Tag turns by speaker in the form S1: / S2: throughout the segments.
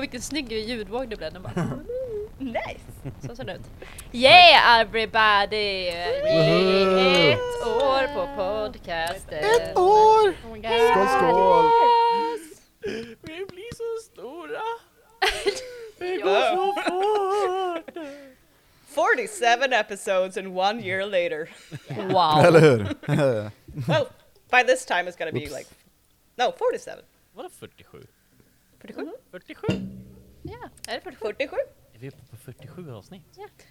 S1: vilken snygg ljudvåg det blev. Den bara,
S2: Nice!
S1: så ser den ut. Yeah everybody! Vi är ett år på podcasten.
S3: Ett år!
S2: Oh my god.
S3: Skål, skål!
S4: Vi blir så stora!
S3: Det går så fort!
S2: 47 episodes and one year later.
S1: Wow.
S3: Eller hur?
S2: Well, by this time it's gonna be
S3: Oops.
S2: like... No, 47.
S4: Vadå 47?
S1: 47?
S4: 47?
S1: Ja, är det 47?
S2: 47.
S4: Är vi uppe på 47 avsnitt?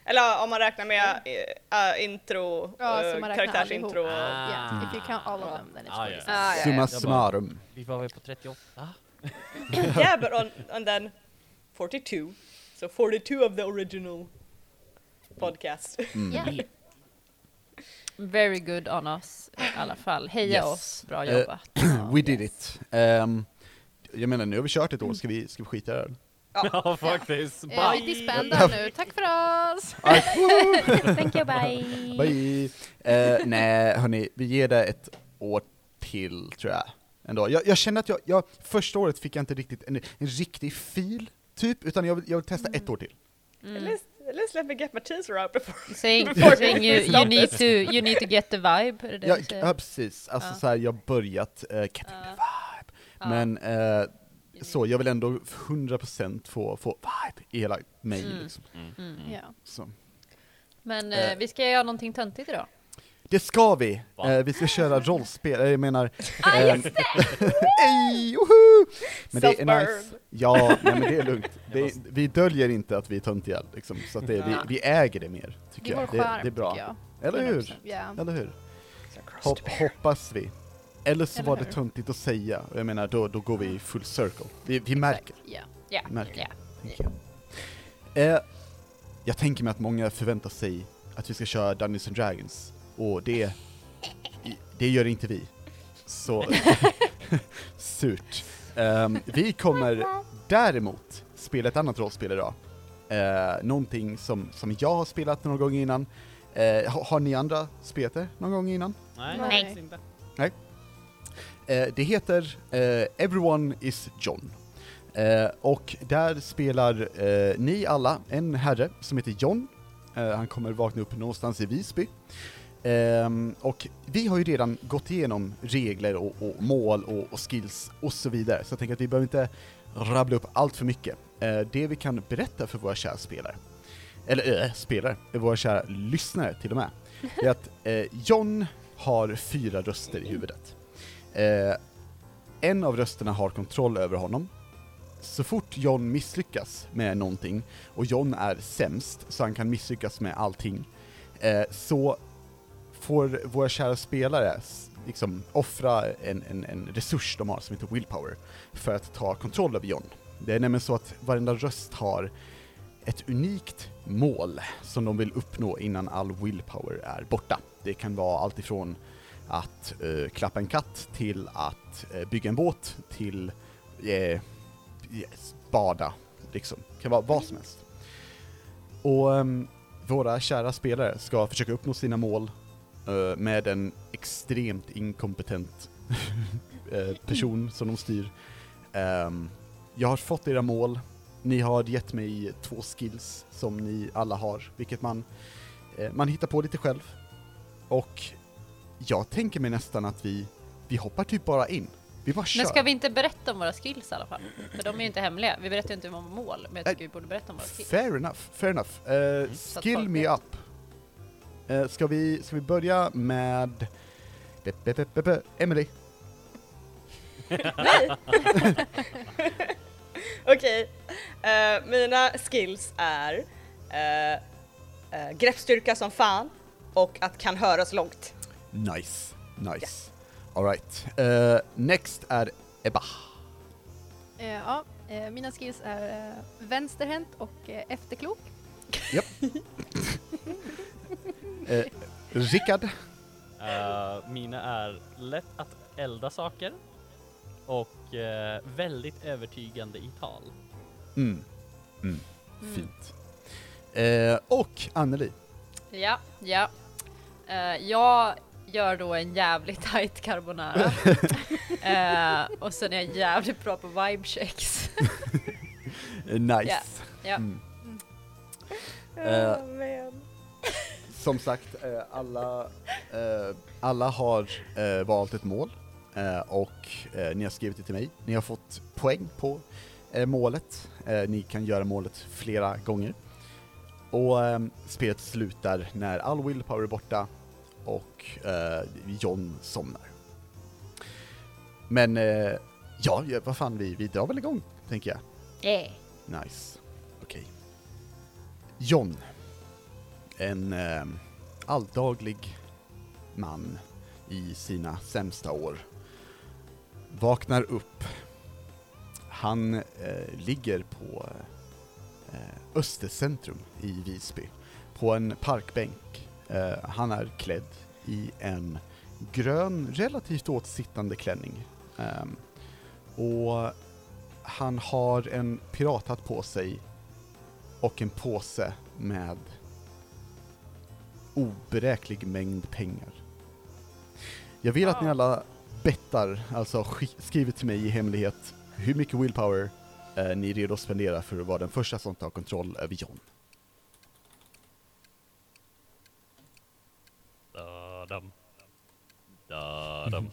S2: Eller om man räknar med eh, eh, intro,
S5: Ja, så
S2: eh,
S5: man räknar
S2: karaktärsintro.
S5: allihop.
S4: Ah.
S5: Yeah, if you count all of them then it's
S4: Ah,
S5: forty
S4: yeah.
S5: six.
S1: Ah, ja, ja.
S3: Summa summarum.
S4: Vi var väl på 38?
S2: yeah, but on, and then 42. So 42 of the original podcast.
S3: Mm.
S1: Yeah. Very good on us i alla fall. Heja
S3: Yes.
S1: oss, bra
S3: Eh,
S1: jobbat.
S3: We did it. Ehm, jag menar, nu har vi kört ett år, ska vi, ska vi skita i det? här?
S4: Ja faktiskt!
S5: Eh, Vi disbandar nu, tack för oss!
S1: Thank you, bye.
S3: Bye! Eh, nej, hörni, vi ger det ett år till, tror jag. Ändå. Jag, jag kände att jag, jag, första året fick jag inte riktigt en, en riktig fil, typ, utan jag vill, jag vill testa ett
S1: Mm.
S3: år till.
S2: At, least, at least let me get my teaser out before.
S1: Saying,
S2: Before
S1: saying
S2: we
S1: you, you,
S2: stop
S1: need to, you need to get the vibe, är det det
S3: Ja,
S1: du säger?
S3: ja precis, alltså
S1: Ja.
S3: så här, jag har börjat uh, Get in the vibe.
S1: Ja.
S3: Men eh, så, jag vill ändå 100% få, få vibe i hela mig
S1: Mm.
S3: liksom.
S5: Ja.
S3: Så.
S1: Men eh,
S3: Eh.
S1: vi ska göra någonting töntigt idag.
S3: Det ska vi!
S4: Va?
S3: Eh, vi ska köra rollspel, eh, jag menar...
S1: Ah,
S3: ehm,
S1: just det!
S3: Ej, woho! Men det är
S2: Self-burn.
S3: nice. Ja, nej, men det är lugnt. Det är, vi döljer inte att vi är töntiga, liksom, så att det, är- vi, vi äger det mer, tycker
S5: Det är vår
S3: jag.
S5: charm
S3: det är bra.
S5: tycker jag.
S3: Eller hur?
S5: 100%, Ja.
S3: Eller hur? Hop, hoppas vi. Eller så
S5: Eller
S3: var det
S5: hur?
S3: töntigt att säga, och jag menar då, då går vi i full circle. Vi, vi märker,
S5: Ja.
S1: Ja.
S3: märker.
S1: Ja.
S3: tänker jag. Eh, jag tänker mig att många förväntar sig att vi ska köra Dungeons and Dragons, och det, det gör inte vi. Så, surt. Ehm, vi kommer däremot spela ett annat rollspel idag. Uh, någonting som, som jag har spelat någon gång innan. Eh, ha, har ni andra spelat det någon gång innan?
S4: Nej,
S5: Nej.
S4: faktiskt inte.
S3: Eh, det heter eh, Everyone is John. Eh, och där spelar eh, ni alla en herre som heter John. Eh, han kommer vakna upp någonstans i Visby. Ehm, och vi har ju redan gått igenom regler och, och mål och, och skills och så vidare, så jag tänker att vi behöver inte rabbla upp allt för mycket. Eh, det vi kan berätta för våra kära spelare, eller äh, spelare, våra kära lyssnare till och med, är att eh, John har fyra röster i huvudet. Eh, en av rösterna har kontroll över honom. Så fort John misslyckas med någonting, och John är sämst, så han kan misslyckas med allting, eh, så får våra kära spelare s- liksom offra en, en, en resurs de har som heter willpower för att ta kontroll över John. Det är nämligen så att varenda röst har ett unikt mål som de vill uppnå innan all willpower är borta. Det kan vara allt ifrån att eh, klappa en katt till att eh, bygga en båt till eh, yes, bada, liksom. Det kan vara vad som helst. Och ehm, våra kära spelare ska försöka uppnå sina mål eh, med en extremt inkompetent eh, person som de styr. Ehm, jag har fått era mål, ni har gett mig två skills som ni alla har, vilket man, eh, man hittar på lite själv. Och jag tänker mig nästan att vi, vi hoppar typ bara in. Vi bara kör.
S1: Men ska vi inte berätta om våra skills i alla fall? För de är ju inte hemliga. Vi berättar ju inte om våra mål, men jag tycker vi borde berätta om våra skills.
S3: Fair enough, fair enough. Eh,
S1: Så att
S3: skill
S1: folk
S3: me
S1: vet.
S3: up. Eh, ska, vi, ska vi börja med... Be, be, be, be, be. Emily.
S2: Okej, eh, mina skills är eh, eh, greppstyrka som fan och att kan höras långt.
S3: Nice, nice. Alright. Eh, next är Ebba.
S5: Eh, ja. eh, Mina skills är eh, vänsterhänt och eh, efterklok.
S3: Eh, Rickard.
S4: Eh, mina är lätt att elda saker och eh, väldigt övertygande i tal.
S3: Mm. Mm. Fint. Eh, och Anneli.
S1: Ja, ja. Eh, jag gör då en jävligt tight carbonara. Eh, och sen är jag jävligt bra på vibe checks.
S3: nice.
S1: Ja, ja.
S3: Mm.
S2: Ja, men.
S3: Som sagt, eh, alla, eh, alla har eh, valt ett mål eh, och eh, ni har skrivit det till mig. Ni har fått poäng på eh, målet. Eh, ni kan göra målet flera gånger. Och eh, spelet slutar när all willpower är borta och eh, John somnar. Men eh, ja, ja, vad fan, vi, vi drar väl igång, tänker jag.
S1: Yeah.
S3: Nice. Okej. John. En eh, alldaglig man i sina sämsta år. Vaknar upp. Han eh, ligger på eh, Östercentrum i Visby. På en parkbänk. Eh, han är klädd i en grön, relativt åtsittande klänning. Ehm, och han har en pirathatt på sig och en påse med oberäklig mängd pengar. Jag vill att ni alla bettar, alltså sk- skriver till mig i hemlighet hur mycket willpower eh, ni är redo att spendera för att vara den första som tar kontroll över John.
S4: Da-dam. Da-dam.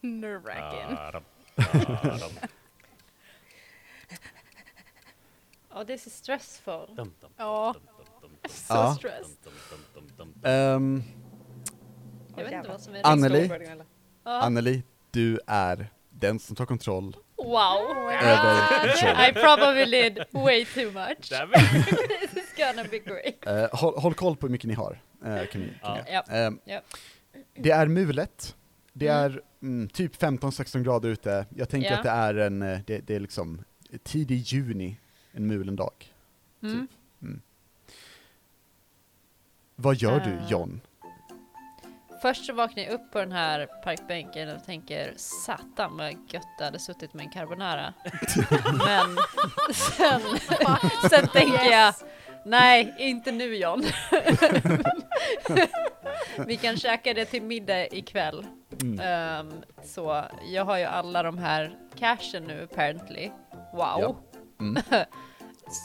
S5: Nerve-wracking.
S4: Da-dam. Da-dam.
S1: Oh, this is stressful.
S4: Dum, dum,
S5: Ja.
S4: dum, dum, dum,
S5: So
S3: Ja.
S5: stressed.
S4: dum, dum, dum, dum, dum.
S3: Ehm,
S1: Jag vet inte vad som är
S3: Ann-
S1: rätt.
S3: Anneli?
S2: Extraordinella.
S1: Ja.
S3: Anneli, du är den som tar kontroll
S1: Wow.
S3: över John.
S1: I probably did way too much.
S4: Där vi-
S1: This is gonna be great.
S3: Eh, håll, håll koll på hur mycket ni har. eh, kan ni, kan ni.
S1: Ja.
S3: Eh,
S1: Ja.
S3: Det är mulet, det är mm, typ 15-16 grader ute. Jag tänker
S1: Ja.
S3: att det är en, eh, det, det är liksom tidig juni, en mulen dag.
S1: Mm.
S3: Vad gör du
S1: Eh.
S3: John?
S1: Först så vaknar jag upp på den här parkbänken och tänker satan vad gött det hade suttit med en carbonara. Men sen, sen tänker jag nej, inte nu John. Vi kan käka det till middag ikväll.
S3: Mm.
S1: Ehm, så jag har ju alla de här cashen nu apparently. Wow.
S3: Ja. Mm.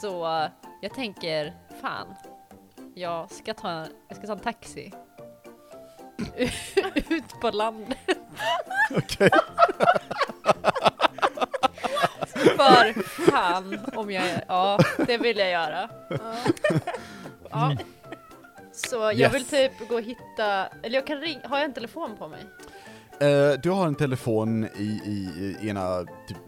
S1: så jag tänker fan, jag ska ta, jag ska ta en taxi. Ut på landet.
S3: Okej.
S1: För fan om jag... Ja, det vill jag göra.
S5: Ja.
S1: Ja. Så jag
S3: Yes.
S1: vill typ gå och hitta... Eller jag kan ringa... Har jag en telefon på mig?
S3: Eh, du har en telefon i, i, i ena typ,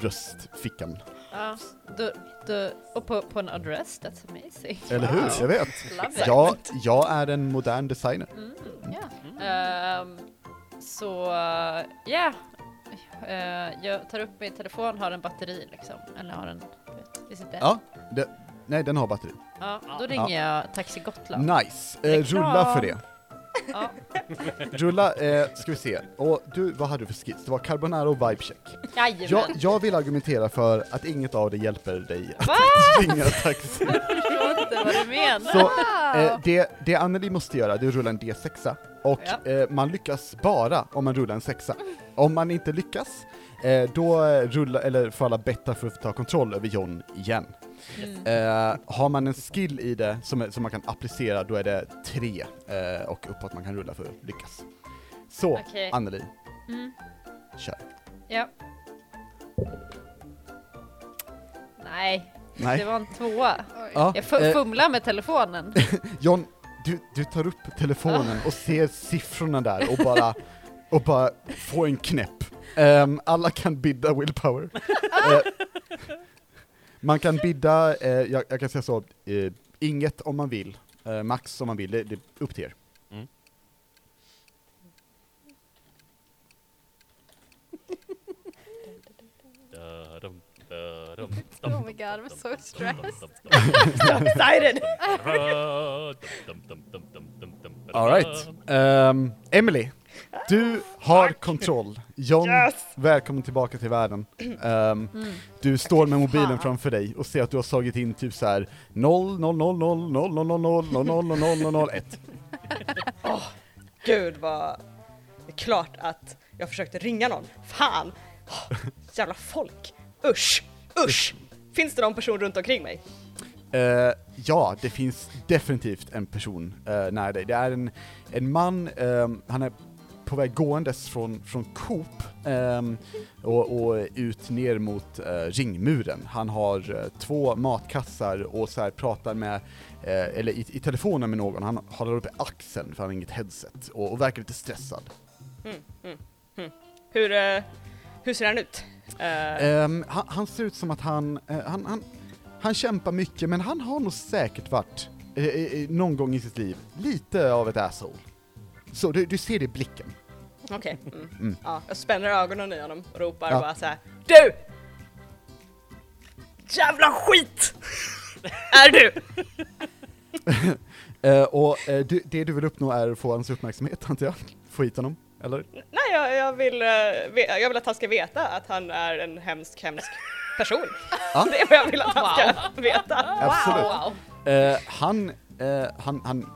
S3: bröstfickan,
S1: Ja. Då, då, och på, på en adress, that's amazing.
S3: eller hur? Jag vet.
S1: Love it.
S3: Jag, jag är en modern designer.
S1: Mm, ja. Ehm, så, ja. Eh, jag tar upp min telefon, har en batteri liksom. Eller har en... vet, Finns inte?
S3: Ja, det, nej den har batteri.
S1: Ja, då ringer jag Taxi Gotland.
S3: Nice, eh,
S1: Reklam.
S3: rulla för det.
S1: Ja.
S3: Rulla, eh, ska vi se. Och du, vad hade du för skiss? Det var carbonara och vibecheck.
S1: Jajamän.
S3: Jag, jag vill argumentera för att inget av det hjälper dig att
S1: Va?
S3: ringa taxi.
S1: Jag förstår inte vad du menar.
S3: Så eh, det, det Anneli måste göra, det är att rulla en D6a. Och
S1: Ja.
S3: eh, man lyckas bara om man rullar en sexa. Om man inte lyckas, eh, då eh, rullar, eller får alla betta för att ta kontroll över John igen.
S1: Mm.
S3: Eh, har man en skill i det som, är- som man kan applicera, då är det tre eh, och uppåt man kan rulla för att lyckas. Så,
S1: Okej.
S3: Anneli,
S1: Mm.
S3: kör.
S1: Ja. Nej,
S3: Nej.
S1: det var en tvåa.
S5: Oj.
S3: Ja,
S1: Jag fu-
S3: eh,
S1: fumlar med telefonen.
S3: John, du, du tar upp telefonen och ser siffrorna där och bara, och bara får en knäpp. Ehm, alla kan bidda willpower. Eh, man kan bidda, eh, jag, jag kan säga så, eh, inget om man vill, eh, max om man vill, det, det är upp till er.
S4: Da-dam, da-dam, dum,
S5: Oh my god, I'm so stressed.
S2: So excited!
S3: Alright. Ehm, Emily, du har kontroll. John,
S2: Yes!
S3: välkommen tillbaka till världen. Ehm, Du står med mobilen framför dig och ser att du har slagit in typ så här 0 0 0 0 0 0 0 0 0 0 0 0 0 1.
S2: Gud vad... Det är klart att Oh, jag försökte ringa någon. Fan! Åh, jävla folk! Usch! Usch! Finns det någon person runt omkring mig?
S3: Eh, ja, det finns definitivt en person eh, nära dig. Det är en, en man, ehm, han är på väg gåendes från, från Coop ehm, och, och ut ner mot eh, ringmuren. Han har eh, två matkassar och så här pratar med, eh, eller i, i telefonen med någon, han håller uppe axeln för han har inget headset och, och verkar lite stressad.
S2: Mm, mm, mm. Hur, eh, hur ser han ut? Eh,
S3: Ehm, han, han ser ut som att han, eh, han, han, han kämpar mycket men han har nog säkert varit, eh, eh, någon gång i sitt liv, lite av ett asshole. Så du, du ser det i blicken.
S2: Okej. Mm.
S3: Mm.
S2: Ja, jag spänner ögonen i honom och ropar
S3: Ja.
S2: bara så här. Du! Jävla skit! är du?
S3: Eh, och eh, du, det du vill uppnå är att få hans uppmärksamhet antar jag? Få hit honom, eller?
S2: Nej, jag, jag, vill, eh, ve- jag vill att han ska veta att han är en hemsk, hemsk person.
S3: Ja.
S2: Det är vad jag vill att han ska veta.
S3: Absolut.
S1: Wow!
S3: Eh, han, eh, han, han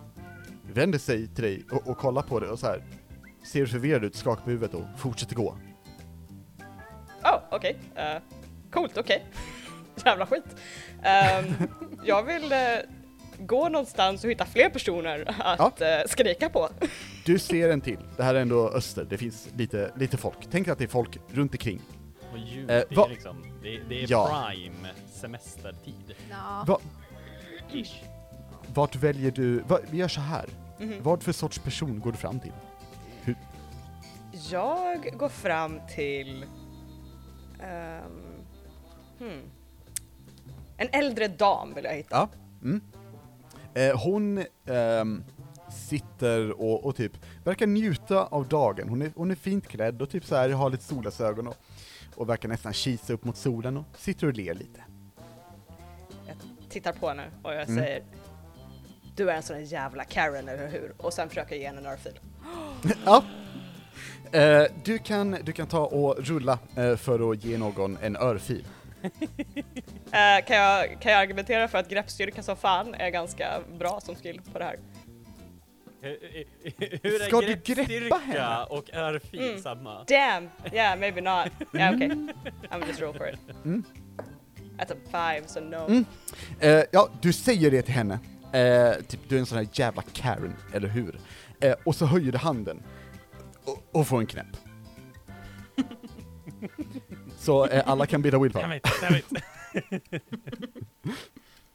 S3: vänder sig till dig och, och kollar på dig och så här ser förvirrad ut, skakar på huvudet och fortsätter gå.
S2: Oh, okej. Okay. coolt, okej. Jävla skit. Ehm, jag vill eh, gå någonstans och hitta fler personer att eh, skrika på.
S3: Du ser en till, det här är ändå öster, det finns lite, lite folk. Tänk att det är folk runt omkring.
S4: Och jul,
S3: Eh,
S4: det
S3: va-
S4: är liksom, det, det är
S3: Ja.
S4: prime semestertid.
S5: Nja.
S3: Va,
S4: Ish.
S3: Vart väljer du, va, vi gör så här.
S2: Mhm.
S3: Vad för sorts person går du fram till?
S2: Jag går fram till... ehm, hmm. En äldre dam vill jag hitta.
S3: Ja. Mm. Eh, hon ehm, sitter och, och typ verkar njuta av dagen. Hon är, hon är fint klädd och typ så här har lite solglasögon och, och verkar nästan kisa upp mot solen och sitter och ler lite.
S2: Tittar på henne och jag
S3: Mm.
S2: säger Du är en sån där jävla Karen, eller hur? Och sen försöker jag ge henne en örfil.
S3: ja. Eh, du, kan, du kan ta och rulla eh, för att ge någon en örfil.
S2: Eh, kan, jag, kan jag argumentera för att greppstyrka som fan är ganska bra som skill på det här?
S4: Hur, eh, hur är
S3: Ska du greppa
S4: greppstyrka
S3: henne?
S4: och örfil
S2: Mm.
S4: samma?
S2: Damn! Yeah, maybe not. Yeah, okay. I'm just roll for it.
S3: Mm.
S2: That's a five, so no.
S3: Mm. Eh, ja, du säger det till henne. Eh, typ, du är en sån här jävla Karen, eller hur? Eh, och så höjer du handen. Och, och får en knäpp. så eh, alla kan bilda
S4: Damn
S3: willpower.
S4: it, damn it.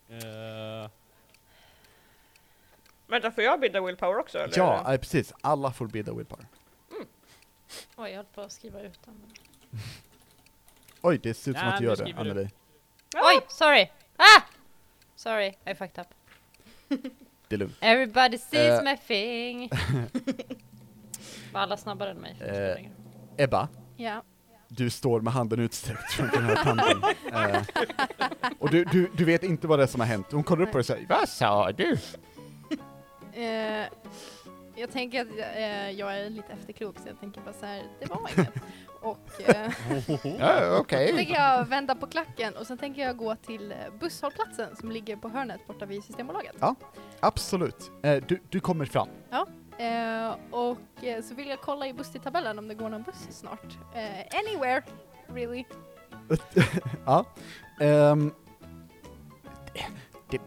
S4: Eh,
S2: Vänta, får jag bilda willpower också eller?
S3: Ja, eh, precis. Alla får bilda willpower.
S1: Oj, jag höll på att skriva ut den.
S3: Oj, det ser ut som
S4: Nej,
S3: att du
S4: nu
S3: gör det,
S4: skriver du.
S3: Anneli.
S1: Oj, sorry! Ah! Sorry, I fucked up.
S3: Det är lugnt.
S1: Everybody sees
S3: Eh.
S1: my thing! Var alla snabbare än mig?
S3: Eh. Ebba,
S5: Ja.
S3: du står med handen utsträckt från den här tanden. Eh, och du, du, du vet inte vad det är som har hänt. Hon kollar upp på dig och säger Vad sa du?
S5: Eh, jag tänker att jag- eh, jag är lite efterklok så jag tänker bara så här, det var inget. Och eh,
S3: Ja, okej.
S5: då tänker jag vända på klacken och sen tänker jag gå till eh, busshållplatsen som ligger på hörnet borta vid Systembolaget.
S3: Absolut. Eh, du, du kommer fram.
S5: Eh, och eh, så vill jag kolla i busstidtabellen om det går någon buss snart. Eh, anywhere, really.
S3: Ja. Ehm, det,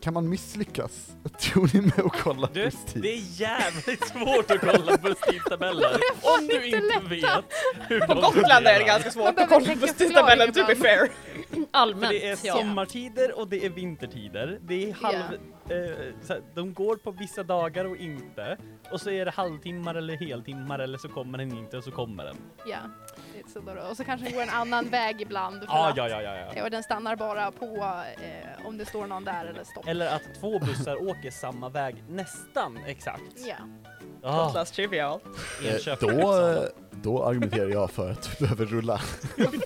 S3: kan man misslyckas? Tror ni med att kolla
S4: Du,
S3: prestige?
S4: det är jävligt svårt att kolla på tidtabeller om du
S5: inte
S4: inte vet hur
S2: På
S4: de
S2: Gotland är det
S4: fungerar.
S2: ganska svårt att
S5: behöver
S2: kolla på
S5: tänka
S2: tidtabellen to
S5: förklaring
S2: be fair.
S4: För
S1: Allmänt,
S4: det är
S1: ja.
S4: sommartider och det är vintertider. Det är halv... Eh, så här, de går på vissa dagar och inte. Och så är det halvtimmar eller heltimmar eller så kommer den inte och så kommer den.
S5: Ja, det är så då. Och så kanske det går en annan väg ibland. för
S4: Ah,
S5: att-
S4: ja, ja, ja,
S5: Eh,
S4: ja.
S5: Och den stannar bara på eh, om det står någon där eller stopp.
S4: Eller att två bussar åker samma väg nästan exakt.
S5: Ja.
S4: Ah,
S2: Gotlands trivial.
S3: Eh,
S4: Enköping, liksom-
S3: då,
S4: Uppsala.
S3: då argumenterar jag för att du behöver rulla.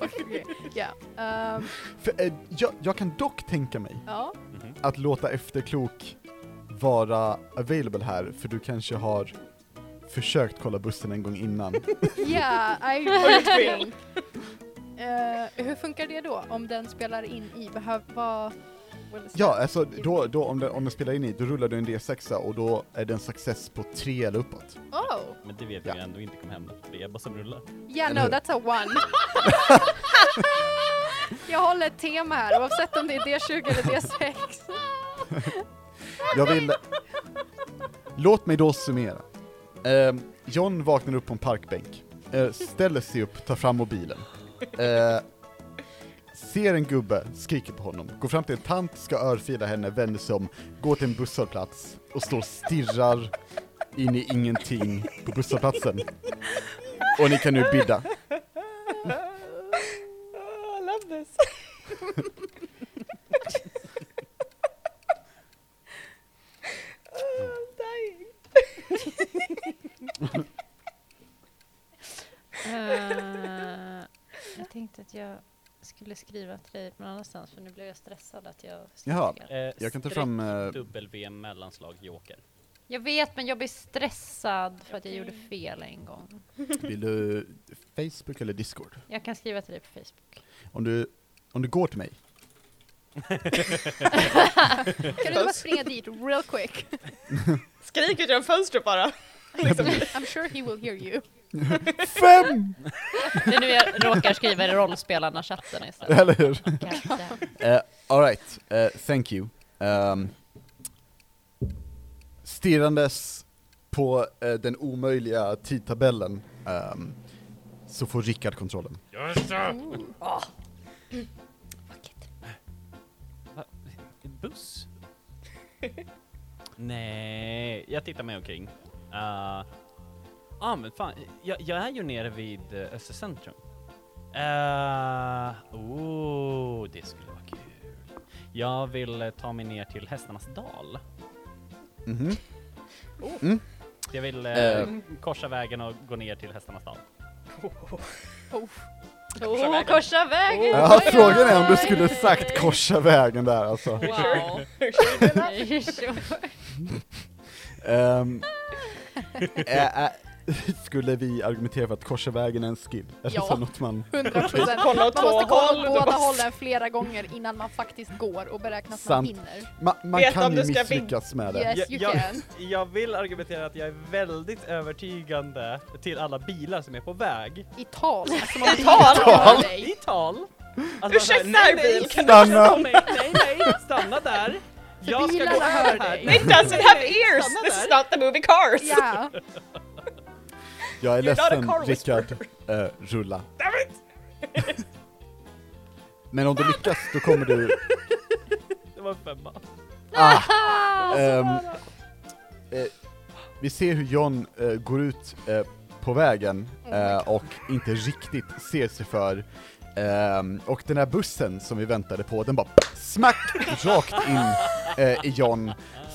S5: Okej. ja. Ehm,
S3: För, eh, jag, jag kan dock tänka mig
S5: ja.
S4: Mhm.
S3: att låta efterklok vara available här, för du kanske har försökt kolla bussen en gång innan.
S5: Ja, I
S2: gjort fel.
S5: think. Eh, hur funkar det då? Om den spelar in i, behöv, vad... vad-
S3: Ja, alltså då, då om, den, om den spelar in i, då rullar du en D6 och då är det en success på 3 eller uppåt.
S5: Oh!
S4: Men det vet
S3: Ja.
S4: jag ändå inte kommer hända. för Det är bara som rullar.
S5: Yeah,
S3: Eller
S5: no,
S3: hur?
S5: that's a one. Jag håller ett tema här oavsett om det är D20 eller D6.
S3: Jag vill... Låt mig då summera. Eh, John vaknar upp på en parkbänk, eh, ställer sig upp, tar fram mobilen. Eh, ser en gubbe, skriker på honom, går fram till en tant, ska örfila henne, vänder sig om, går till en busshållplats och står och stirrar in i ingenting på busshållplatsen. Och ni kan nu bidda.
S2: Oh, I love this. oh, I'm dying.
S1: Eh, jag tänkte att jag skulle skriva till dig någon annanstans för nu blev jag stressad att jag
S3: Jaha.
S1: stressar.
S4: Eh,
S3: Jag kan ta fram, eh,
S4: streck W mellanslag joker.
S1: Jag vet men jag blir stressad för att jag gjorde
S5: Okej.
S1: fel en gång.
S3: Vill du Facebook eller Discord?
S1: Jag kan skriva till dig på Facebook.
S3: Om du, om du går till mig,
S5: Kan du inte bara springa dit real quick?
S2: Skrik ut genom fönstret bara. Liksom.
S5: I'm sure he will hear you.
S3: FEM!
S1: Det är nu jag råkar skriva i rollspelarna-chatten istället.
S3: Eller hur?
S1: Kanske där.
S3: Uh, Alright, eh, thank you. Um, stirrandes på eh, den omöjliga tidtabellen ehm, så får Rickard kontrollen.
S4: En buss? Nej, jag tittar mig omkring. Ja ah, men fan, jag, jag är ju nere vid eh, Östercentrum. Uh, oh, det skulle vara kul. Jag vill eh, ta mig ner till Hästarnas dal.
S3: Mhm.
S4: Jag vill eh,
S3: Eh.
S4: korsa vägen och gå ner till Hästarnas dal.
S1: Åh, korsa vägen!
S3: Ja,
S1: Oj,
S3: frågan är om du
S1: oj,
S3: skulle
S1: oj.
S3: sagt korsa vägen där alltså.
S1: Wow.
S3: Ehm, eh, eh, skulle vi argumentera för att korsa vägen är en skill? Är det
S5: Ja.
S3: så något man...
S5: 100 procent. Man
S2: Kolla åt
S5: måste
S2: två
S5: kolla
S2: håll.
S5: åt
S2: du
S5: båda
S2: måste-
S5: hållen flera gånger innan man faktiskt går och beräknas
S3: Sant.
S5: man hinner.
S3: Ma, man
S2: Vet
S3: kan
S2: om
S3: ju
S2: du ska vin-
S3: misslyckas med det.
S5: Yes you
S4: jag,
S5: can.
S4: jag, jag vill argumentera att jag är väldigt övertygande till alla bilar som är på väg.
S5: I tal. Som om
S2: tal?
S5: det gör dig.
S4: I tal! Alltså,
S2: Ursäkta,
S4: så här, nej, nej,
S2: bil, kan
S3: Stanna!
S4: Nej, nej, nej, stanna där! Jag ska gå
S5: bilarna hör
S4: över här.
S5: dig.
S4: Nej,
S2: It doesn't have ears!
S4: Stanna
S2: This
S4: där.
S2: is not the movie Cars!
S5: Ja.
S3: Jag är
S2: You're not a
S3: ledsen,
S2: car whisperer.
S3: Rickard. Eh, rulla. Men om du lyckas, då kommer du...
S4: Det var en femma.
S3: Ah, ehm, eh, vi ser hur John eh, går ut eh, på vägen
S2: Oh
S5: my
S3: eh, och inte riktigt ser sig för. Ehm, och den här bussen som vi väntade på, den bara smack rakt in eh, i John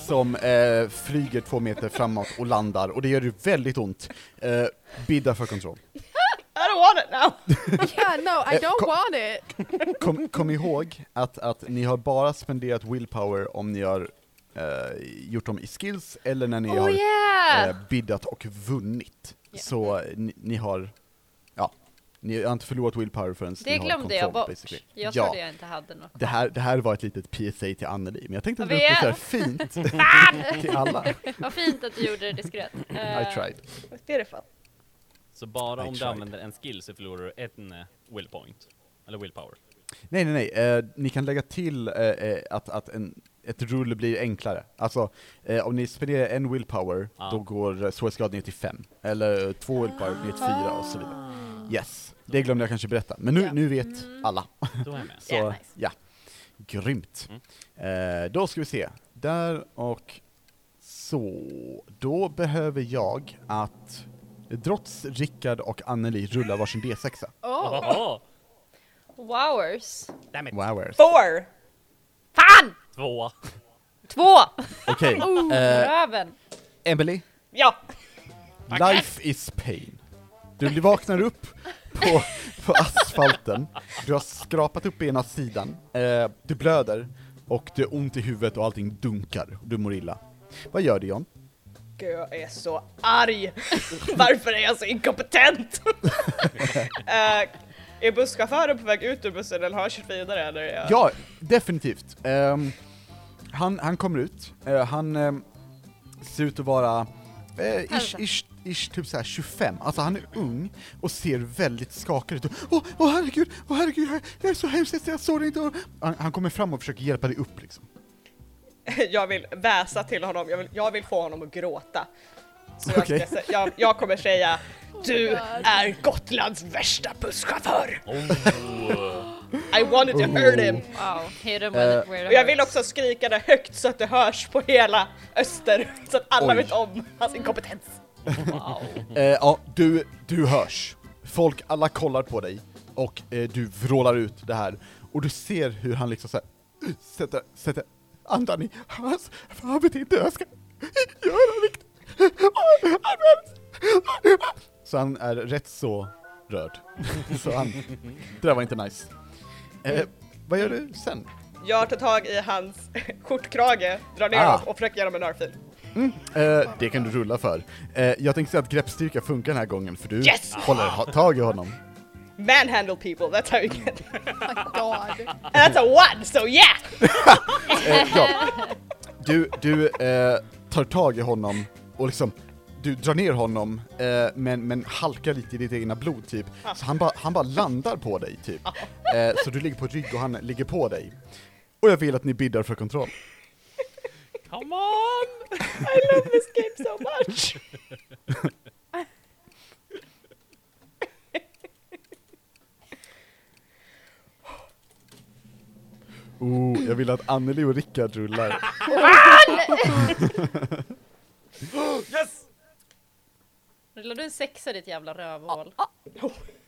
S3: som eh, flyger två meter framåt och landar och det gör ju väldigt ont. Eh, bidda för kontroll.
S2: I don't want it now!
S5: Yeah, no, I
S3: Eh,
S5: don't
S3: kom-
S5: want it.
S3: Kom, kom ihåg att, att ni har bara spenderat willpower om ni har eh, gjort dem i skills eller när ni har
S1: Oh yeah!
S3: eh, biddat och vunnit.
S1: Yeah.
S3: Så eh, ni, ni har, ja, ni har inte förlorat willpower förrän
S1: Det
S3: ni har
S1: glömde jag
S3: kontroll,
S1: bort.
S3: basically.
S1: Jag
S3: ja,
S1: trodde jag inte hade något.
S3: det här, det här var ett litet PSA till Anneli, men jag tänkte att det
S1: Vi-
S3: var så här fint till alla.
S1: Vad fint att du gjorde det diskret. Eh,
S3: I tried.
S2: Beautiful.
S4: Så bara
S3: I
S4: om du
S3: tried.
S4: använder en skill så förlorar du en eh, will point. Eller willpower.
S3: Nej, nej, nej. Eh, ni kan lägga till eh, eh, att, att en, ett rull blir enklare. Alltså, eh, om ni spenderar en willpower,
S4: Ja.
S3: då går eh, svårighetsgraden ner till fem. Eller eh,
S5: Ah.
S3: två willpower ner till fyra och så vidare. Yes, det glömde jag kanske berätta. Men nu,
S5: Ja.
S3: nu vet alla.
S4: Då är jag med.
S3: Så,
S5: Yeah, nice.
S3: ja. Grymt. Eh, då ska vi se. Där och så. Då behöver jag att Drots, Rickard och Anneli rullar varsin D6.
S5: Oh.
S4: Ohoho!
S1: Wowers.
S4: Damn it.
S3: Wow.
S5: Oh.
S2: Four!
S1: Fan!
S4: Två.
S1: Två!
S3: Okej.
S5: Oh.
S3: Eh,
S1: Röven.
S3: Emily.
S2: Ja!
S3: Life is pain. Du vaknar upp på, på asfalten, du har skrapat upp ena sidan, eh, du blöder och du har ont i huvudet och allting dunkar och du mår illa. Vad gör du John?
S2: Gud, jag är så arg! Varför är jag så inkompetent? Eh, är busschauffören på väg ut ur bussen eller har han kört vidare eller? Är jag...
S3: Ja, definitivt. Ehm, han, han kommer ut, Eh, han ehm, ser ut att vara eh, ish, ish, ish, typ så här 25. Alltså han är ung och ser väldigt skakad ut. Åh, åh herregud, åh herregud, jag- jag är så hemskt jag såg det inte. Han, han kommer fram och försöker hjälpa dig upp liksom.
S2: Jag vill väsa till honom, jag vill, jag vill få honom att gråta. Så jag,
S3: Okej. Oh
S2: ska, sä- jag, jag kommer säga Du
S5: God.
S2: är Gotlands värsta busschaufför!
S3: Oh.
S2: I wanted to hurt him!
S1: Wow, hit him
S3: Eh,
S1: with it where it
S2: Och jag vill
S1: hurts.
S2: också skrika det högt så att det hörs på hela öster, så att alla
S3: Oj.
S2: vet om hans inkompetens.
S3: Eh, ja, du, du hörs. Folk, alla kollar på dig och eh, du vrålar ut det här. Och du ser hur han liksom såhär, sätter, sätter andan i hans, han vet inte hur han ska göra riktigt. Så han är rätt så rörd. Så han, det där var inte nice. Eh, vad gör du sen?
S2: Jag tar tag i hans skjortkrage, drar ner
S3: Ah.
S2: honom och försöker ge honom en örfil.
S3: Eh, det kan du rulla för. Eh, jag tänkte säga att greppstyrka funkar den här gången för du
S2: Yes!
S3: håller ha- tag i honom.
S2: Manhandle people, that's how you get
S5: My God.
S2: And that's a one, so yeah!
S3: Eh, ja. Du, du eh, tar tag i honom och liksom, du drar ner honom eh, men, men halkar lite i ditt egna blod typ. Så han bara han bara landar på dig typ. Eh, så du ligger på rygg och han ligger på dig. Och jag vill att ni biddar för kontroll.
S4: Come on!
S2: I love this game so much!
S3: Oh, jag vill att Anneli och Rickard rullar.
S4: Yes!
S1: Rullar du en sexa ditt jävla rövhål?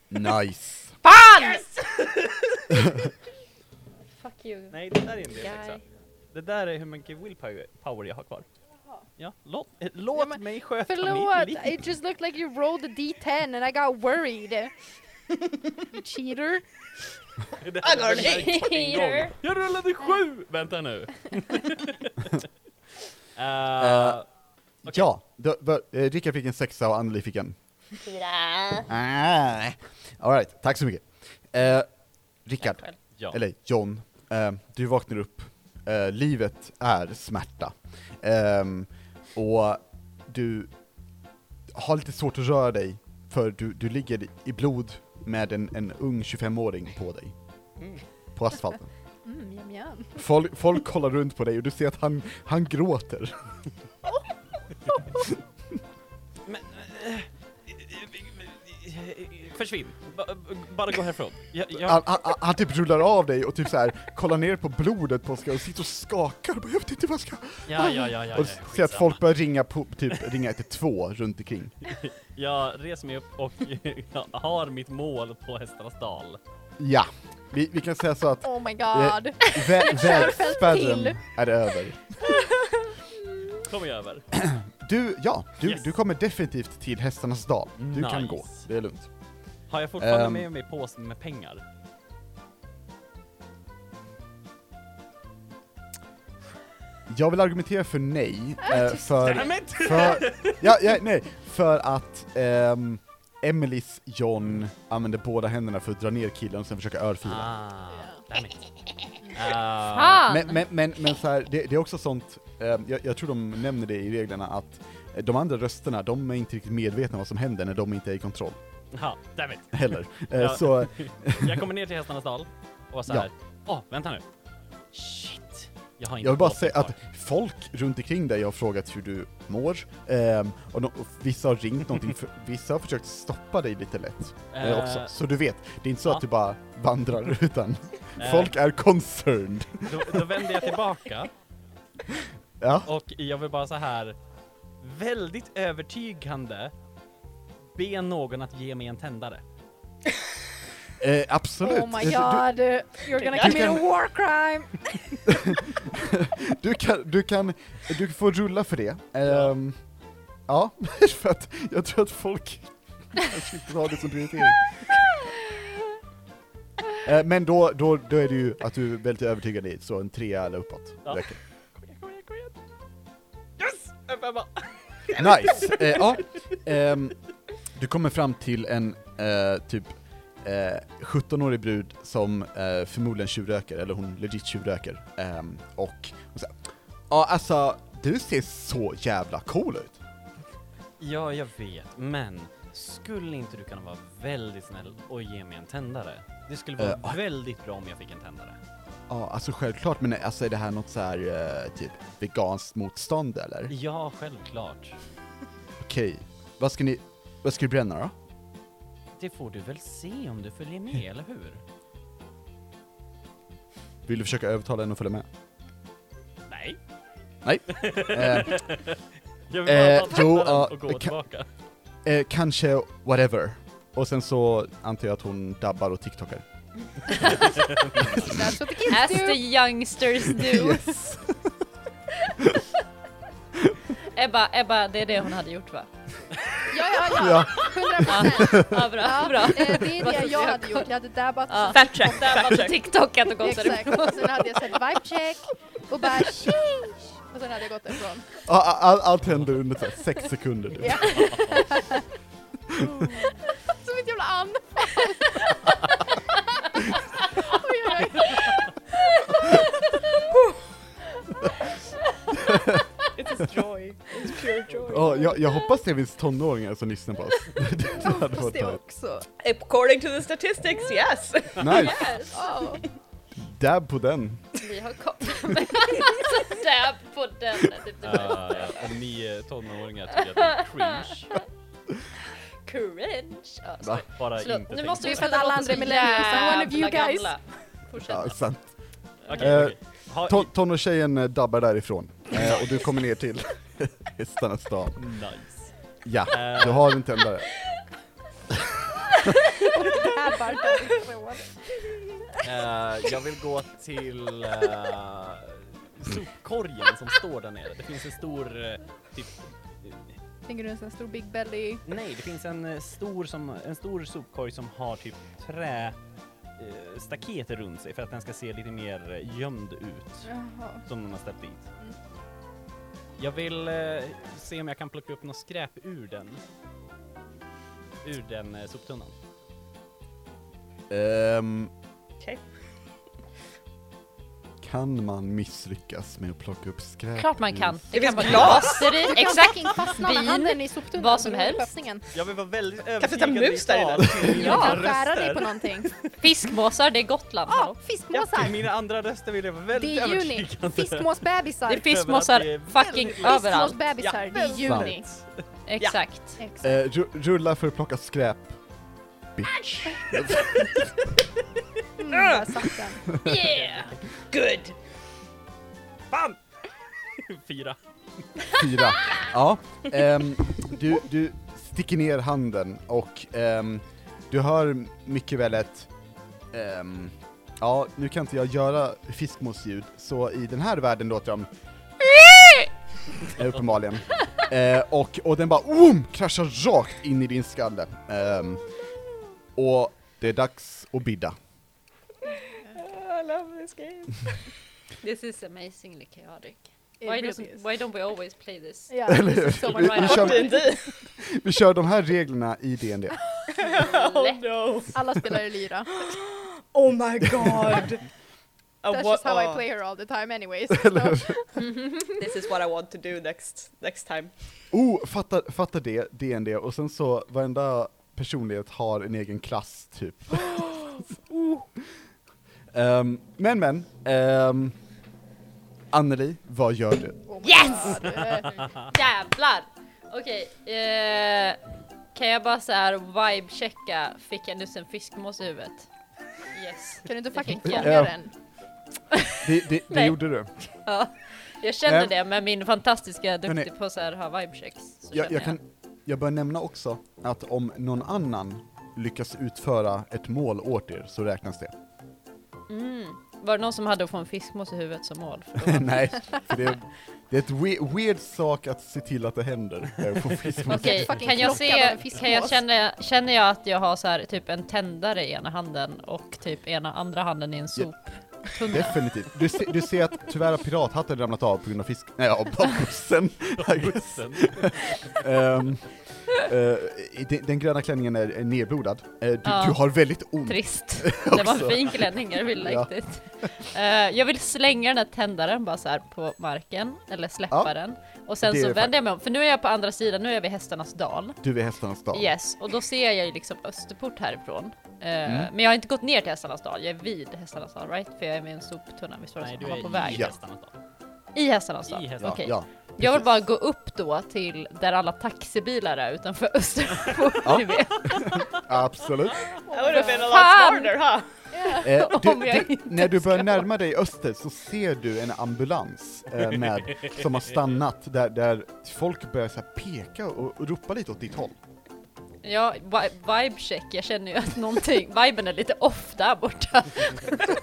S3: Nice!
S1: Fuck you.
S4: Nej, det där är inte en
S1: Guy.
S4: sexa. Det där är hur mycket willpower power jag har kvar. Ja, låt, eh,
S5: Ja,
S4: låt
S5: men
S4: mig sköta
S5: Förlåt,
S4: mitt liv.
S5: it just looked like you rolled a d10 and I got worried. You Cheater.
S4: Det här
S2: Allvar,
S4: är en gång. Jag rullade sju! Vänta nu. Eh,
S3: Ja, då, va- eh, Rickard fick en sexa och Anneli fick en.
S1: Fyra.
S3: Ah. Alright, tack så mycket. Eh, Rickard.
S1: själv.
S4: ja.
S3: eller John, eh, du vaknar upp. Eh, livet är smärta. Ehm, och du har lite svårt att röra dig, för du, du ligger i blod med en, en ung 25-åring på dig. På asfalten.
S5: Mm, yum, yum.
S3: Folk, folk kollar runt på dig och du ser att han, han gråter.
S4: Försvinn. Ba- Bara gå härifrån. Jag, jag,
S3: Han, han, han typ rullar av dig och typ så här kollar ner på blodet på Oskar och sitter och skakar. Jag vet inte vad jag ska...
S4: ja, ja, ja, ja,
S3: Och
S4: ja,
S3: ser att
S4: skitsamma.
S3: folk börjar ringa på, typ ringa 112 runt omkring.
S4: Jag reser mig upp och jag har mitt mål på Hästarnas dal.
S3: Ja, vi, vi kan säga så att
S5: Oh my god.
S3: Vä-
S5: till.
S3: Vägspärren är över.
S4: Kom jag över.
S3: Du, ja, du,
S4: Yes.
S3: du kommer definitivt till hästarnas dal. Du kan
S4: Nice.
S3: gå, det är lugnt.
S4: Har jag fortfarande
S3: Ehm.
S4: med mig påsen med pengar?
S3: Jag vill argumentera för nej, eh, för,
S4: Damn it!
S3: för, ja, ja, nej, för att ehm, Emelies John använder båda händerna för att dra ner killen och sen försöka örfila.
S4: Ah, damn it. Ah,
S1: Fan!
S3: Men, men, men, men så här, det, det är också sånt, ehm, jag, jag tror de nämner det i reglerna att eh, de andra rösterna, de är inte riktigt medvetna vad som händer när de inte är i kontroll
S4: ja, damn it.
S3: heller. Eh,
S4: Ja.
S3: Så
S4: Jag kommer ner till Hästarnas dal och så
S3: Ja.
S4: här. Åh, vänta nu. Shit. Jag har inte
S3: Jag vill bara
S4: påsen
S3: säga
S4: kvar.
S3: att folk runt omkring dig har frågat hur du mår, ehm, och, no- och vissa har ringt någonting, för, vissa har försökt stoppa dig lite lätt eh,
S4: Eh,
S3: också. Så du vet, det är inte så
S4: ja.
S3: att du bara vandrar utan
S4: Eh.
S3: folk är concerned.
S4: Då, då vänder jag tillbaka
S3: Ja,
S4: och jag vill bara så här väldigt övertygande be någon att ge mig en tändare.
S3: eh, absolut.
S5: Oh my
S3: Du-
S5: god. You're gonna
S2: Du
S5: commit a
S3: kan-
S5: war crime.
S3: Du, du, kan, du kan, du får rulla för det. Ehm, ja, för att jag tror att folk kanske inte har det som prioritering. Eh, Men då, då, då är det ju att du är väldigt övertygad i, så en trea eller uppåt
S4: Ja.
S3: räcker.
S2: Kom igen, kom igen, kom igen. Yes! En femma.
S3: Nice! Eh, ja. Ehm, du kommer fram till en eh, typ eh, 17-årig brud som eh, förmodligen tjuvröker, eller hon legit tjuvröker. Ehm, och hon säger ja alltså du ser så jävla cool ut.
S4: Ja, jag vet, men skulle inte du kunna vara väldigt snäll och ge mig en tändare? Det skulle vara
S3: Eh, ah.
S4: väldigt bra om jag fick en tändare.
S3: Ja, alltså självklart, men alltså är det här något så här eh, typ veganskt motstånd eller?
S4: Ja, självklart.
S3: Okej, vad ska ni, vad ska du bränna då?
S4: Det får du väl se om du följer med, eller hur?
S3: Vill du försöka övertala henne att följa med?
S4: Nej.
S3: Eh,
S4: Jag
S3: vill bara Eh, ta jo, tändaren ja,
S4: och
S3: och
S4: gå
S3: gå kan-
S4: tillbaka.
S3: eh, kanske whatever. Och sen så antar jag att hon dabbar och tiktokar.
S5: That's what the kids
S1: As
S5: do.
S1: the youngsters do.
S3: Yes.
S1: Ebba, Ebba, det är det hon hade gjort va?
S5: Ja, ja, ja.
S3: Ja.
S5: 100
S1: Ja, ja bra, bra.
S5: Eh, Det är det jag hade gjort. Jag hade dabbat och
S1: Ja.
S5: så-
S2: Fact check,
S1: Där
S2: fact
S1: var
S2: check.
S1: TikTokat och gått
S5: Exakt. Alltså,
S1: därifrån.
S5: Och sen hade jag sett vibe check och bara tjing! Och sen hade jag gått därifrån.
S3: Ja, a- all, allt händer under så här sex sekunder. typ.
S5: Ja.
S1: Alltså,
S5: Som ett jävla anfall. Oj, oj, oj.
S2: It is joy. It's pure joy.
S3: Ja, jag, jag hoppas det finns tonåringar som lyssnar på oss. det hade
S5: Fast
S3: varit
S5: det
S3: nice.
S5: också.
S2: According to the statistics, yes!
S3: Nice,
S1: Yes.
S5: Ja.
S3: dab på den.
S1: Vi har kommit med alltså, där på den. är Typ det bästa.
S4: och ni eh, tonåringar tycker att det är cringe.
S1: Cringe. Ja,
S3: Va?
S4: Bara
S1: Förlåt,
S4: inte
S1: nu
S4: tänk
S1: måste
S4: på
S1: vi
S5: Det
S4: det.
S5: är för att alla andra är millennials, I'm one of you guys.
S1: Fortsätt.
S3: Ja, sant.
S4: Okej,
S3: Eh,
S4: okej. Ha-
S3: Ton, tonårstjejen eh, dabbar därifrån. Eh, och du kommer ner till hästarnas stad.
S4: Nice.
S3: Ja,
S4: Eh,
S3: du har en tändare.
S5: Dabbar därifrån.
S4: eh, jag vill gå till eh, sopkorgen som står där nere. Det finns en stor, eh, typ,
S5: Tänker du en sån här stor big belly?
S4: nej det finns en eh, stor, som, en stor sopkorg som har typ trä eh, staket runt sig för att den ska se lite mer eh, gömd ut.
S5: Jaha.
S4: Som de har ställt dit.
S5: Mm.
S4: Jag vill eh, se om jag kan plocka upp något skräp ur den. Ur den eh, soptunnan.
S3: Ehm,
S2: Okej.
S3: kan man misslyckas med att plocka upp skräp?
S1: Klart man kan.
S3: ur-
S2: Det
S1: kan
S2: finns
S1: vara
S2: glas.
S1: glasseri,
S5: Du kan
S1: Exakt.
S5: fucking fastna med
S1: Bin.
S5: handen i soptunnan.
S1: Vad som
S5: beroende på
S1: helst.
S5: öppningen.
S4: Jag vill vara väldigt
S2: Kanske ta en
S4: övertygande
S2: mus där i den.
S4: till mina
S5: Du kan
S4: andra
S5: skära dig på
S4: röster.
S5: någonting.
S1: Fiskmåsar, det är Gotland.
S5: Ja,
S1: hallå.
S5: fiskmåsar.
S4: Till mina andra röster vill jag vara väldigt
S5: Det är juni.
S4: övertygande.
S1: Det
S5: Fiskmåsbebisar. Mm.
S1: är fiskmåsar
S4: Över att det är
S1: fucking
S4: väldigt-
S1: överallt.
S5: Fiskmåsbebisar.
S2: Ja.
S5: Det är juni.
S1: Exakt.
S5: Exakt.
S3: Eh, ru- rulla för att plocka skräp. Bitch.
S5: Mm, där satt den.
S1: Yeah!
S2: Good! Bam!
S4: Fyra.
S3: Fyra. Ja. ehm, du, du sticker ner handen och ehm, du hör mycket väl ett... ehm, ja, nu kan inte jag göra fiskmåsljud, så i den här världen låter de... Eh, Uppenbarligen. Eh, och, och den bara boom, kraschar rakt in i din skalle. Ehm, och det är dags att bidda.
S2: Oh, I love this game.
S1: This is amazingly chaotic.
S5: It
S1: Why,
S5: really
S1: doesn't-
S5: is.
S1: why don't we always play this?
S5: Ja,
S3: Eller hur?
S5: precis, som man
S3: Vi-
S5: bara-
S3: vi kör-
S2: D&D.
S3: Vi kör de här reglerna i D&D.
S2: Oh no!
S5: Alla spelar i lyra.
S2: Oh my god! A
S1: Uh,
S5: That's
S2: wa-
S5: just how I
S2: ah.
S5: play her all the time anyways.
S2: This is what I want to do next, next time.
S3: Oh, fatta, fatta det, D&D och sen så varenda personlighet har en egen klass typ. Ehm, men men, um, Anneli, vad gör du?
S1: Yes!
S5: Så, Oh eh,
S1: Jävlar! Okej, eh, kan jag bara så här vibe-checka, fick jag nyss en fiskmås i huvudet? Yes.
S5: Kan du inte fucking
S1: Ja.
S5: fånga den?
S3: Det, det, det
S1: Nej.
S3: gjorde du.
S1: Ja, jag känner
S3: Eh.
S1: det med min fantastiska duktig
S3: Hörni.
S1: på så här ha vibe-checks. så
S3: Jag,
S1: känner
S3: jag, kan, jag bör nämna också att om någon annan lyckas utföra ett mål åt er så räknas det.
S1: Mm. Var det någon som hade att få en fiskmås i huvudet som mål? För då-
S3: Nej, för det, är- det är ett we- weird sak att se till att det händer. eh, på Fiskmås.
S1: Okej,
S5: Fucking
S1: kan jag
S5: krockad av
S1: se,
S5: en fiskmås.
S1: kan jag känna, känner jag att jag har så här, typ en tändare i ena handen och typ ena andra handen i en soptunna?
S3: Definitivt. Du, se, du ser att tyvärr har pirathatten ramlat av på grund av fisk... Nej, av av bussen. I guess.
S4: Sen.
S3: Ehm, Eh, i- den, den gröna klänningen är, är nerblodad. Eh, du,
S1: Ja.
S3: du har väldigt ont.
S1: Trist. Det var
S3: Också.
S1: en fin klänning, jag vill
S3: Ja.
S1: riktigt. Eh, jag vill slänga den här tändaren bara så här på marken, eller släppa
S3: Ja.
S1: den. Och sen
S3: Det är
S1: så
S3: det
S1: vänder jag mig om, för nu är jag på andra sidan, nu är vi hästarnas dal.
S3: Du är hästarnas dal.
S1: Yes, och då ser jag ju liksom Österport härifrån. Eh,
S3: Mm.
S1: Men jag har inte gått ner till hästarnas dal, jag är vid hästarnas dal, right? För jag är med i en soptunna, visst var det
S4: Nej,
S1: så?
S4: du
S1: Han var på
S4: är
S1: väg.
S4: i
S3: Ja.
S4: hästarnas dal.
S1: I hästarnas dal?
S4: I hästarnas
S3: Ja,
S1: Okej.
S3: ja.
S1: Jag vill
S3: precis.
S1: bara gå upp då till där alla taxibilar är utanför Österport,
S3: Ja.
S1: ni vet.
S3: Absolut.
S2: Det hade been a
S1: Fan!
S2: lot smarter, ha?
S3: Eh, du,
S1: Om jag
S3: du, när du börjar närma dig öster så ser du en ambulans eh, med, som har stannat där, där folk börjar så här peka och, och ropa lite åt ditt håll.
S1: Ja, vi- vibe check, jag känner ju att någonting, viben är lite off där borta.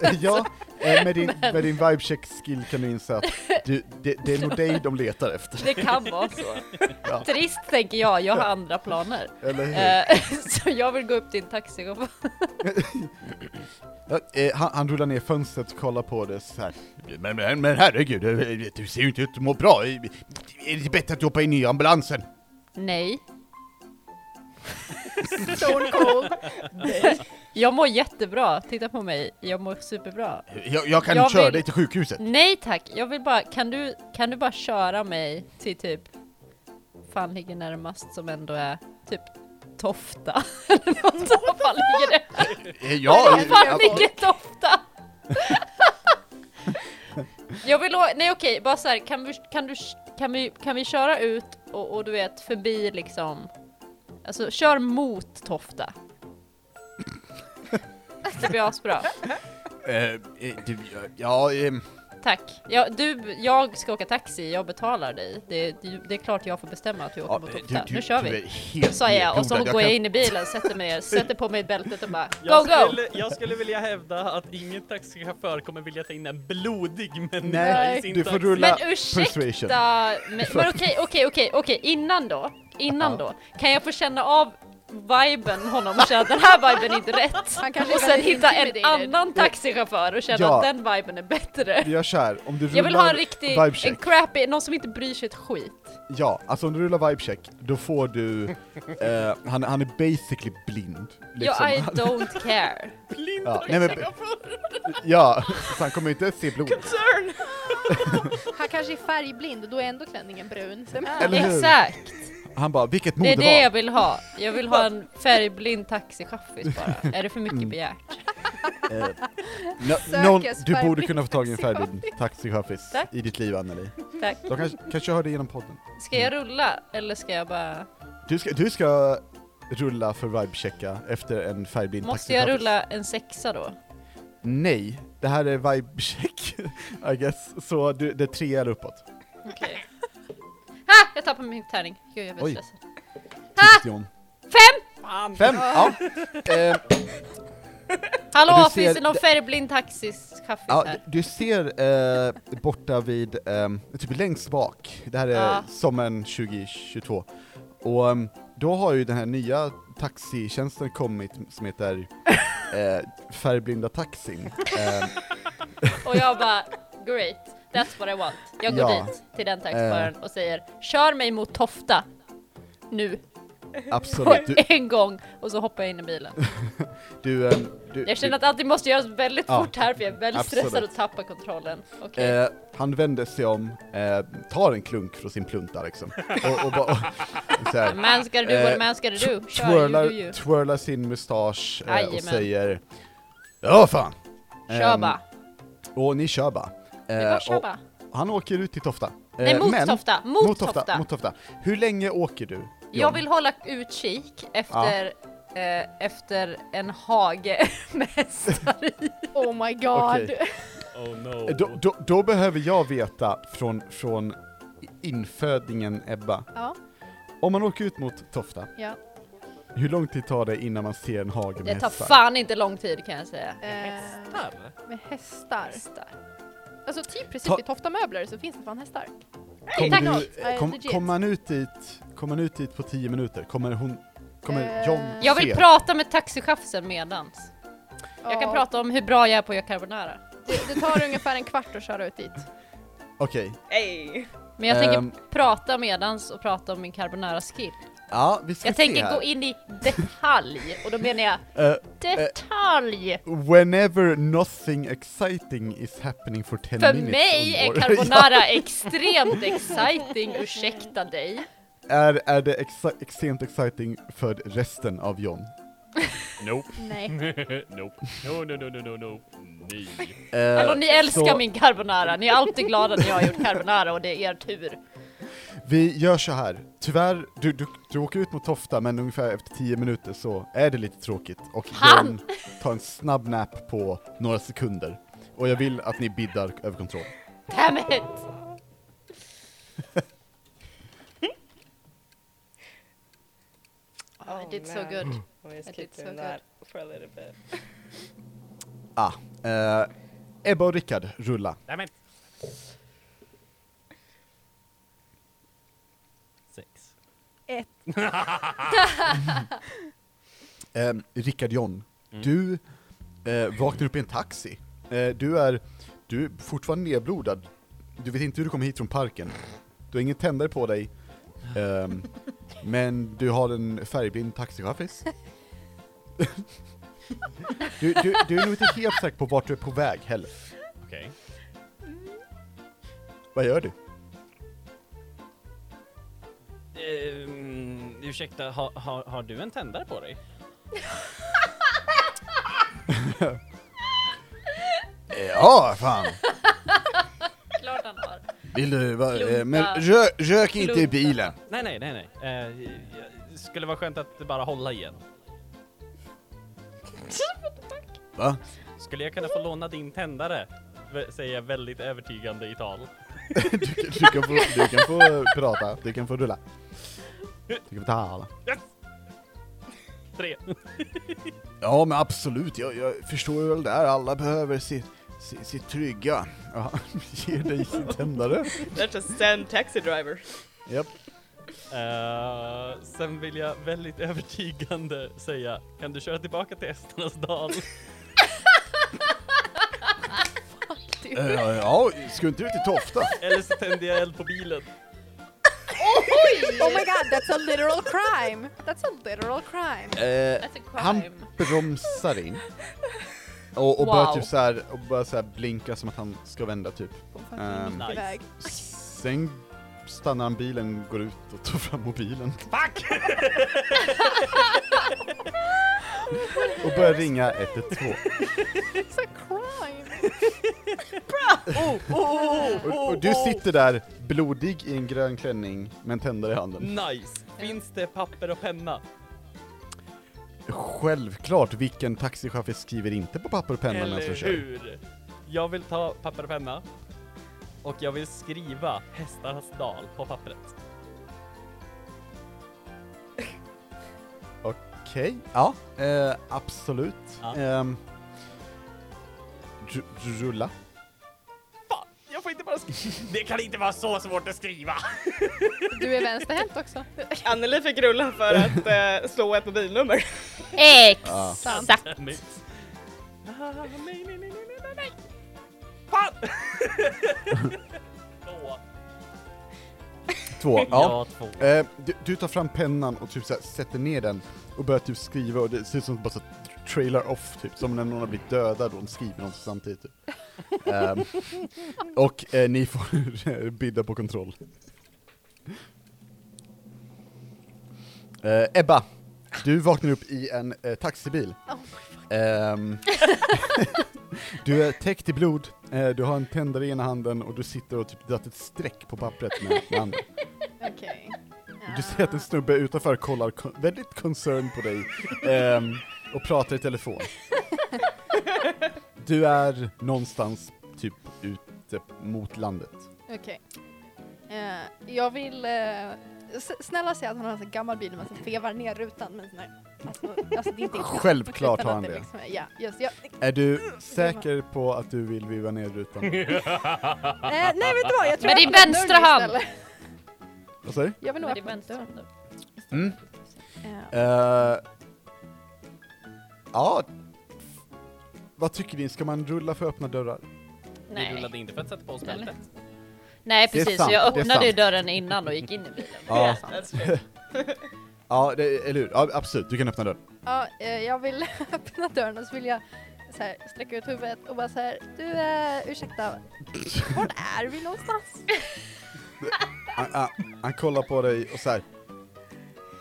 S3: Eh, ja, eh, med din, med din vibecheck skill kan du inse att du, det, det är nog dig de letar efter.
S1: Det kan vara så.
S3: Ja.
S1: Trist tänker jag, jag har andra planer.
S3: Eller hur?
S1: Eh, så jag vill gå upp till en taxichaufför.
S3: Ja, eh, han, han rullar ner fönstret och kollar på det så här. Men, men, men herregud, eh, du ser ju inte ut att må bra. Är det inte bättre att du hoppar in i ambulansen?
S1: Nej,
S5: Stone cold.
S1: jag mår jättebra, titta på mig, jag mår superbra.
S3: Jag, jag kan
S1: Jag
S3: köra
S1: vill- Mm.
S3: dig till sjukhuset.
S1: Nej tack, jag vill bara, kan du, kan du bara köra mig till typ, fan ligger närmast som ändå är typ Tofta eller något, vad fan ligger det?
S3: Eh, Ja,
S1: Vad fan
S3: ja,
S1: ligger Tofta? jag vill å- nej okej, bara så här, kan vi, kan du, kan vi, kan vi köra ut och, och du vet förbi liksom, alltså kör mot Tofta. Det blir asbra.
S3: eh, eh, du, ja, ehm,
S1: Tack. Ja, du, jag ska åka taxi, jag betalar dig. Det, det, det är klart jag får bestämma att vi åker
S3: ja,
S1: mot
S3: du,
S1: Tofta.
S3: du,
S1: nu kör
S3: du
S1: vi.
S3: är helt
S1: Sa jag och så
S3: nedblodad.
S1: går jag in i bilen, sätter mig ner, sätter på mig bältet och bara go
S4: jag,
S1: go!
S4: skulle, jag skulle vilja hävda att ingen taxichaufför kommer vilja ta in en blodig människa
S3: Nej,
S4: i sin
S3: du får
S4: taxi.
S3: rulla
S1: Men ursäkta!
S3: persuasion.
S1: Men men okej, okej, okej, okej, innan då. Innan
S3: Ja.
S1: då. Kan jag få känna av viben honom och känna att den här viben är inte rätt?
S5: Han kanske
S1: Och
S5: är
S1: sen
S5: väldigt
S1: hitta en
S5: intimidated.
S1: annan taxichaufför och känna
S3: Ja.
S1: att den viben är bättre.
S3: Vi gör såhär, om du rullar
S1: Jag vill ha en riktig, en
S3: vibecheck,
S1: crappy, någon som inte bryr sig ett skit.
S3: ja, alltså om du rullar vibecheck, då får du, eh, han, han är basically blind. liksom.
S1: Ja, I don't care.
S4: Blind
S3: Ja, nej, men-
S4: taxichaufför!
S3: ja, så han kommer inte se blod.
S2: Concern!
S5: Han kanske är färgblind och då är ändå klänningen brun. Så,
S3: Eller hur?
S1: Exakt!
S3: Han bara, vilket
S1: Det
S3: mode
S1: är det jag
S3: var?
S1: vill ha. Jag vill ha en färgblind taxichaffis bara. Är det för
S3: Mm.
S1: mycket begärt?
S3: Eh, nå-
S5: Söker
S3: någon, du borde
S5: färgblind
S3: kunna få tag i en färgblind taxichaffis
S1: Tack.
S3: i ditt liv Anneli.
S1: Tack.
S3: De kanske, kanske hör det genom podden.
S1: Ska jag rulla eller ska jag bara...
S3: Du ska, du ska rulla för vibechecka efter en färgblind
S1: Måste jag
S3: taxichaffis.
S1: rulla en sexa då?
S3: Nej, det här är vibecheck, I guess. Så du, det är tre eller uppåt.
S1: Okej. Ah, jag tappade min tärning. Gud, jag blir
S3: Oj.
S1: stressad.
S3: Tyst, John.
S4: Fan!
S3: Fem! Ja. Eh,
S1: Hallå,
S3: Du ser-
S1: finns det någon färgblind taxichaffis
S3: ja,
S1: här?
S3: du ser eh, borta vid, eh, typ längst bak, det här är
S1: Ja.
S3: sommaren 2022. Och em, då har ju den här nya taxitjänsten kommit som heter eh, Färgblinda taxin. Eh, Em,
S1: Och jag bara, great. That's what I want. Jag går
S3: Ja. Eh.
S1: dit till den taxichauffören och säger, kör mig mot Tofta. Nu, på
S3: absolut. Du,
S1: en gång. Och så hoppar jag in i bilen.
S3: du, em, du,
S1: Jag känner
S3: du,
S1: att allting måste göras väldigt
S3: Ja,
S1: fort här för jag är väldigt
S3: absolut.
S1: stressad och tappar kontrollen. Okej.
S3: Eh, han vänder sig om, eh, tar en klunk från sin plunta liksom. Och, och, bara- och, så här,
S1: man ska du, what
S3: eh,
S1: a man ska du
S3: tw-
S1: do? Kör, you
S3: twirlar,
S1: do you.
S3: twirlar sin mustasch eh, och
S1: Jajamän.
S3: säger Ja fan!
S1: Kör
S3: Ehm,
S1: bara.
S3: Och ni kör bara.
S1: Det
S3: Eh,
S1: är bara kör
S3: och
S1: bara.
S3: han åker ut till Tofta.
S1: Nej,
S3: Eh,
S1: mot
S3: men-
S1: Tofta! Mot,
S3: mot Tofta,
S1: Tofta!
S3: Mot Tofta. Hur länge åker du? John?
S1: Jag vill hålla utkik efter, eh, efter en hage med hästar i.
S5: oh my god.
S3: Okej.
S4: Oh no.
S3: Eh, Då, då, då behöver jag veta från, från infödingen Ebba.
S5: Ja,
S3: Om man åker ut mot Tofta,
S5: ja.
S3: hur lång tid tar det innan man ser en hage med
S1: Det tar
S3: hästar?
S1: fan inte lång tid kan jag säga.
S5: Eh,
S4: Hästar?
S5: Med hästar.
S1: Hästar.
S5: Alltså typ precis
S3: Ta-
S5: vid Tofta möbler så finns det fan hästar.
S3: Kommer
S5: Tack.
S3: du, eh, kom,
S5: Legit.
S3: kommer han ut dit, kommer han ut dit på 10 minuter? Kommer hon, kommer
S5: Eh,
S3: John
S1: Jag vill
S3: se?
S1: prata med taxichauffören medans. Jag kan
S5: Ja.
S1: prata om hur bra jag är på att göra carbonara.
S5: Det, det tar ungefär en kvart att köra ut dit.
S3: Okej,
S2: Ey!
S1: Men jag
S3: Ehm.
S1: tänker prata medans och prata om min carbonara skill.
S3: Ja, vi Ehm. ska
S1: Jag
S3: se
S1: tänker
S3: här.
S1: gå in i detalj och då menar jag
S3: Eh,
S1: detalj!
S3: Whenever nothing exciting is happening for 10
S1: För
S3: minutes
S1: mig
S3: or
S1: är
S3: more.
S1: carbonara extremt exciting, ursäkta dig.
S3: Ja, är, är det exi- extremt exciting för resten av John?
S6: Nope.
S5: Nej.
S6: nope. No, no, no, no, no, no. Nej.
S3: Eh,
S1: Hallå ni älskar
S3: så
S1: min carbonara, ni är alltid glada när jag har gjort carbonara och det är er tur.
S3: Vi gör så här. tyvärr, du, du, du åker ut mot Tofta men ungefär efter 10 minuter så är det lite tråkigt och
S1: Fan!
S3: John tar en snabb nap på några sekunder. Och jag vill att ni biddar över kontroll.
S1: Damn it! Oh, I did so
S2: man.
S1: good.
S2: We're just
S1: That
S2: keep
S1: did so
S2: doing that for a little bit.
S3: Ah, eh, Ebba och Rickard, rulla.
S4: Dammit! Sex.
S5: Ett.
S3: Eh, Rickard John, du eh, vaknar upp i en taxi. Eh, du, är, du är fortfarande nedblodad. Du vet inte hur du kom hit från parken. Du har ingen tändare på dig. Ehm, men du har en färgblind taxichaffis. du, du, du är nog inte helt säker på vart du är på väg heller.
S6: Okej.
S3: Vad gör du?
S4: Um, ursäkta, ha, ha, har du en tändare på dig?
S3: Ja, fan!
S1: Klart han har.
S3: Vill du, va,
S1: eh, men Klunta.
S3: rök
S1: inte i Klunta. bilen.
S4: Nej, nej, nej, nej. Eh, jag- skulle vara skönt att bara hålla igen.
S3: Va?
S4: Skulle jag kunna få låna din tändare? V- säger jag väldigt övertygande i tal.
S3: Du, kan- du, kan få, du kan få prata, du kan få rulla. Du kan få tala.
S4: Tre.
S3: Ja men absolut, jag, jag förstår ju väl där, alla behöver sitt, sitt, sitt trygga. Ja, ger dig sin tändare.
S2: That's a sand taxi driver.
S3: Japp.
S4: Eh, sen vill jag väldigt övertygande säga, kan du köra tillbaka till Esternas dal?
S3: Eh, ja, ska inte ut i Tofta?
S4: Eller så tänder jag eld på bilen.
S5: Oh my god, that's a literal crime! That's a literal crime!
S3: Eh,
S1: That's a
S3: han
S1: crime.
S3: bromsar in. Och, och börjar
S1: Wow.
S3: typ såhär, och börjar såhär blinka som att han ska vända typ.
S5: På fucking
S3: Ehm,
S5: riktig
S4: nice.
S5: väg.
S3: Sen stannar han bilen, går ut och tar fram mobilen. Fuck! och börjar ringa 112.
S5: It's a crime!
S3: Och, och du sitter där, blodig i en grön klänning, med en tändare i handen.
S4: Nice! Finns det papper och penna?
S3: Självklart, vilken taxichaufför skriver inte på papper och penna medan de
S4: Eller
S3: kör?
S4: hur? Jag vill ta papper och penna. Och jag vill skriva hästarnas dal på pappret.
S3: Okej, ja, eh, absolut.
S4: Ja.
S3: Ehm, ru- rulla.
S4: Fan, jag får inte bara skriva. Det kan inte vara så svårt att skriva.
S5: Du är vänsterhänt också.
S2: Anneli fick rulla för att eh, slå ett mobilnummer.
S3: Ja.
S5: Sant.
S1: Exakt!
S4: Damn it. Ah, nej, nej, nej, nej, nej, nej, nej. Fan! Två.
S3: Två, ja.
S4: två.
S3: Eh, du, du tar fram pennan och typ så här, sätter ner den och börjar typ skriva och det ser ut som att bara så här trailar off typ, som när någon har blivit dödad och de skriver något samtidigt typ. Ehm, och eh, ni får bidda på kontroll. Eh, Ebba, du vaknar upp i en eh, taxibil.
S5: Oh,
S3: Ehm, du är täckt i blod, eh, du har en tändare i ena handen och du sitter och typ dratt ett streck på pappret med, med andra.
S5: Okej.
S3: Du ser att en snubbe utanför kollar kon- väldigt concerned på dig ehm, och pratar i telefon. Du är någonstans typ ute mot landet.
S5: Okej. Eh, jag vill... eh, s- snälla säg att han har en sån gammal bil där man så vevar ner rutan med en sån här... Alltså, alltså det är inte
S3: Självklart
S5: utan
S3: har
S5: att
S3: han
S5: Mm.
S3: det.
S5: liksom är- ja, just, ja.
S3: Är du säker på att du vill viva ner rutan?
S5: Eh, nej vet du vad, jag tror
S1: Med
S5: jag
S1: din
S5: kommer
S1: vänstra
S5: nöjd
S1: hand.
S5: istället.
S3: Vad säger
S5: Jag vill nog
S1: Men det är
S5: öppna mitt
S1: vänster.
S5: dörr.
S1: hand.
S3: du?
S5: Eh,
S3: Eh, ja. Vad tycker ni? Ska man rulla för öppna dörrar?
S4: Vi
S1: Nej.
S4: rullade inte för att sätta på oss
S1: Eller?
S4: bältet.
S1: Nej
S3: Det är
S1: precis,
S3: sant,
S1: så jag
S3: det är
S1: öppnade ju
S3: sant.
S1: dörren innan och gick in i bilen.
S3: Ja.
S2: That's true.
S3: Ja, det, eller hur? Ja, absolut, du kan öppna dörren.
S5: Ja, eh, jag vill öppna dörren och så vill jag så här, sträcka ut huvudet och bara så här, du eh, ursäkta, var är vi någonstans?
S3: Han, han, han kollar på dig och så här.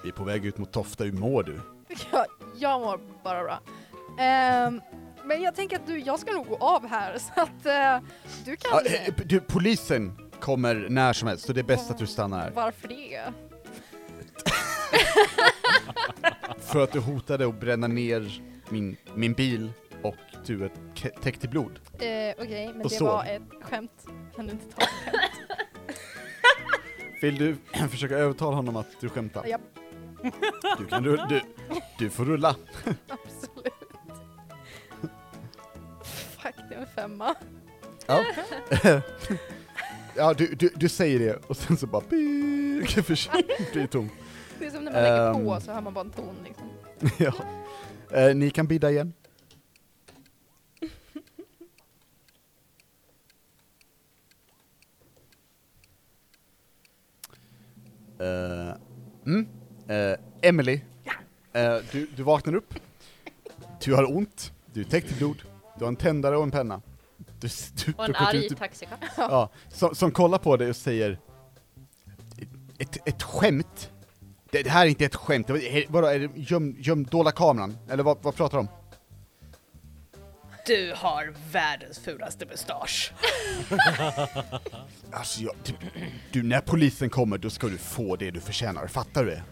S3: Vi är på väg ut mot Tofta, hur mår du?
S5: Jag, jag mår bara bra. Ehm, men jag tänker att du, jag ska nog gå av här så att eh, du kan...
S3: Ja, eh, du, polisen kommer när som helst, så det är bäst att du stannar här.
S5: Varför det?
S3: För att du hotade att bränna ner min, min bil och du är ke- täckt i blod.
S5: Eh, Okej, men
S3: Och
S5: det
S3: så.
S5: var ett skämt. Kan du inte ta ett skämt?
S3: Vill du försöka övertala honom att du skämtar?
S5: Japp.
S3: Du, kan, du, du, du får rulla.
S5: Absolut. Fuck, det är en femma.
S3: Ja, ja du, du, du säger det och sen så bara pik, försvinner- blir det tomt.
S5: Det är som när man lägger på
S3: Ehm.
S5: så hör man bara en ton liksom.
S3: ja. eh, ni kan bidda igen. Eh, mm. eh, Emily, eh, du, du vaknar upp. Du har ont, du är täckt i blod, du har en tändare och en penna. Du, s- du,
S1: Och
S3: du
S1: en
S3: har gått
S1: arg
S3: ut i-
S1: taxikatt.
S3: ja, som, som kollar på dig och säger ett, ett skämt? Det, det här är inte ett skämt, Det var- he- vadå, är det göm, göm, dolda kameran? Eller vad, vad pratar de om?
S2: Du har världens fulaste mustasch.
S3: Alltså jag, du, du, när polisen kommer då ska du få det du förtjänar, fattar du det?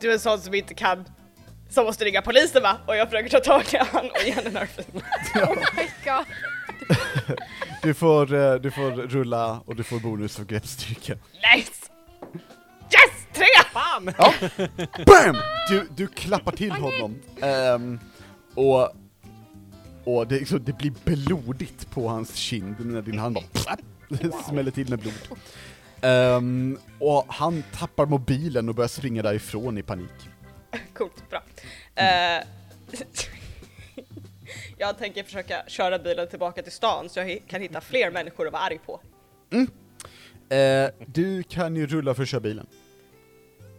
S2: Du är en sån som inte kan, som måste ringa polisen va? Och jag försöker ta tag i han och ge honom en örfil.
S5: Oh my god.
S3: Du får, eh, du får rulla och du får bonus för greppstyrka.
S2: Nice! Yes! Tre!
S4: Fan!
S3: Ja. Bam! Du, du klappar till honom. Ehm, och och det, är liksom, det blir blodigt på hans kind när din hand bara det smäller till med blod. Ehm, och han tappar mobilen och börjar springa därifrån i panik.
S2: Coolt, bra. Eh, jag tänker försöka köra bilen tillbaka till stan så jag hi- kan hitta fler människor att vara arg på.
S3: Eh, du kan ju rulla för att köra bilen.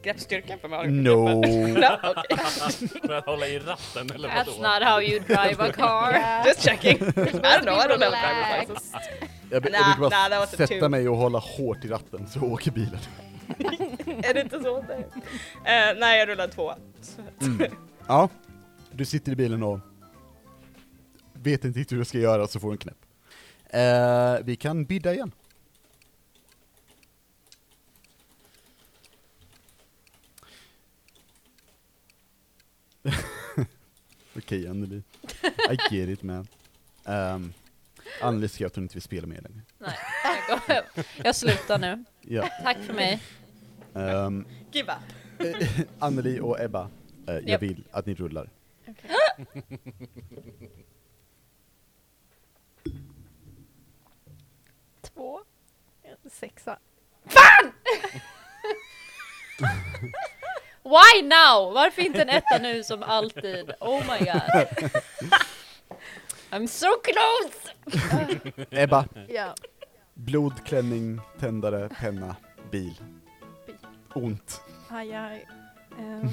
S2: Greppstyrka för mig.
S3: No.
S2: Ja, okej.
S4: För att hålla i ratten eller
S1: That's not how you drive a car.
S2: Just checking. I don't know, I don't know.
S5: Relax.
S3: Jag, be-
S2: Nah,
S3: jag brukar bara
S2: nah, that was a
S3: sätta
S2: two.
S3: mig och hålla hårt i ratten så åker bilen.
S2: Är det inte så? Nej, Eh, nej jag rullar två. Så att-
S3: Ja. Du sitter i bilen och vet inte riktigt hur du ska göra så får du en knäpp. Eh, vi kan bidda igen. Okej, Anneli. I get it man. Um, Anneli skrev att hon inte vill spela med längre.
S1: Nej, jag går hem. Jag slutar nu.
S3: Ja.
S1: Tack för mig.
S3: ehm,
S2: Give up.
S3: Anneli och Ebba, eh, jag
S1: Japp.
S3: vill att ni rullar.
S5: Två. En sexa.
S1: Why now? Varför inte en etta nu som alltid? Oh my god. I'm so close!
S3: Ebba,
S5: Ja.
S3: Blod, klänning, tändare, penna, bil.
S5: Bil.
S3: Ont.
S5: Aj, aj. Ehm.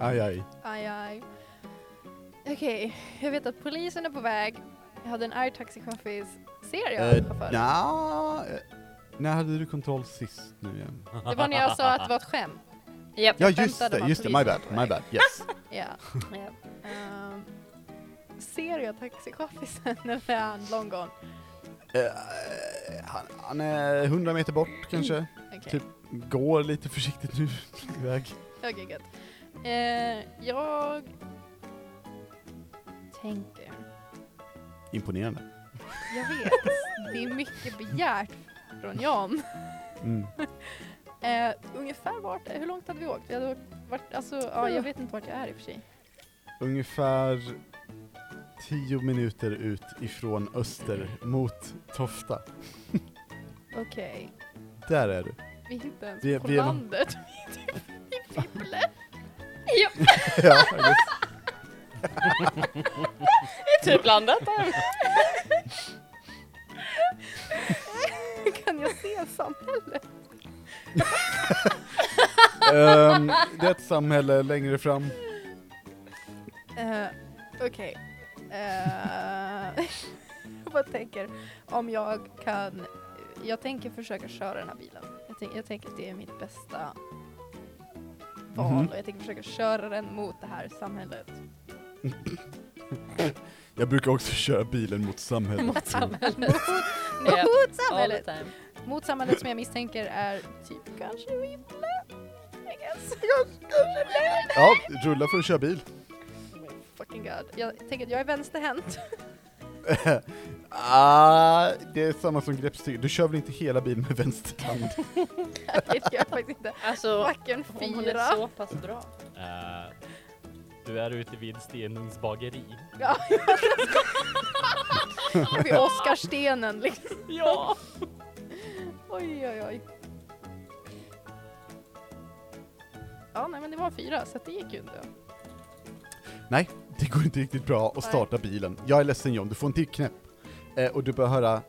S3: Aj, aj.
S5: Aj, aj. Okej, jag vet att polisen är på väg. Jag hade en arg taxichaufför. Ser jag
S3: Eh,
S5: chauffören?
S3: nja, eh, när hade du kontroll sist nu igen?
S5: Det var när jag sa att det var ett skämt.
S1: Japp.
S3: Ja just
S5: skämtade
S3: det,
S5: man,
S3: just det, my
S5: polisen
S3: bad,
S5: var på
S3: my
S5: väg.
S3: bad, yes.
S5: Ja. Ehm, ser jag taxichauffören eller är han long gone?
S3: Eh, han, han är 100 meter bort kanske,
S5: Okej,
S3: Typ. går lite försiktigt nu iväg.
S5: okej gött. Eh, jag tänker,
S3: Imponerande.
S5: jag vet, det är mycket begärt från Jan.
S3: Mm.
S5: Eh, ungefär vart, eh, hur långt hade vi åkt? Vi hade åkt vart, alltså, ja, jag vet inte vart jag är i och för sig.
S3: Ungefär 10 minuter ut ifrån öster mot Tofta.
S5: Okej.
S3: Där är du.
S5: Vi är inte ens
S3: Vi-
S5: på
S3: vi är-
S5: landet. Vi är typ i Bibble.
S3: ja, just.
S2: Typ landet.
S5: Kan jag succésamhälle.
S3: Ehm, det är ett samhälle längre fram.
S5: Eh, Okej. Eh, jag bara tänker om jag kan... Jag tänker försöka köra den här bilen. Jag, tänk, jag tänker att det är mitt bästa val
S3: Mhm.
S5: och jag tänker försöka köra den mot det här samhället.
S3: Jag brukar också köra bilen mot samhället.
S1: Mot samhället. Ja,
S5: mot
S1: all the
S5: samhället!
S1: time.
S5: Mot samhället som jag misstänker är typ kanske Ripple. I guess.
S3: Ja, rulla för att köra bil.
S5: Oh my fucking god. Jag tänker att jag är vänsterhänt.
S3: ah, det är samma som greppstyg. Du kör väl inte hela bilen med vänster hand?
S5: Det gör jag faktiskt inte.
S1: Alltså,
S5: Backen
S1: om hon är
S5: fyra.
S1: så pass bra.
S4: Eh, du är ute vid Stenungs bageri.
S5: Ja, Vid Oscarstenen liksom.
S4: Ja!
S5: Oj, oj, oj. Ja, nej men det var fyra, så att det gick ju inte.
S3: Nej, det går inte riktigt bra att starta bilen. Jag är ledsen John, du får en till knäpp. Eh, och du bör höra,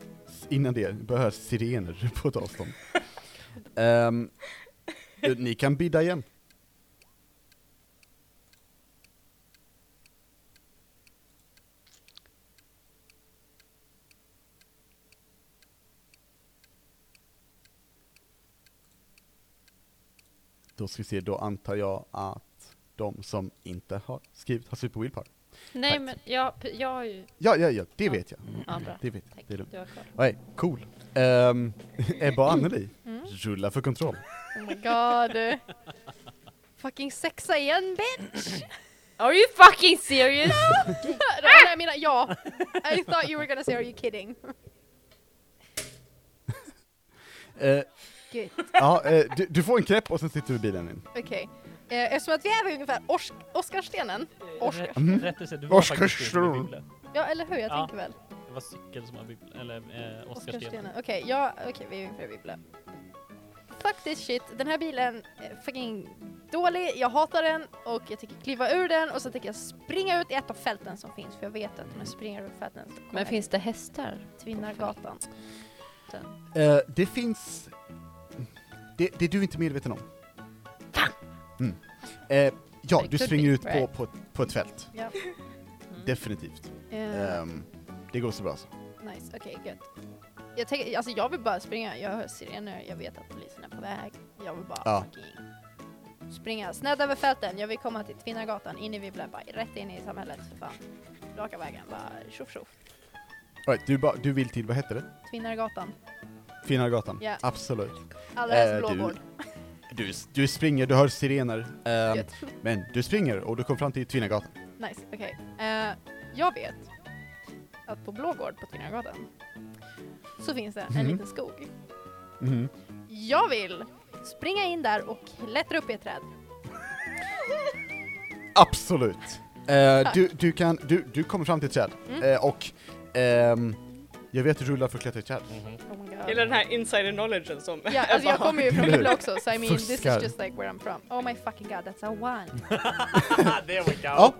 S3: innan det, du bör höra sirener på ett avstånd. Ehm, eh, ni kan bidda igen. Då ska vi se, då antar jag att de som inte har skrivit har skrivit på Willpower.
S1: Nej
S3: Tack.
S1: men jag, jag har ju...
S3: Ja, ja, ja, det
S1: Ja.
S3: vet jag.
S1: Ja bra,
S3: Det vet
S1: tack.
S3: jag. Det är lugnt.
S1: Du har kvar.
S3: Nej, cool. Um, Ebba och Anneli,
S5: Mm.
S3: rulla för kontroll.
S5: Oh my god. Fucking sexa igen, bitch!
S1: Are you fucking serious?
S5: Nej, jag menar ja. I thought you were gonna say are you kidding?
S3: Eh,
S5: Good.
S3: ja, eh, du, du får en knäpp och sen sitter du i bilen in.
S5: Okej. Eh, Eftersom att vi är vid ungefär Ors- Oscarstenen. Orska.
S4: Rätt-
S3: Mm.
S4: Rättare sagt, du var
S3: Orska
S4: faktiskt ute
S3: stor.
S4: vid Bibeln.
S5: Ja, eller hur? Jag
S4: Ja.
S5: tänker väl.
S4: Det var cykel som var Bibeln, eller eh, Oscarstenen.
S5: Oscarstenen. Okej, ja, okej, vi är ungefär vid Bibeln. Fuck this shit, den här bilen är fucking dålig, jag hatar den och jag tänker kliva ur den och så tänker jag springa ut i ett av fälten som finns för jag vet att om jag springer ut fälten så kommer
S1: Men
S5: jag
S1: finns det hästar?
S5: till Vinnargatan.
S3: Eh, det finns... Det, det är du inte medveten om. Mm. Eh, ja,
S1: It
S3: du
S1: could
S3: springer
S1: be,
S3: ut på,
S1: right.
S3: på, på ett fält.
S5: Ja. Mm.
S3: Definitivt.
S5: Eh,
S3: Ehm, det går så bra så.
S5: nice, okej, gött. Jag, tänker, alltså jag vill bara springa, jag hör sirener, jag vet att polisen är på väg. Jag vill bara
S3: Ja.
S5: fucking springa snett över fälten, jag vill komma till Vinnargatan, in i Vibblen, bara rätt in i samhället. Fan. Raka vägen, bara tjoff tjoff.
S3: All Right, du, ba, du vill till, vad heter det?
S5: Vinnargatan.
S3: Finnargatan?
S5: Ja.
S3: Absolut.
S5: Alldeles
S3: Eh, du-
S5: blågård.
S3: Du, du springer, du hör sirener. ehm,
S5: Gött.
S3: men du springer och du kommer fram till Tvinnagatan.
S5: Nice, okej. Eh, jag vet att på Blågård på Tvinnagatan så finns det en
S3: Mhm.
S5: liten skog. Jag vill springa in där och klättra upp i ett träd.
S3: Absolut. Eh, du, du, kan, du, du kommer fram till ett träd
S5: Mm.
S3: Eh, och ehm, jag vet hur du rullar för att klättra i ett träd.
S5: Oh my
S2: Hela
S5: god.
S2: den här insider knowledgen som
S5: Ja, alltså jag kommer ju från
S3: Eller hur?
S5: Luleå också, so I mean this
S3: Fuskar.
S5: is just like where I'm from. Oh my fucking god, that's a one.
S4: There we go!
S3: Ja.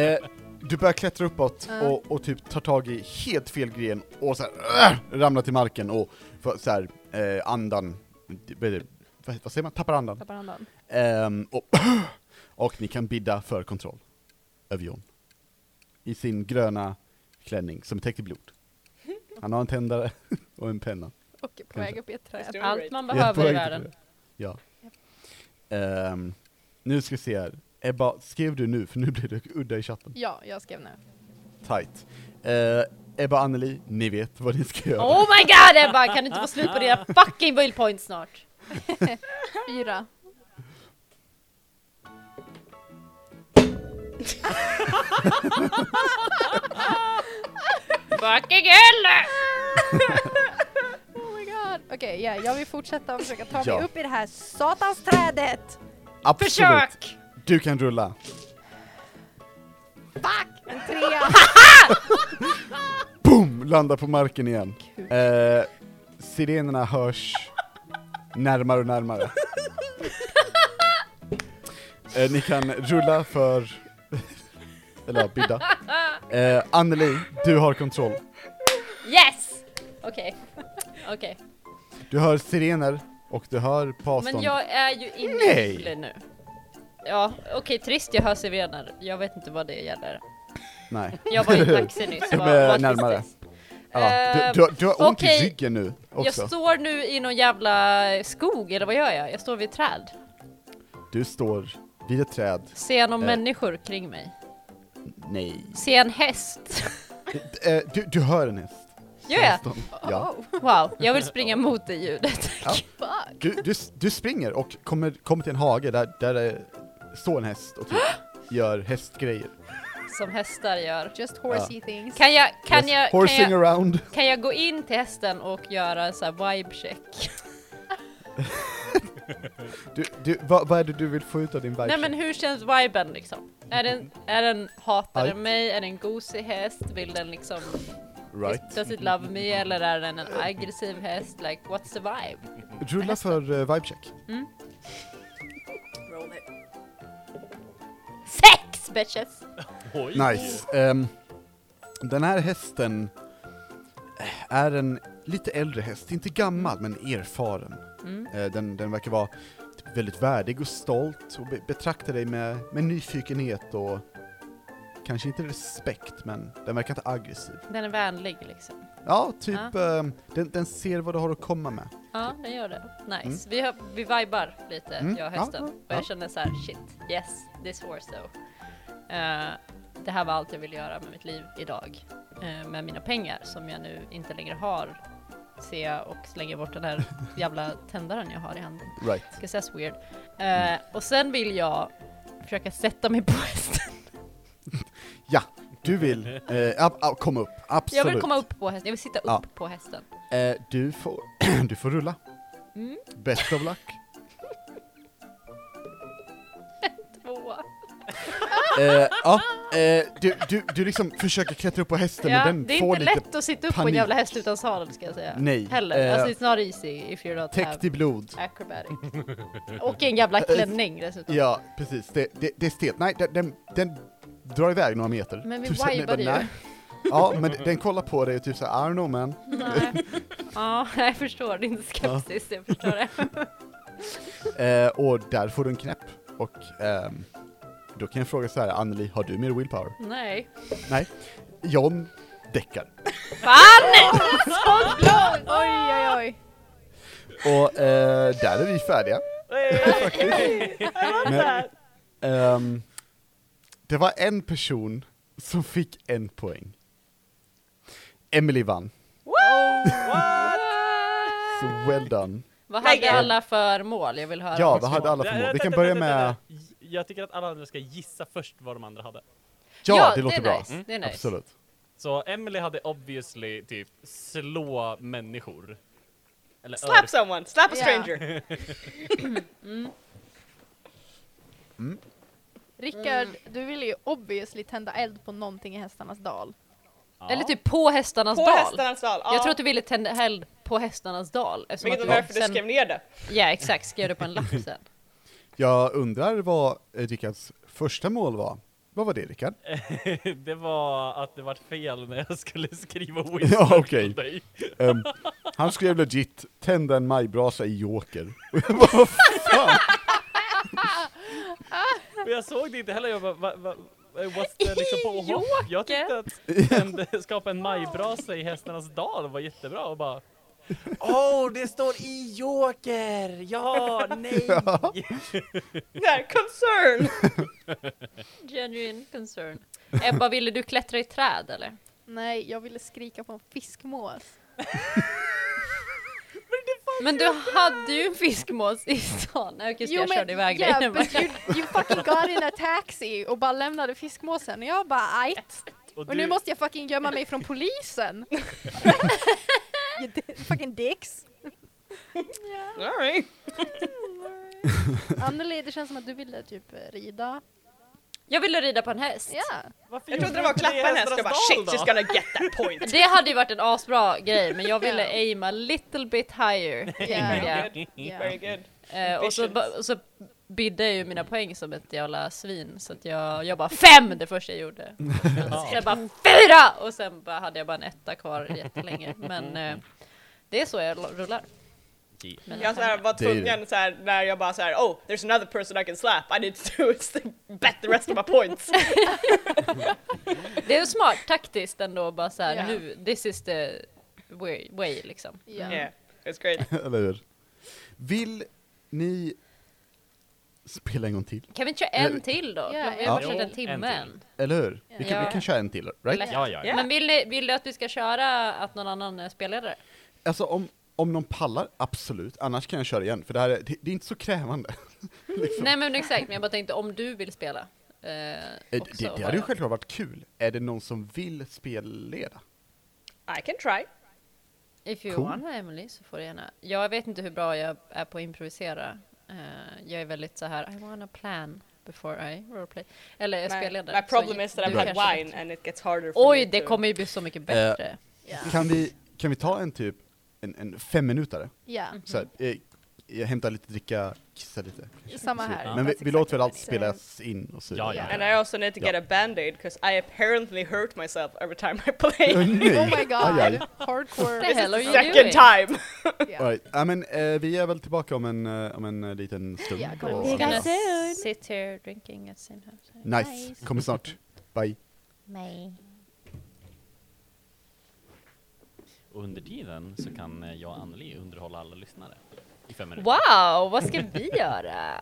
S3: Eh, du börjar klättra uppåt
S5: Ja.
S3: och, och typ tar tag i helt fel gren och så här, äh, ramlar till marken och får så här, eh, andan, vad, vad säger man, tappar andan.
S5: Tappar andan.
S3: Ehm, och, och ni kan bidda för kontroll över John. I sin gröna klänning som är täckt i blod. Han har en tändare och en penna.
S5: Och är på väg upp i ett träd.
S1: Allt man
S3: Jag är på
S1: behöver i
S3: väg till
S1: världen.
S3: det. Ja. Ehm, nu ska vi se här. Ebba, skrev du nu? För nu blir det udda i chatten.
S5: Ja, jag skrev nu.
S1: Mm.
S3: Tight. Eh, Ebba och Anneli, ni vet vad ni ska göra.
S1: Oh my god Ebba! Kan du inte få slut på dina fucking bullet points snart?
S5: Fyra.
S1: Fucking hell!
S5: Oh my god. Okej, ja, jag vill fortsätta och försöka ta mig
S3: Ja.
S5: upp i det här satans trädet.
S3: Absolut.
S1: Försök!
S3: Du kan rulla.
S5: Fuck! En trea.
S3: Boom! Landar på marken igen. Eh, sirenerna hörs närmare och närmare. Eh, ni kan rulla för... Eller ja, bidda. Eh, Anneli, du har kontroll.
S1: Yes! Okej. Okej.
S3: Du hör sirener och du hör på avstånd.
S1: Men jag är ju inne
S3: Nej.
S1: i Chile nu. Ja, okej trist jag hör sirener. Jag vet inte vad det gäller.
S3: Nej.
S1: Jag var i en taxi nyss.
S3: De
S1: Vad-
S3: är
S1: vad trist
S3: närmare.
S1: det är.
S3: Ja. Du,
S1: Ehm,
S3: du, har- du har ont
S1: okej.
S3: i ryggen nu
S1: Jag
S3: också.
S1: står nu i någon jävla skog, eller vad gör jag? Jag står vid ett träd.
S3: Du står vid ett träd.
S1: Ser jag några
S3: Eh.
S1: människor kring mig?
S3: Nej.
S1: Ser jag en häst?
S3: Eh, Du, du hör en häst.
S1: Gör jag?
S3: Avstånd. Ja.
S5: Oh,
S1: Wow, jag vill springa mot det ljudet.
S5: fuck.
S3: Du, du, du springer och kommer, kommer till en hage där, där det står en häst och typ gör hästgrejer.
S1: Som hästar gör.
S5: Just horsey things.
S1: Kan jag, kan
S3: Yes.
S1: jag, kan
S3: Horsing
S1: jag,
S3: around.
S1: kan jag gå in till hästen och göra en sån här vibe check?
S3: Du, du, vad, vad är det du vill få ut av din vibe?
S1: Nej men hur känns viben liksom? Är den, är den, hatar den
S3: Ajt.
S1: mig? Är den gosig häst? Vill den liksom,
S3: right.
S1: does it love me? Eller är den en aggressiv häst? Like what's the vibe?
S3: Rulla för uh, vibe check.
S5: Roll it.
S1: Sex bitches!
S6: Oj.
S3: Nice. Ehm, den här hästen eh, är en lite äldre häst, inte gammal men erfaren.
S1: Mm.
S3: Eh, den, den verkar vara typ väldigt värdig och stolt och be- betraktar dig med, med nyfikenhet och kanske inte respekt men den verkar inte aggressiv.
S1: Den är vänlig liksom.
S3: Ja, typ ehm, den, den ser vad du har att komma med.
S1: Ja, den gör det. Nice. Vi, har, vi vibar lite,
S3: Mm,
S1: jag och
S3: ja,
S1: hästen.
S3: ja,
S1: och jag
S3: ja.
S1: känner så här, shit, yes, this horse though. Eh, det här var allt jag ville göra med mitt liv idag. Eh, med mina pengar som jag nu inte längre har. Ser jag och slänger bort den här jävla tändaren jag har i handen.
S3: Right.
S1: Ska sägas weird. Eh, och sen vill jag försöka sätta mig på hästen.
S3: Du vill eh, ab- ab- komma upp, absolut.
S1: Jag vill komma upp på hästen, jag vill sitta upp
S3: Ja.
S1: på hästen.
S3: Eh, du, får, du får rulla.
S1: Mm.
S3: Best of luck.
S1: Två.
S3: Eh, ja, eh, du, du, du liksom försöker klättra upp på hästen
S1: Ja,
S3: men den
S1: det är
S3: får
S1: inte
S3: lite
S1: lätt att sitta upp på en
S3: panik.
S1: jävla häst utan sadel ska jag säga.
S3: Nej,
S1: Heller.
S3: eh, typ.
S1: alltså it's not easy if you're not
S3: täckt
S1: have
S3: i blod.
S1: acrobatic. Och en jävla klänning dessutom.
S3: Ja, precis. Det, det, det är stelt. Nej, den, den, den drar iväg några meter.
S1: Men vi
S3: Typ så- nej,
S1: vibade
S3: bara,
S1: ju.
S3: nej. Ja, men den kollar på dig och typ såhär, I don't know man.
S1: Nej. Ja, jag förstår din skepsis, jag förstår det.
S3: Eh, och där får du en knäpp. Och ehm, då kan jag fråga så här, Anneli, har du mer willpower?
S1: Nej.
S3: John däckar.
S1: Fan!
S5: Oj, oj, oj.
S3: Och eh, där är vi färdiga. Men, ehm, det var en person som fick en poäng. Emily vann, så well done.
S1: Vad
S2: Nej,
S1: hade alla för mål? Jag vill höra.
S3: Ja,
S1: också.
S3: vad hade alla för mål? Vi kan börja med...
S4: Jag tycker att alla andra ska gissa först vad de andra hade.
S3: Ja, det låter
S1: är
S3: bra.
S1: Nice. Mm. Det är nice.
S3: Absolut.
S4: Så Emily hade obviously typ slå människor. Eller
S2: Slap someone, slap a
S5: Ja.
S2: stranger.
S5: Rickard, du ville ju obviously tända eld på någonting i hästarnas dal.
S4: Ja.
S1: Eller typ på hästarnas
S2: På
S1: dal.
S2: hästarnas dal.
S1: Jag tror att du ville tända eld på hästarnas dal. eftersom
S2: Vilket
S1: att
S2: var därför du
S1: sen-
S2: skrev ner det.
S1: Ja, exakt. Skrev det på en lapp sen.
S3: Jag undrar vad eh, Rickards första mål var. Vad var det Rickard?
S4: det var att det var fel när jag skulle skriva
S3: Ja,
S4: Wizard
S3: okej.
S4: på dig.
S3: Ehm, han skrev legit, tända en majbrasa i joker. Och jag bara, vad fan?
S4: Och jag såg det inte heller, jag bara, va, va, what's the liksom på hopp? Jag tyckte att en, skapa en majbrasa i hästarnas dal var jättebra och bara Åh, det står i joker! Ja, nej!
S2: Nej, concern!
S1: Genuine concern. Ebba, ville du klättra i träd eller?
S5: Nej, jag ville skrika på en fiskmås.
S1: Men du hade ju en fiskmås i stan. Nej, Okej, så jag körde iväg dig.
S5: yeah, but you, you fucking got in a taxi och bara lämnade fiskmåsen och jag bara ajt.
S4: Och,
S5: Och nu måste jag fucking gömma mig från polisen. You di- fucking dicks.
S2: All right.
S5: Anneli, det känns som att du ville typ rida.
S1: Jag ville rida på en häst.
S5: Ja.
S4: varför
S2: Jag
S4: gjorde
S2: trodde det var att
S4: inte i
S2: klappa en häst och bara
S4: Hästarnas
S2: shit,
S4: dal
S2: she's
S4: då?"
S2: gonna get that point.
S1: Det hade ju varit en asbra grej, men jag ville
S5: Ja.
S1: aim a little bit higher.
S5: Yeah.
S1: Ja.
S2: Very good.
S5: Ja.
S2: Very good.
S1: Eh, och, så,
S2: Ambitions.
S1: ba- och så bidde jag ju mina poäng som ett jävla svin, så att jag, jag bara FEM det första jag gjorde.
S4: Ja.
S1: Sen bara FYRA! Och sen bara hade jag bara en etta kvar jättelänge. Men eh, det är så jag lo- rullar.
S4: G.
S2: Jag så här var
S3: Det är det.
S2: tvungen så här, när jag bara så här, oh there's another person I can slap, I need to bet the rest of my points.
S1: Det är ju smart taktiskt ändå bara såhär
S5: Ja.
S1: nu, this is the way, way liksom.
S5: Ja.
S2: Yeah, it's great.
S3: Eller hur? Vill ni spela en gång till?
S1: Kan vi inte köra
S3: Eh,
S1: en till då?
S5: ja,
S1: vi
S3: ja.
S1: har bara kört
S4: Jo,
S1: en
S4: en
S1: timme
S4: till.
S1: än.
S3: Eller hur? Vi kan, vi
S1: Ja.
S3: kan köra en till, right?
S4: Ja, ja, ja.
S2: Ja.
S1: Men vill, ni, vill du att vi ska köra att någon annan är spelledare?
S3: Alltså om, om någon pallar, absolut. Annars kan jag köra igen, för det här är, det, det är inte så krävande. liksom.
S1: Nej men exakt, men jag bara tänkte om du vill spela. Eh,
S3: Eh,
S1: också
S3: det, det
S1: har
S3: hade ju
S1: jag-
S3: självklart varit kul. Är det någon som vill spelleda?
S2: I can try.
S1: If you
S3: Cool.
S1: want Emily så får du gärna. Jag vet inte hur bra jag är på att improvisera. Eh, jag är väldigt så här I wanna plan before I roleplay. Eller jag är
S2: My,
S1: spelledare.
S2: my
S1: så
S2: problem is that
S1: du
S2: I've had
S1: kanske-
S2: wine and it gets harder for
S1: Oj,
S2: me
S1: det
S2: to-
S1: kommer ju bli så
S3: Eh,
S1: mycket bättre.
S3: Kan, vi, kan vi ta en typ, en, en femminutare?
S5: Ja,
S3: Så här, eh,
S1: Mm.
S3: jag hämtar lite dricka, kissa lite.
S5: samma här.
S3: Men vi,
S5: That's
S3: vi låter väl
S5: exactly
S3: allt
S5: what I
S3: spelas in och så
S4: Ja, ja,
S2: And I also need to get a band-aid because I apparently hurt myself every time I play.
S3: Åh, nej.
S5: said. Oh my god,
S3: Aj, aj.
S5: hardcore.
S1: Det hell are you doing?
S2: Second time!
S5: Ja.
S3: All right. ja, men, eh, vi är väl tillbaka om en, eh, om en eh, liten stund.
S5: Ja, kom
S3: Och- Mm.
S5: igen.
S1: Gonna
S5: Yes. soon.
S1: sit here drinking at same time.
S3: Nice, kommer snart. Bye.
S4: Och under tiden så kan eh, jag och Anneli underhålla alla lyssnare i fem minuter.
S1: Wow, vad ska vi göra?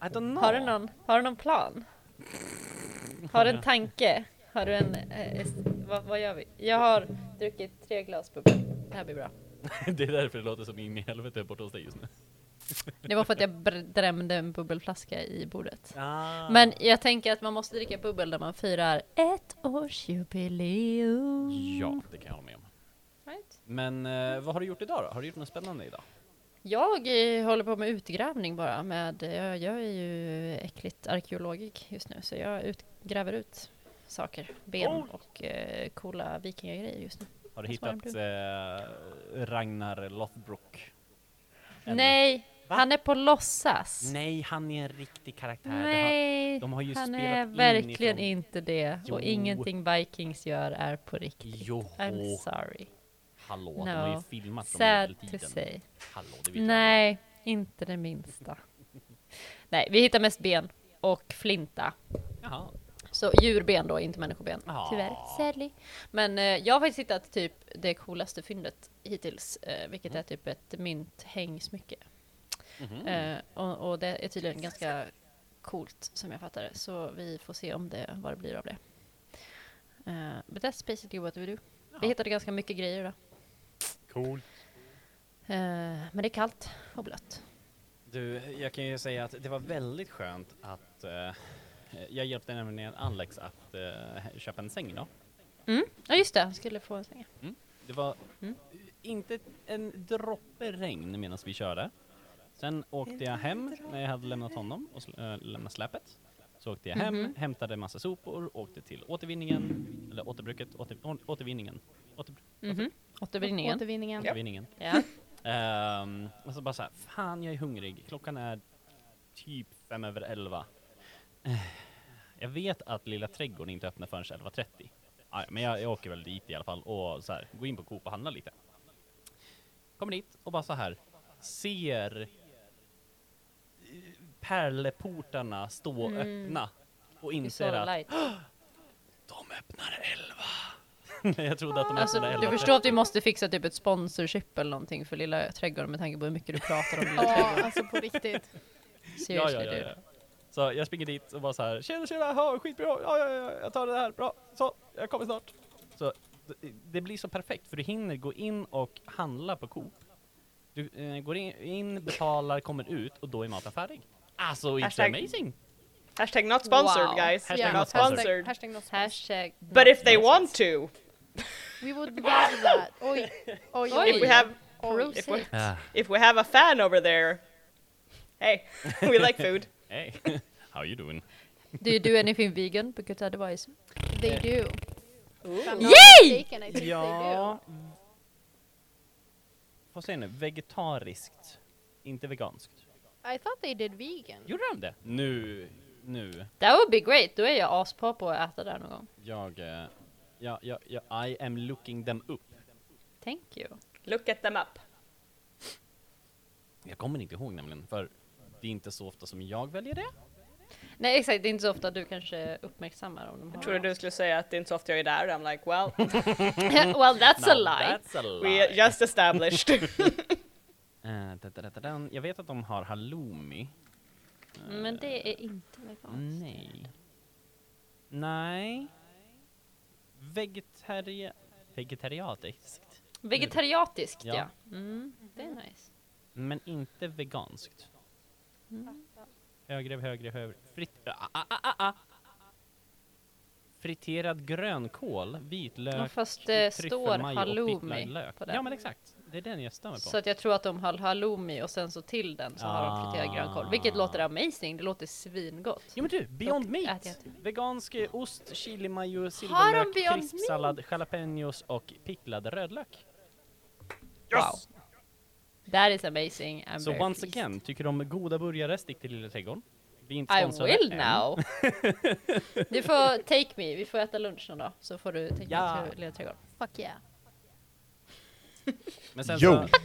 S4: I don't know.
S1: Har du någon, har du någon plan? Har du en tanke? Har du en... Eh, est- vad, vad gör vi? Jag har druckit tre glas bubbel. Det här blir bra.
S4: det är därför det låter som in i helvete borta hos dig just nu.
S1: Det var för att jag br- drämde en bubbelflaska i bordet.
S4: Ah.
S1: Men jag tänker att man måste dricka bubbel när man firar ett års jubileum.
S4: Ja, det kan jag hålla med om.
S1: Right.
S4: Men eh, vad har du gjort idag då? Har du gjort något spännande idag?
S1: Jag eh, håller på med utgrävning bara. Med, eh, jag, jag är ju äckligt arkeologik just nu, så jag ut, gräver ut saker. Ben
S4: Oh.
S1: och eh, coola vikingagrejer just nu.
S4: Har du
S1: Vad svarar
S4: hittat eh, Ragnar Lothbrok? Eller-
S1: Nej,
S4: Va?
S1: han är på låtsas.
S4: Nej, han är en riktig karaktär. Det har-
S1: Nej,
S4: de har ju
S1: han
S4: spelat
S1: är
S4: in
S1: verkligen
S4: ifrån-
S1: inte det.
S4: Jo.
S1: Och ingenting Vikings gör är på riktigt.
S4: Jo,
S1: I'm sorry.
S4: hallå, de har ju
S1: No.
S4: filmat från
S1: Sad to
S4: medeltiden.
S1: say.
S4: Hallå, det vet jag.
S1: Nej, inte det minsta. Nej, vi hittar mest ben och flinta.
S4: Jaha.
S1: Så djurben då, inte människoben.
S4: Ja.
S1: Tyvärr, sadly. Men eh, jag har faktiskt hittat typ det coolaste fyndet hittills, eh, vilket är typ ett mynthängsmycke.
S4: Mm. Mhm.
S1: Eh, och, och det är tydligen ganska coolt som jag fattar det. Så vi får se om det, vad det blir av det. Eh, but that's basically what we do. Vi hittade ganska mycket grejer då.
S6: Cool.
S1: Eh, men det är kallt och blött.
S4: Du, jag kan ju säga att det var väldigt skönt att eh, jag hjälpte nämligen Alex att eh, köpa en säng idag.
S1: Mm. Ja just det, han skulle få en sänga.
S4: Det var
S1: Mm.
S4: inte en droppe regn medan vi körde. Sen åkte jag hem när jag hade lämnat honom och sl- eh, lämnat släpet. Så åkte jag hem,
S1: Mhm.
S4: hämtade massa sopor, åkte till återvinningen, eller återbruket, åter, å- återvinningen. Åter,
S1: Mhm. Återvinningen.
S5: Återvinningen.
S4: återvinningen.
S1: Ja.
S4: Ehm, och så bara såhär, fan jag är hungrig, klockan är typ fem över elva. Eh, Jag vet att lilla trädgården inte öppnar förrän 11.30. Ah, ja, Men jag, jag åker väl dit i alla fall och så här, går in på Coop och handlar lite. Kommer dit och bara så här ser eh, pärleportarna stå
S1: Mm.
S4: öppna och
S1: Du
S4: inser
S1: sa
S4: att
S1: light.
S4: de öppnar elva. jag trodde att de
S1: Alltså,
S4: öppnade
S1: du
S4: elva.
S1: förstår att vi måste fixa typ ett sponsorship eller någonting för lilla trädgården med tanke på hur mycket du pratar om lilla trädgården.
S5: Ja, alltså på riktigt.
S1: Seriously dude.
S4: Så jag springer dit och bara så här, tjena tjena, ha, skitbra, ja, ja, ja, jag tar det här, bra, så, jag kommer snart. Så det, det blir så perfekt för du hinner gå in och handla på Coop. Du eh, går in, in, betalar, kommer ut och då är maten färdig. Alltså it's
S2: Hashtag-
S4: amazing!
S2: Hashtag not sponsored
S1: Wow.
S2: guys,
S4: Hashtag
S5: Ja,
S4: not
S5: hashtag-
S2: sponsored.
S5: Hashtag not sponsored.
S1: Hashtag
S2: but
S1: not
S2: if they want to,
S5: We would love that. Oj, oj,
S1: Oj.
S2: if we
S5: oj.
S2: have
S5: oj.
S2: if we, if we have a fan over there, hey, we like food.
S4: Hey, how you doing?
S1: Do you do anything vegan? Because otherwise...
S5: They do.
S1: Yay!
S5: Ja.
S4: Vad säger ni? Vegetariskt, inte veganskt.
S5: I thought they did vegan.
S4: Gjorde de det? Nu, nu.
S1: That would be great, då är jag aspå på att äta där någon gång.
S4: Jag, eh, jag, jag, jag, I am looking them up.
S1: Thank you.
S2: Look at them up.
S4: Jag kommer inte ihåg nämligen, för det är inte så ofta som jag väljer det.
S1: Nej exakt, det är inte så ofta du kanske uppmärksammar om de har
S2: Jag trodde du skulle säga att det är inte så ofta jag är där. I'm like, well,
S1: Well that's a
S4: Now
S1: lie.
S4: That's a lie.
S2: we just established.
S4: Eh, da, da, da, da, da. Jag vet att de har halloumi.
S1: Men det är inte veganskt.
S4: Nej. Nej. Vegetaria... Vegetariatiskt.
S1: Vegetariatiskt ja.
S4: Ja.
S1: Mm, det är nice.
S4: Men inte veganskt.
S1: Mm.
S4: Högre, högre, högre. Frit- ah, ah, ah, ah, ah. Friterad grönkål,
S1: Ja,
S4: vitlök,
S1: fast
S4: typ
S1: det eh, står
S4: tryffelmajo och vitmaj
S1: halloumi
S4: lök.
S1: på
S4: Ja
S1: den.
S4: men exakt, det är den jag stör mig på.
S1: Så att jag tror att de har halloumi och sen så till den så har de friterad
S4: Ah.
S1: grönkål. Vilket låter amazing, det låter svingott.
S4: Jo men du, Beyond
S1: Dock
S4: Meat!
S1: äter jag inte.
S4: Vegansk eh, ost, chili mayo,
S1: de
S4: silverlök,
S1: Beyond
S4: krispsallad, jalapenos och picklad rödlök.
S1: Wow. That is amazing. I'm
S4: Så
S1: very
S4: once
S1: pleased.
S4: again, tycker du om goda burgare, stick till Lilla Trädgården. Vi är inte
S1: I
S4: sponsrade
S1: will
S4: än.
S1: now. du får take me, vi får äta lunch någon dag så får du take
S4: Ja.
S1: me till Lilla Trädgården.
S5: Fuck yeah.
S4: Men sen
S3: Jo.
S4: så,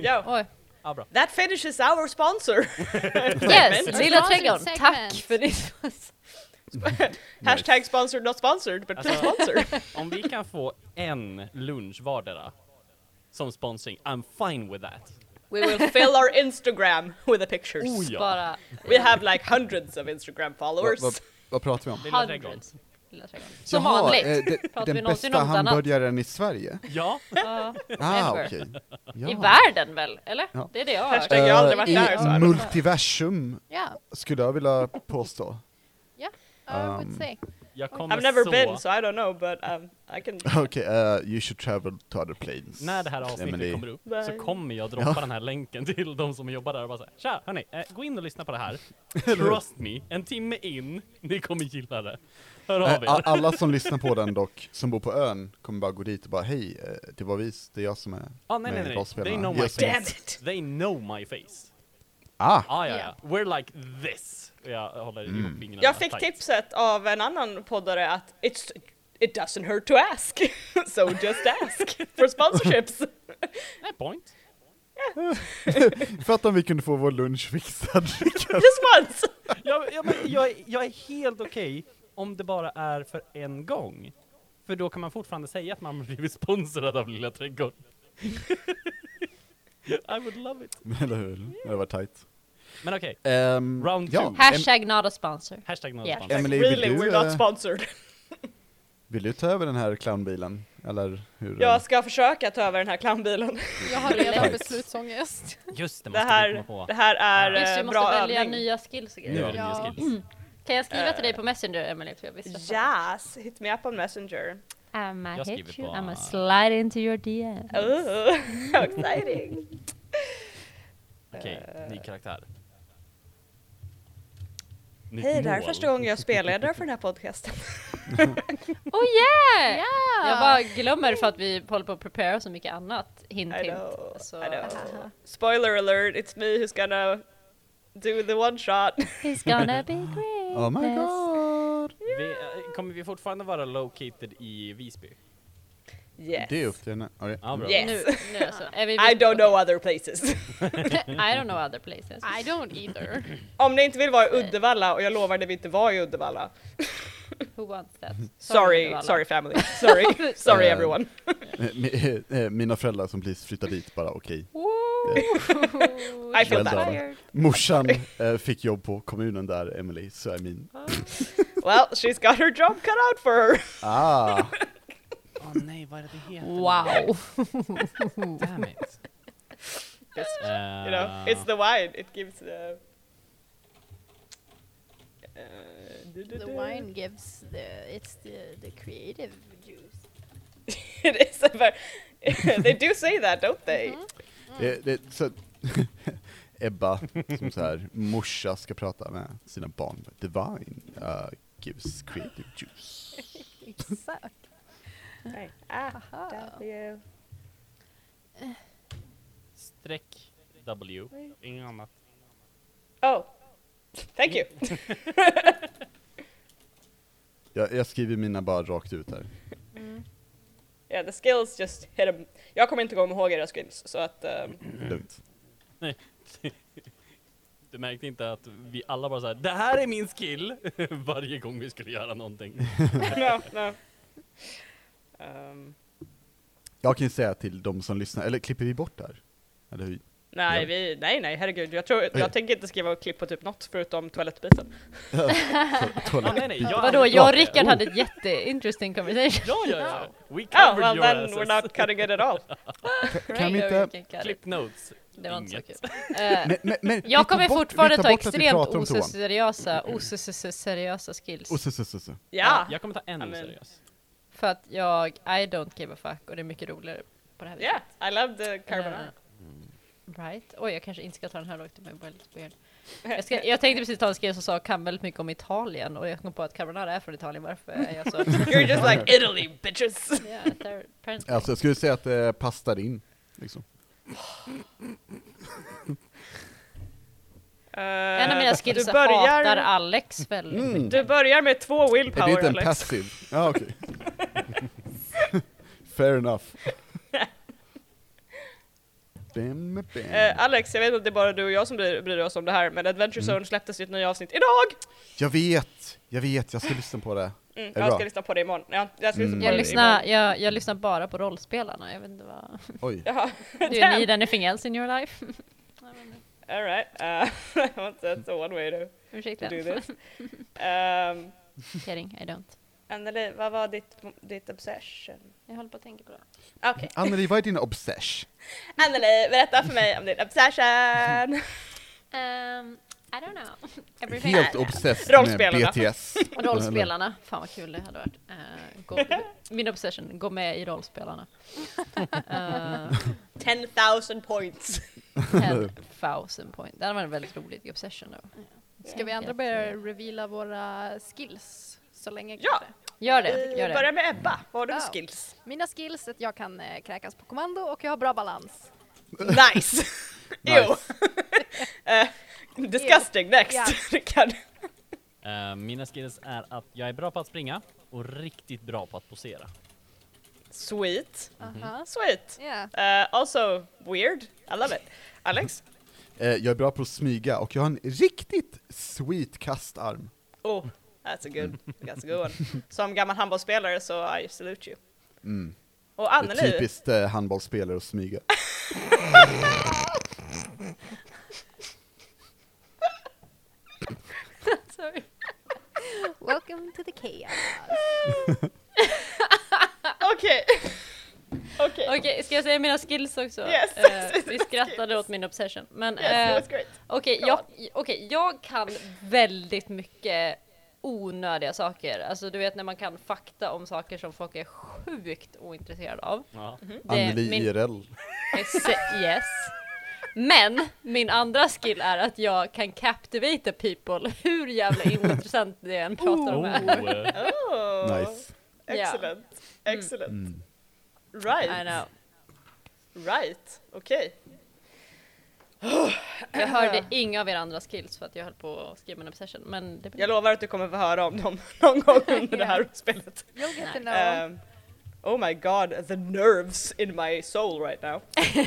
S2: Yo,
S1: Oj.
S4: ja bra.
S2: that finishes our sponsor.
S1: Yes, Lilla
S5: Sponsor
S1: Trädgården,
S5: segment.
S1: tack för din
S2: Hashtag sponsored not sponsored, but please
S4: Alltså-
S2: sponsor.
S4: Om vi kan få en lunch vardera som sponsring, I'm fine with that.
S2: We will fill our Instagram with the pictures.
S4: Oh, ja.
S1: bara
S2: We have like hundreds of Instagram
S3: Vad,
S2: followers.
S3: vad, vad pratar vi om?
S4: Lilla Trädgården.
S1: hundreds. Lilla Trädgården. Som
S3: Jaha,
S1: vanligt.
S3: eh, det-
S1: Pratar vi
S3: den
S1: någonsin
S3: bästa
S1: om något annat?
S3: hamburgaren i Sverige?
S4: Ja,
S1: Ja.
S3: Ah,
S1: Ever.
S3: okej.
S1: I
S3: Ja.
S1: världen väl? Eller?
S3: Ja.
S1: Det är det jag har hört.
S2: Hashtag jag har aldrig
S3: Eh,
S2: varit
S3: I
S2: där. Så. här.
S3: multiversum
S5: Yeah,
S3: skulle jag vilja påstå.
S5: I would
S3: Um,
S5: say.
S4: jag kommer
S2: I've never
S4: så...
S2: been, so I don't know, but um, I can...
S3: Okej, eh, you should travel to other planes.
S4: När det här avsnittet
S3: Emily.
S4: kommer upp
S2: Bye.
S4: så kommer jag droppa den här länken till de som jobbar där och bara säga Tja, hörni, eh, gå in och lyssna på det här. Trust me, en timme in, ni kommer gilla det. Hör av
S3: Eh, a-
S4: er.
S3: alla som lyssnar på den dock, som bor på ön, kommer bara gå dit och bara hej, eh, det var vi, det är jag som är
S4: Ah, nej, nej, nej, nej. They know my
S3: Yes.
S4: face.
S2: Damn it!
S4: They know my face.
S3: Ah!
S4: Ah, ja,
S5: Ja.
S4: ja. We're like this. Och Jag håller
S3: Mm.
S4: ihop fingrarna
S2: Jag fick
S4: tight.
S2: tipset av en annan poddare att it's, it doesn't hurt to ask, so just ask for sponsorships.
S4: Nej, point.
S3: För att om vi kunde få vår lunch fixad.
S2: Just once!
S4: Jag, jag, men jag, är- jag är helt okej om det bara är för en gång. För då kan man fortfarande säga att man har blivit sponsrad av Lilla Trädgården. I would love it.
S3: Eller hur? Det var tight.
S4: Men okej,
S3: Um,
S4: Round two.
S1: Hashtag not a sponsor.
S4: hashtag någon
S1: Ja.
S4: sponsor.
S3: Emily, vill
S2: Really,
S3: du,
S2: we're not
S3: eh,
S2: sponsored.
S3: vill du ta över den här clownbilen? Eller hur?
S4: Mm.
S2: Jag ska försöka ta över den här clownbilen.
S5: Jag har redan
S3: Nice.
S5: beslutsångest.
S4: Just det,
S2: Det
S4: måste vi
S2: här,
S4: komma på.
S2: det här är
S1: Just det,
S2: eh,
S1: vi
S2: bra
S1: måste välja
S2: övning.
S1: nya skills och
S4: Nu
S1: grejer.
S4: är det nya
S5: Ja.
S2: Mm.
S4: skills.
S1: Kan jag skriva till dig på Messenger Emily? För jag visste att-
S2: Yes, hit me up on messenger.
S1: I'ma
S4: Jag
S1: hit
S4: skriver
S1: you,
S4: på-
S1: I'ma slide into your DM.
S4: Mm.
S2: Oh, how exciting!
S4: Okej, ny karaktär. Nytt
S2: Hej, det här är
S4: mål.
S2: första gången jag spelledare för den här podcasten.
S1: Typ. Oh yeah!
S5: Yeah.
S1: Jag bara glömmer för att vi håller på att prepare så mycket annat. Hint
S2: I
S1: hint.
S2: know,
S1: Så-
S2: I know. Spoiler alert, it's me who's gonna do the one shot.
S1: He's gonna be great.
S3: Oh my god!
S4: Vi, eh, kommer vi fortfarande vara located i Visby?
S2: Yes.
S3: Det är upp till henne. Okej.
S4: Ja, bra.
S2: Yes.
S1: Nu, nu alltså. Är vi
S2: I don't know other places.
S1: I don't know other places.
S5: I don't either.
S2: Om ni inte vill vara i Uddevalla, och jag lovade vi inte var i Uddevalla.
S1: Who wants that?
S2: Sorry,
S1: Uddevalla.
S2: sorry family. Sorry, sorry
S3: Eh,
S2: everyone.
S3: Eh, mi- eh, Mina föräldrar som precis flyttade dit bara okej.
S2: I feel
S3: Well
S2: bad.
S3: done. Morsan eh, fick jobb på kommunen där, Emily, så I mean.
S2: Well, she's got her job cut out for her.
S3: Ah!
S4: Åh nej, vad är det det heter?
S1: Wow.
S4: Damn it.
S2: It's, Oh. you know,
S4: Eh,
S2: it's the wine. It gives the... Uh,
S5: The wine gives the, it's the, the creative juice.
S2: it is a very, they do say that, don't they?
S5: Mm-hmm.
S3: Det, det, så, Ebba, som så här, morsa ska prata med sina barn. Divine uh, gives creative juice.
S5: Exakt.
S2: Right. Ah,
S5: Aha.
S2: W.
S4: Streck W. Inget annat.
S2: Oh, thank you.
S3: Jag, jag skriver mina bara rakt ut här. Mm.
S2: Yeah, the skills just hit 'em. Jag kommer inte gå ihåg era skills, så att... ehm,
S3: Lugnt.
S4: Du märkte inte att vi alla bara såhär, det här är min skill! Varje gång vi skulle göra någonting.
S2: no, no. Ehm,
S3: Jag kan ju säga till de som lyssnar, eller klipper vi bort där? Eller hur?
S2: nej,
S3: Ja.
S2: vi, nej, nej, herregud. Jag, tror,
S3: Okej.
S2: jag tänker inte skriva och klipp på typ något förutom toalettbiten.
S3: Så,
S4: Ja,
S3: toalett.
S4: Ah, nej, nej, jag
S1: Vadå,
S4: hade-
S1: jag och Rickard hade ett jätteinteresting conversation.
S4: Ja, ja, ja. We
S2: Ah,
S4: covered
S2: well
S4: your
S2: then we're
S4: asses.
S2: not cutting it at all.
S3: Kan vi inte-
S1: inte...
S4: Clip notes.
S1: Det var inte så
S4: Inget.
S1: kul. Eh,
S3: Men- men- men vi
S1: Jag
S3: tar
S1: kommer
S3: bort- vi
S1: fortfarande
S3: tar
S1: ta
S3: bort att vi
S1: extremt
S3: pratar om toan.
S1: oseriösa, oseriösa skills.
S3: Och så, så, så, så.
S2: Ja,
S4: Jag kommer ta en
S2: Amen.
S4: oseriös.
S1: För att jag, I don't give a fuck och det är mycket roligare på det här viset.
S2: yeah, I love the
S1: Eh,
S2: carbonara.
S1: right. Oj, jag kanske inte ska ta den här lågt, det var lite weird. Jag, ska, jag tänkte precis ta en skill som sa kan väldigt mycket om Italien och jag kom på att carbonara är från Italien, varför är jag så...
S2: You're just like Italy bitches.
S1: yeah, they're apparently-
S3: Alltså jag skulle säga att det passar in. Liksom.
S1: en av mina skills
S2: du
S1: hatar
S2: börjar,
S1: Alex väldigt mycket.
S3: Mm.
S2: du börjar med två
S3: Är det
S2: willpower
S3: inte en
S2: Alex.
S3: passive? Ja, okej. Fair enough. Bam, bam.
S2: Eh, Alex, jag vet att det är bara du och jag som bryr, bryr oss om det här, men Adventure
S3: Mm.
S2: Zone släpptes ju ett nytt avsnitt idag!
S3: Jag vet, jag vet, jag ska lyssna på det.
S2: Mm,
S3: det
S2: jag
S3: bra?
S2: ska lyssna på det imorgon. Ja, jag ska lyssna
S3: Mm.
S2: på
S1: Jag
S2: det
S1: lyssnar, jag, jag lyssnar bara på rollspelarna, jag vet inte vad...
S3: Oj.
S2: imorgon.
S1: Do you need anything else in your life?
S2: Jaha, alright. Uh, that's one way to, to
S1: Ursäkta,
S2: do this. Um,
S1: kidding, I don't.
S2: Anneli, vad var ditt, ditt obsession?
S1: Jag håller på att tänka på det.
S2: Okej,
S3: Anneli, vad är din obsession?
S2: Anneli, berätta för mig om din obsession!
S1: Um, I don't know. Everything.
S3: Helt obsessed med
S2: Rollspelarna.
S3: BTS.
S1: Rollspelarna, fan vad kul det hade varit. Eh, gå, min obsession, gå med i rollspelarna. Eh,
S2: 10,000 points!
S1: 10,000 point. Det hade varit en väldigt rolig obsession då.
S5: Ska vi andra börja reveala våra skills? Så länge
S2: Ja.
S5: kanske.
S1: Gör det,
S2: Vi
S1: gör
S2: börjar
S1: det.
S2: med Ebba, vad har du för
S5: Oh.
S2: skills?
S5: Mina skills är att jag kan eh, kräkas på kommando och jag har bra balans.
S2: Nice! Ew! Eh, disgusting, next!
S5: Ja.
S2: Rickard.
S4: Eh, mina skills är att jag är bra på att springa och riktigt bra på att posera.
S2: Sweet,
S5: Aha.
S2: sweet!
S5: Ja.
S2: Eh, also weird, I love it. Alex?
S3: Eh, Jag är bra på att smyga och jag har en riktigt sweet kastarm.
S2: Oh, that's a good, that's a good one. Som gammal handbollsspelare så I salute you.
S3: Mm.
S2: Och
S3: Det är
S2: Anneli,
S3: typiskt eh, handbollsspelare att smyga.
S1: Sorry.
S5: Welcome to the chaos.
S2: okej! Okej,
S1: Okej, ska jag säga mina skills också?
S2: Yes,
S1: Eh,
S2: yes,
S1: vi
S2: yes,
S1: skrattade
S2: skills.
S1: åt min obsession. Men
S2: yes, that
S1: eh,
S2: was great.
S1: Okej, jag, okej, jag kan väldigt mycket onödiga saker. Alltså du vet när man kan fakta om saker som folk är sjukt ointresserade av.
S4: Ja.
S1: Det-
S3: Anneli
S1: min-
S3: IRL.
S1: Ex- Yes. Men min andra skill är att jag kan captivate people hur jävla ointressant det än pratar om är.
S4: Oh, eh,
S2: Oh,
S3: Nice.
S2: Excellent, excellent.
S3: Mm.
S1: I
S2: Right,
S1: know.
S2: right, okej.
S1: Jag hörde inga av era andra skills för att jag höll på att skriva en obsession. Men det
S2: Jag lovar att du kommer få höra om dem någon gång under det här spelet.
S5: You'll get to know.
S2: Ehm, oh my god, the nerves in my soul right now.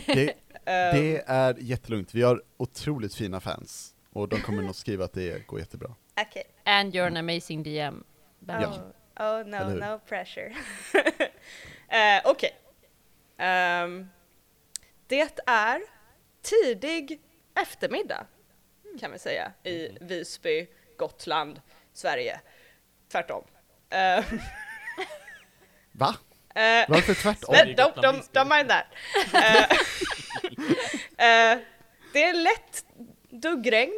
S3: Det,
S2: Ehm,
S3: det är jättelugnt, vi har otroligt fina fans. Och de kommer nog skriva att det går jättebra.
S2: Okej.
S1: And you're an amazing DM. Benjamin.
S3: Ja.
S2: Oh no,
S3: Eller hur?
S2: no pressure. Eh, Okej. Ehm, det är tidig eftermiddag kan vi säga i
S3: Mm-hmm.
S2: Visby, Gotland, Sverige. Tvärtom. Ehm,
S3: Va?
S2: eh,
S3: Varför tvärtom?
S2: Men
S4: Oj,
S2: don't,
S4: Gotland
S2: don't,
S4: Visby.
S2: don't mind that. Eh, eh, det är lätt duggregn.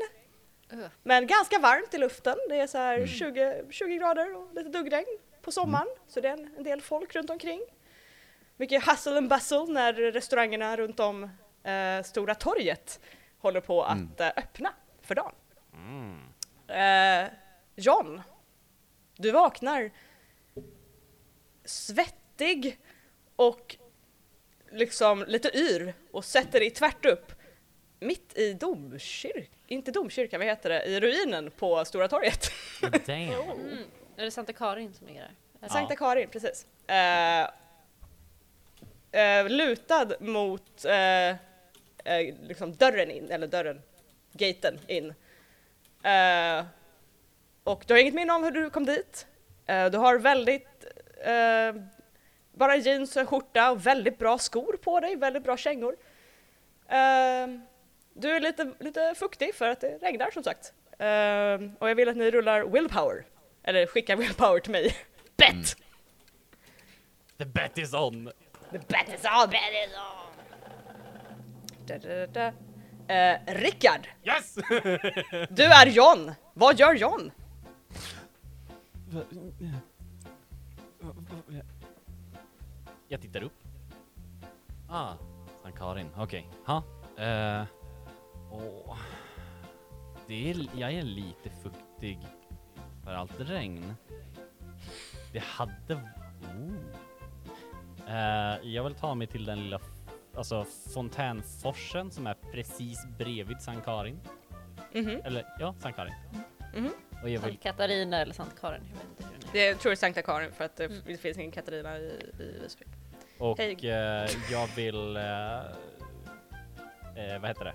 S1: Ugh.
S2: Men ganska varmt i luften. Det är så här 20, 20 grader och lite duggregn på sommaren. Så det är en, en del folk runt omkring. Mycket hustle and bustle när restaurangerna runt om eh, Stora torget håller på att eh, öppna för dagen. Eh, John, du vaknar svettig och liksom lite yr och sätter dig tvärt upp mitt i domkyrkan, inte domkyrkan, vad heter det, i ruinen på Stora torget.
S4: damn.
S1: Är det Santa Karin som ligger där?
S2: Sankta Karin, precis. Eh, eh, lutad mot eh, eh, liksom dörren in, eller dörren, gaten in. Eh, och du har inget minne om hur du kom dit. Eh, du har väldigt, eh, bara jeans och skjorta och väldigt bra skor på dig, väldigt bra kängor. Eh, du är lite, lite fuktig för att det regnar som sagt. Eh, och jag vill att ni rullar willpower, eller skickar willpower till mig. Bet!
S4: The bet is on!
S2: The bet is on! Bet is on! Da, da, da, da. Eh, Rickard,
S4: Yes!
S2: du är John! Vad gör John?
S4: Jag tittar upp. Ah, Sankarin. Okej. Ha? Eh, åh. Det är, jag är lite fuktig för allt regn. Det hade... Oh. Eh, jag vill ta mig till den lilla alltså, fontänforsen som är precis bredvid Sankarin.
S2: Mhm.
S4: Eller ja, Sankarin.
S2: Mhm.
S4: Och jag vill
S1: Sankt Katarina eller Sankt Karin. Jag vet inte hur den är.
S2: Det är, tror jag är Sankta Karin för att det
S1: Mm.
S2: det finns ingen Katarina i, i Visby.
S4: Och
S2: Hej.
S4: eh, jag vill... Eh, eh, vad heter det?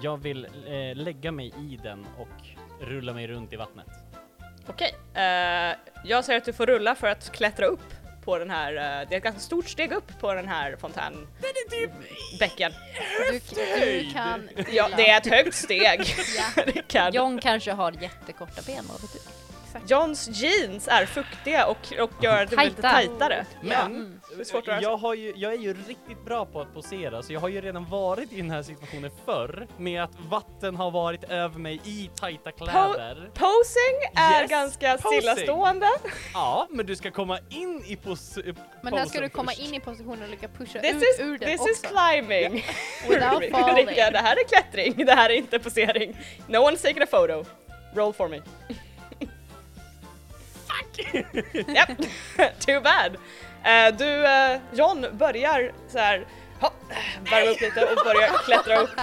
S4: Jag vill eh, lägga mig i den och rulla mig runt i vattnet.
S2: Okej, eh, jag säger att du får rulla för att klättra upp på den här, eh, det är ett ganska stort steg upp på den typ- här fontänen. Bäcken.
S5: Du, du kan
S2: Ja,
S5: vila.
S2: det är ett högt steg.
S5: Ja.
S2: Rickard.
S1: John kanske har jättekorta ben, vad vet du?
S2: Johns jeans är fuktiga och, och gör att det blir lite
S1: Tajta.
S2: tajtare.
S4: Men
S2: Mm. det är svårt att röra sig.
S4: jag, har ju, jag är ju riktigt bra på att posera så jag har ju redan varit i den här situationen förr med att vatten har varit över mig i tajta kläder.
S2: Posing är
S4: Yes,
S2: ganska
S4: posing.
S2: stillastående.
S4: Ja, men du ska komma in i pos...
S5: Men här ska
S4: posen
S5: du komma
S4: först.
S5: in i positionen och lycka pusha
S2: This
S5: ut
S2: is,
S5: ur den
S2: this
S5: också.
S2: is climbing.
S5: Without falling.
S2: Rickard, det här är klättring, det här är inte posering. No one's taking a photo. Roll for me. Fuck! Japp, too bad. Eh, du, eh, John börjar så här, hopp, värma upp lite och börjar klättra upp.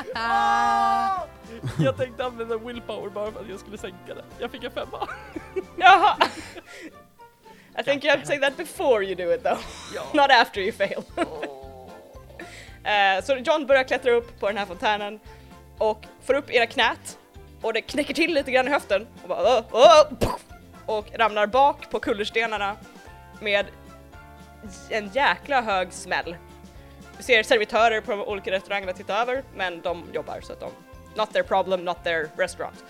S4: Jag tänkte använda willpower bara för att jag skulle sänka det. Jag fick en femma.
S2: Jaha! I think you have to say that before you do it though. Not after you fail. Eh, Så John börjar klättra upp på den här fontänen och får upp era knät och det knäcker till lite grann i höften och bara "Åh, åh", puff, och ramlar bak på kullerstenarna med en jäkla hög smäll. Du ser servitörer på de olika restaurangerna titta över men de jobbar så att de, not their problem, not their restaurant.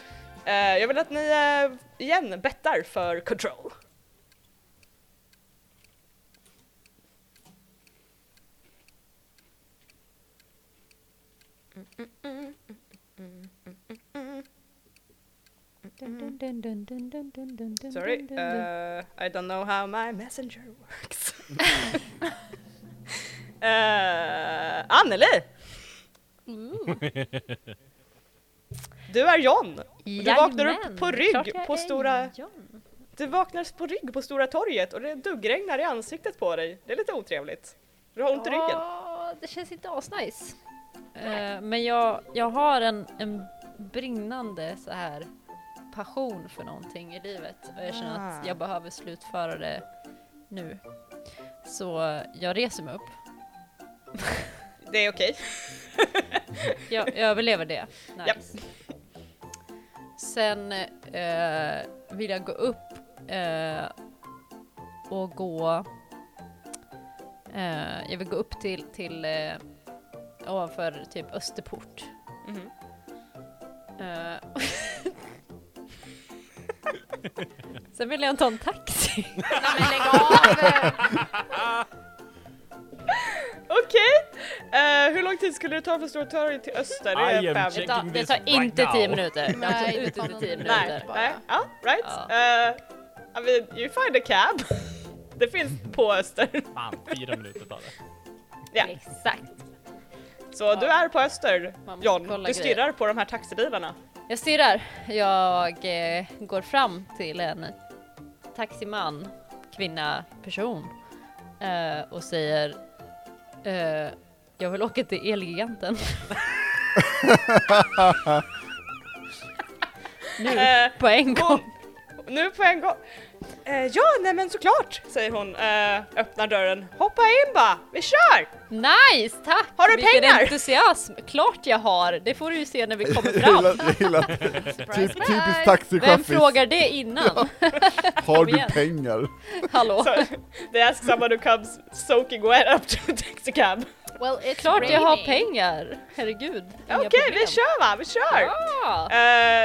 S2: Eh, jag vill att ni eh, igen bettar för control. Mm. Sorry, uh, I don't know how my messenger works. uh, Anneli! Du är John! Du vaknar upp på rygg på stora... Du vaknar på rygg på Stora torget och det duggregnar i ansiktet på dig. Det är lite otrevligt. Du har ont i ryggen.
S1: Ja, det känns inte asnice. Eh, men jag, jag har en, en brinnande så här passion för någonting i livet och jag känner att
S2: Ah.
S1: jag behöver slutföra det nu. Så eh, jag reser mig upp.
S2: Det är okej.
S1: Jag, jag överlever det. Nice.
S2: Japp.
S1: Sen eh, vill jag gå upp eh, och gå... Eh, jag vill gå upp till, till eh, ovanför typ Österport.
S2: Mhm.
S1: Eh, Sen vill jag ta en taxi.
S5: Nej men lägg av!
S2: Okej! Eh, hur lång tid skulle det ta från Stora torget till öster?
S4: I
S2: Det
S4: am
S2: är
S1: Det
S2: fem.
S4: Checking
S1: tar, det
S4: this
S1: tar
S4: right
S1: inte tio
S4: now.
S1: minuter. Det tar
S5: Nej, det
S1: inte
S5: tar någon
S1: tio
S5: minut.
S1: minuter.
S5: bara.
S2: Nej, ja, right.
S1: Ja.
S2: Eh, I mean, you find a cab. det finns på Öster.
S4: Fan, fyra minuter tar det.
S2: Ja,
S1: Exakt.
S2: så du är på Öster,
S1: Man måste
S2: John.
S1: kolla
S2: Du
S1: grejer.
S2: stirrar på de här taxibilarna.
S1: Jag stirrar. Jag eh, går fram till en taximan, kvinna, person eh, och säger eh, jag vill åka till Elgiganten. nu,
S2: Eh,
S1: på en gång.
S2: hon, nu på en gång. Eh, ja, nej men såklart, säger hon. Eh, öppnar dörren. Hoppa in bara, vi kör!
S1: Nice, tack!
S2: Har du
S1: Vilken
S2: pengar?
S1: entusiasm! Klart jag har! Det får du ju se när vi kommer fram.
S3: Jag gillar- typ,
S5: Surprise,
S3: typiskt
S1: Vem
S3: taxichaffis.
S1: frågar det innan?
S3: Har
S1: igen.
S3: du pengar?
S1: Hallå?
S2: Så, they ask someone who comes soaking wet up to a taxi cab.
S5: Well, it's
S1: Klart jag har
S5: raining.
S1: pengar! Herregud, inga
S2: Okej, vi
S1: problem.
S2: kör va, vi kör!
S1: Ja.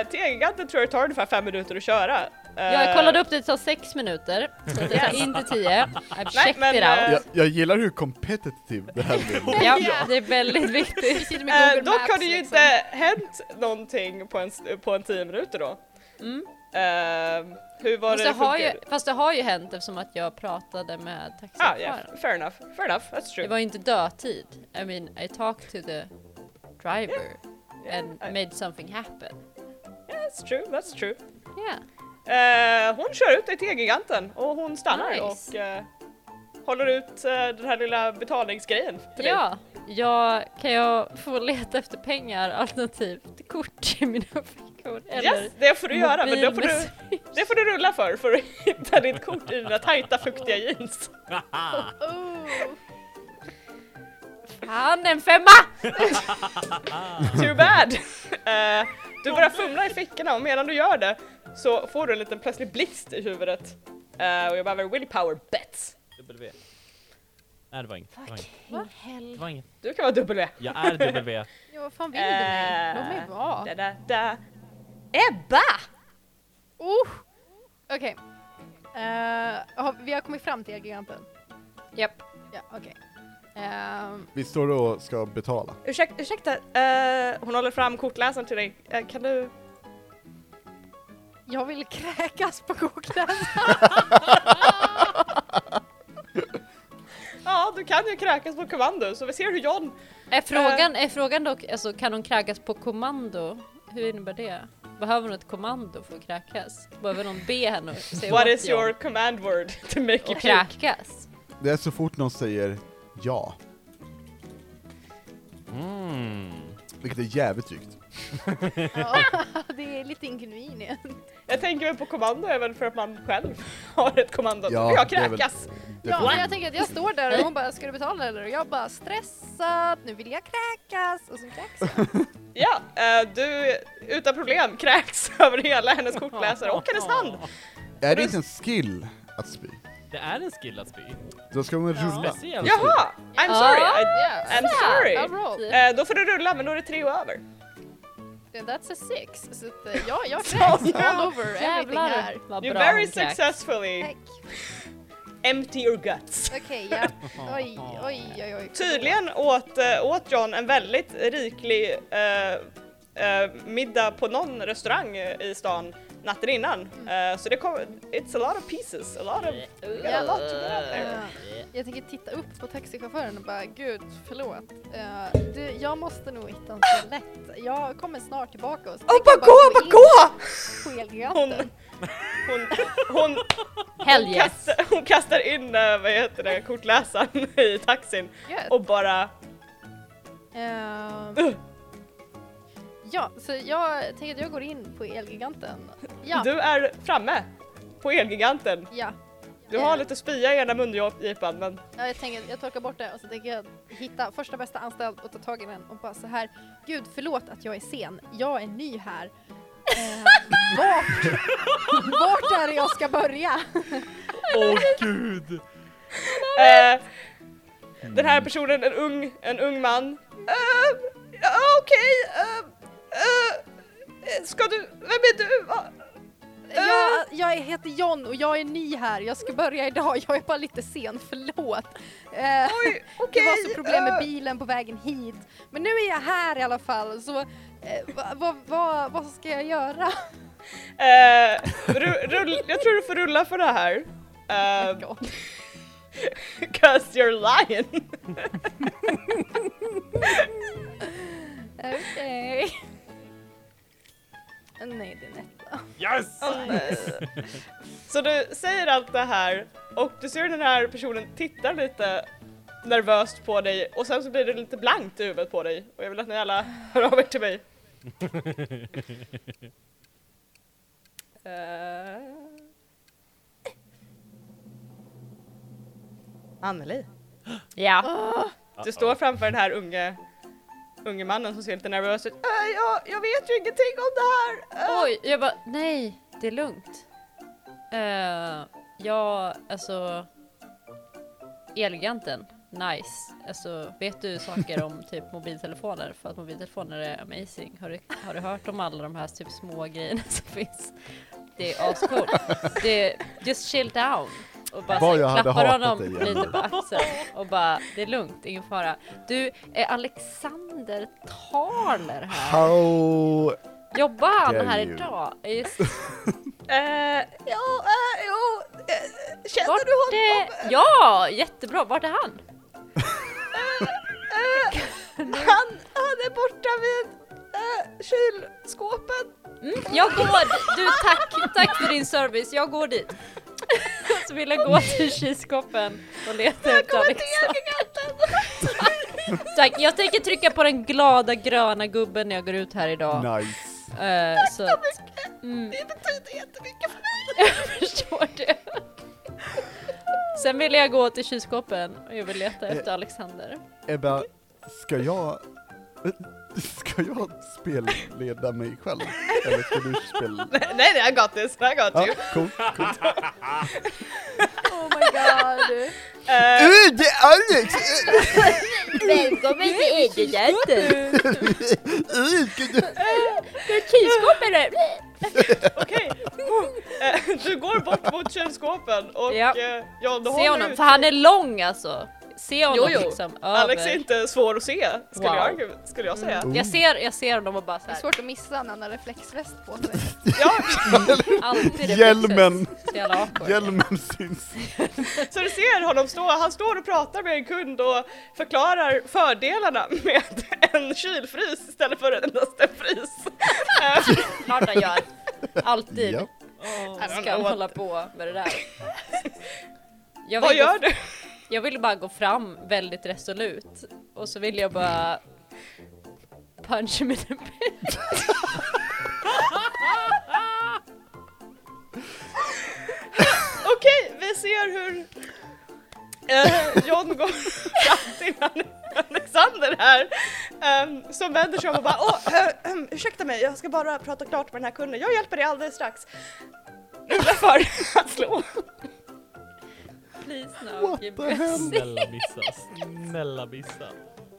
S2: Eh, till Elgiganten tror jag det tar ungefär fem minuter att köra. Eh,
S1: Jag kollade upp det, det tar sex minuter, så det tar inte tio. I've
S2: Nej,
S1: checked
S2: men,
S1: it
S2: eh,
S1: out.
S3: Jag, jag gillar hur competitive det här blir.
S1: Ja, det är väldigt viktigt.
S5: Vi sitter med Google
S2: Eh, då
S5: Maps
S2: kan det ju
S5: liksom.
S2: inte hänt någonting på en, på en tio minuter då.
S1: Mm.
S2: Eh, hur var
S1: Fast
S2: det
S1: det,
S2: det
S1: har
S2: funkar?
S1: ju, fast det har ju hänt eftersom att jag pratade med
S2: Ah,
S1: taxichauffören.
S2: yeah, fair enough, fair enough, that's true.
S1: Det var ju inte dödtid. I mean, I talked to the driver
S2: Yeah,
S1: and
S2: I-
S1: made something happen.
S2: That's true, that's true.
S1: Yeah.
S2: Eh, hon kör ut dig till giganten och hon stannar
S1: Nice.
S2: och eh, håller ut eh, den här lilla betalningsgrejen till dig.
S1: Ja, jag, kan jag få leta efter pengar alternativt kort i mina fickor? Eller
S2: Yes, det får du göra men då får
S1: mobil
S2: du,
S1: med-
S2: det får du rulla för för att hitta ditt kort i dina tajta fuktiga jeans.
S5: Oh.
S1: Fan, en femma!
S2: Too bad! Eh, du börjar fumla i fickorna och medan du gör det så får du en liten plötslig blixt i huvudet. Eh, och jag behöver willpower bets.
S4: W. Nej, det var inget. Det var inget. Det
S1: Hell.
S4: var inget.
S2: Du kan vara W.
S4: Jag är W.
S5: Ja, vad fan vill du mig? Låt mig
S2: Eh, Da,
S5: vara.
S2: da, da. Ebba!
S5: Oh. Okej. Eh, har- vi har kommit fram till giganten.
S1: Japp.
S5: Ja, okej. Ehm,
S3: Vi står och ska betala.
S2: Ursäk, ursäkta, eh, hon håller fram kortläsaren till dig. Eh, kan du...
S5: jag vill kräkas på kokläsaren.
S2: Ja, du kan ju kräkas på kommando så vi ser hur John...
S1: Är frågan,
S2: Eh.
S1: är frågan dock, alltså kan hon kräkas på kommando? Hur innebär det? Behöver hon ett kommando för att kräkas? Behöver någon be henne att säga
S2: What
S1: åt
S2: is
S1: John
S2: your command word to make you
S1: att
S2: puke?
S1: kräkas?
S3: Det är så fort någon säger ja,
S6: Mm.
S3: vilket är jävligt tryggt.
S5: Ja, det är lite inconvenient.
S2: Jag tänker väl på kommando även för att man själv har ett kommando.
S3: Ja,
S2: Ja, jag
S3: det är väl-
S2: kräkas!
S5: Ja,
S3: Definitivt.
S5: men jag tänker att jag står där och hon bara, ska du betala eller? Och jag bara, stressad, nu vill jag kräkas. Och så kräks jag.
S2: Ja, eh, du utan problem kräks över hela hennes kortläsare och hennes hand.
S3: Är det inte en skill att spy?
S4: Det är en skill att spy.
S3: Då ska man
S5: Ja.
S3: rulla.
S4: Speciellt.
S2: Jaha! I'm sorry! I,
S5: Yeah.
S2: I'm sorry!
S5: I rolled.
S2: Eh, då får du rulla men då är det tre och över.
S5: That's a six. Så att, eh, ja, jag kräks all over everything här.
S1: Jävlar vad
S2: You
S1: bra
S2: very
S1: hon kräks.
S2: successfully
S5: Tack.
S2: empty your guts.
S5: Okej, ja.
S4: alltså.
S5: Oj, oj, oj, oj.
S2: Tydligen åt, eh, åt John en väldigt riklig eh, eh, middag på någon restaurang eh, i stan natten innan. Eh, så det kom, it's a lot of pieces, a lot of, we got a lot to get out there.
S5: Eh, jag tänker titta upp på taxichauffören och bara, gud, förlåt. Eh, du, jag måste nog hitta en toalett. Jag kommer snart tillbaka och så
S2: Oh,
S5: tänker
S2: bara
S5: jag
S2: gå, bara
S5: in
S2: gå!
S5: på
S2: Hon,
S5: Elgiganten.
S2: hon, hon,
S1: Hell
S2: hon,
S1: yes!
S2: kastar, hon kastar in, eh, vad heter det, kortläsaren i taxin
S5: Gött.
S2: och bara
S5: Ehm,
S2: Ugh.
S5: ja, så jag tänker att jag går in på Elgiganten. Ja,
S2: Du är framme på Elgiganten.
S5: ja.
S2: Du har lite spya i ena mungipan men
S5: ja. Jag tänker att jag torkar bort det och så tänker jag hitta första bästa anställd och ta tag i den och bara så här. Gud, förlåt att jag är sen. Jag är ny här. Eh, vart, vart är det jag ska börja?
S4: Åh gud!
S2: eh, den här personen, en ung, en ung man. Eh, ja, Okej, eh, eh, ska du, vem är du? Va?
S5: Jag, jag heter John och jag är ny här. Jag ska börja idag. Jag är bara lite sen. Förlåt. Eh,
S2: Oj,
S5: Det
S2: okej.
S5: var så problem med
S2: eh,
S5: bilen på vägen hit. Men nu är jag här i alla fall så eh, vad va, va, vad ska jag göra?
S2: eh, ru- rull, jag tror du får rulla för det här. Eh,
S5: God.
S2: Cause you're lying.
S5: Okej. Nej det är en etta.
S6: Yes!
S2: Så du säger allt det här och du ser den här personen tittar lite nervöst på dig och sen så blir det lite blankt i huvudet på dig och jag vill att ni alla hör av er till mig. Eh, Anneli.
S1: Ja.
S2: Du står framför den här unge, unge mannen som ser lite nervös ut. Äh, jag, jag vet ju ingenting om det här! Äh.
S1: Oj, jag bara nej, det är lugnt. Eh, ja, alltså. Elgiganten, nice. Alltså, vet du saker om typ mobiltelefoner? För att mobiltelefoner är amazing. Har du, har du hört om alla de här typ små grejerna som finns? Det är ascoolt. Det, just chill down. Och bara
S3: Vad
S1: så
S3: jag hade
S1: klappar
S3: hatat
S1: honom
S3: dig,
S1: lite på axeln och bara, det är lugnt, ingen fara. Du, är Alexander Taler här?
S3: How...
S1: Jobbar
S3: Dare
S1: han här
S3: you.
S1: idag? Är just
S2: Äh, ja, äh, jo, äh, känner
S1: Vart
S2: du honom?
S1: det... Ja, jättebra. Vart är han?
S2: Eh, Han, han är borta vid äh, kylskåpet.
S1: Mm, jag går dit. Du, tack. Tack för din service. Jag går dit. Så vill jag gå till kylskåpet och leta efter Alexander. Tack. Jag tänker trycka på den glada gröna gubben när jag går ut här idag.
S3: Nice.
S1: Eh, så att, mm,
S2: Det betyder jättemycket för mig.
S1: jag förstår det. Sen vill jag gå till kylskåpet och jag vill leta efter Alexander.
S3: Ebba, ska jag... Ska jag spelleda mig själv? Eller ska du spela...
S2: Nej, nej, I got this, I got
S3: Ja,
S2: you.
S3: coolt, coolt.
S5: Oh my god.
S2: Eh,
S3: Uh, det är Alex! Eh,
S1: Välkommen till Elgiganten!
S3: Uh, gud.
S1: Kylskåpet!
S2: Okej. Eh, du går bort mot kylskåpen och
S1: Ja.
S2: eh, ja, du
S1: Se
S2: håller
S1: honom,
S2: ut.
S1: för han är lång alltså. Se honom
S2: jo.
S1: liksom
S2: Alex är
S1: över.
S2: inte svår att se, skulle,
S1: Wow. Mm.
S2: jag, skulle jag säga.
S3: Oh.
S1: Jag ser, jag ser honom och bara
S5: Det är
S1: såhär,
S5: svårt att missa när han har reflexväst på sig.
S2: Ja,
S1: alltid reflexer.
S3: Hjälmen.
S1: Så jävla awkward.
S3: Hjälmen syns.
S2: så du ser honom stå, han står och pratar med en kund och förklarar fördelarna med en kylfrys istället för en endast en frys.
S1: Klart han gör. Alltid
S3: Ja.
S1: ska han hålla på med det där. Jag
S2: Alltså, Vad
S1: vill,
S2: gör
S1: gå,
S2: du?
S1: jag vill bara gå fram väldigt resolut och så vill jag bara punch him in the face.
S2: Okej, vi ser hur eh, John går fram till Anne- Alexander här, ehm, som vänder sig om och bara Åh, eh, ehm, ursäkta mig, jag ska bara prata klart med den här kunden, jag hjälper dig alldeles strax. Rulla för att slå.
S1: Please no.
S3: What
S1: give
S3: the
S1: me-
S3: hell?
S4: Snälla missa, snälla missa.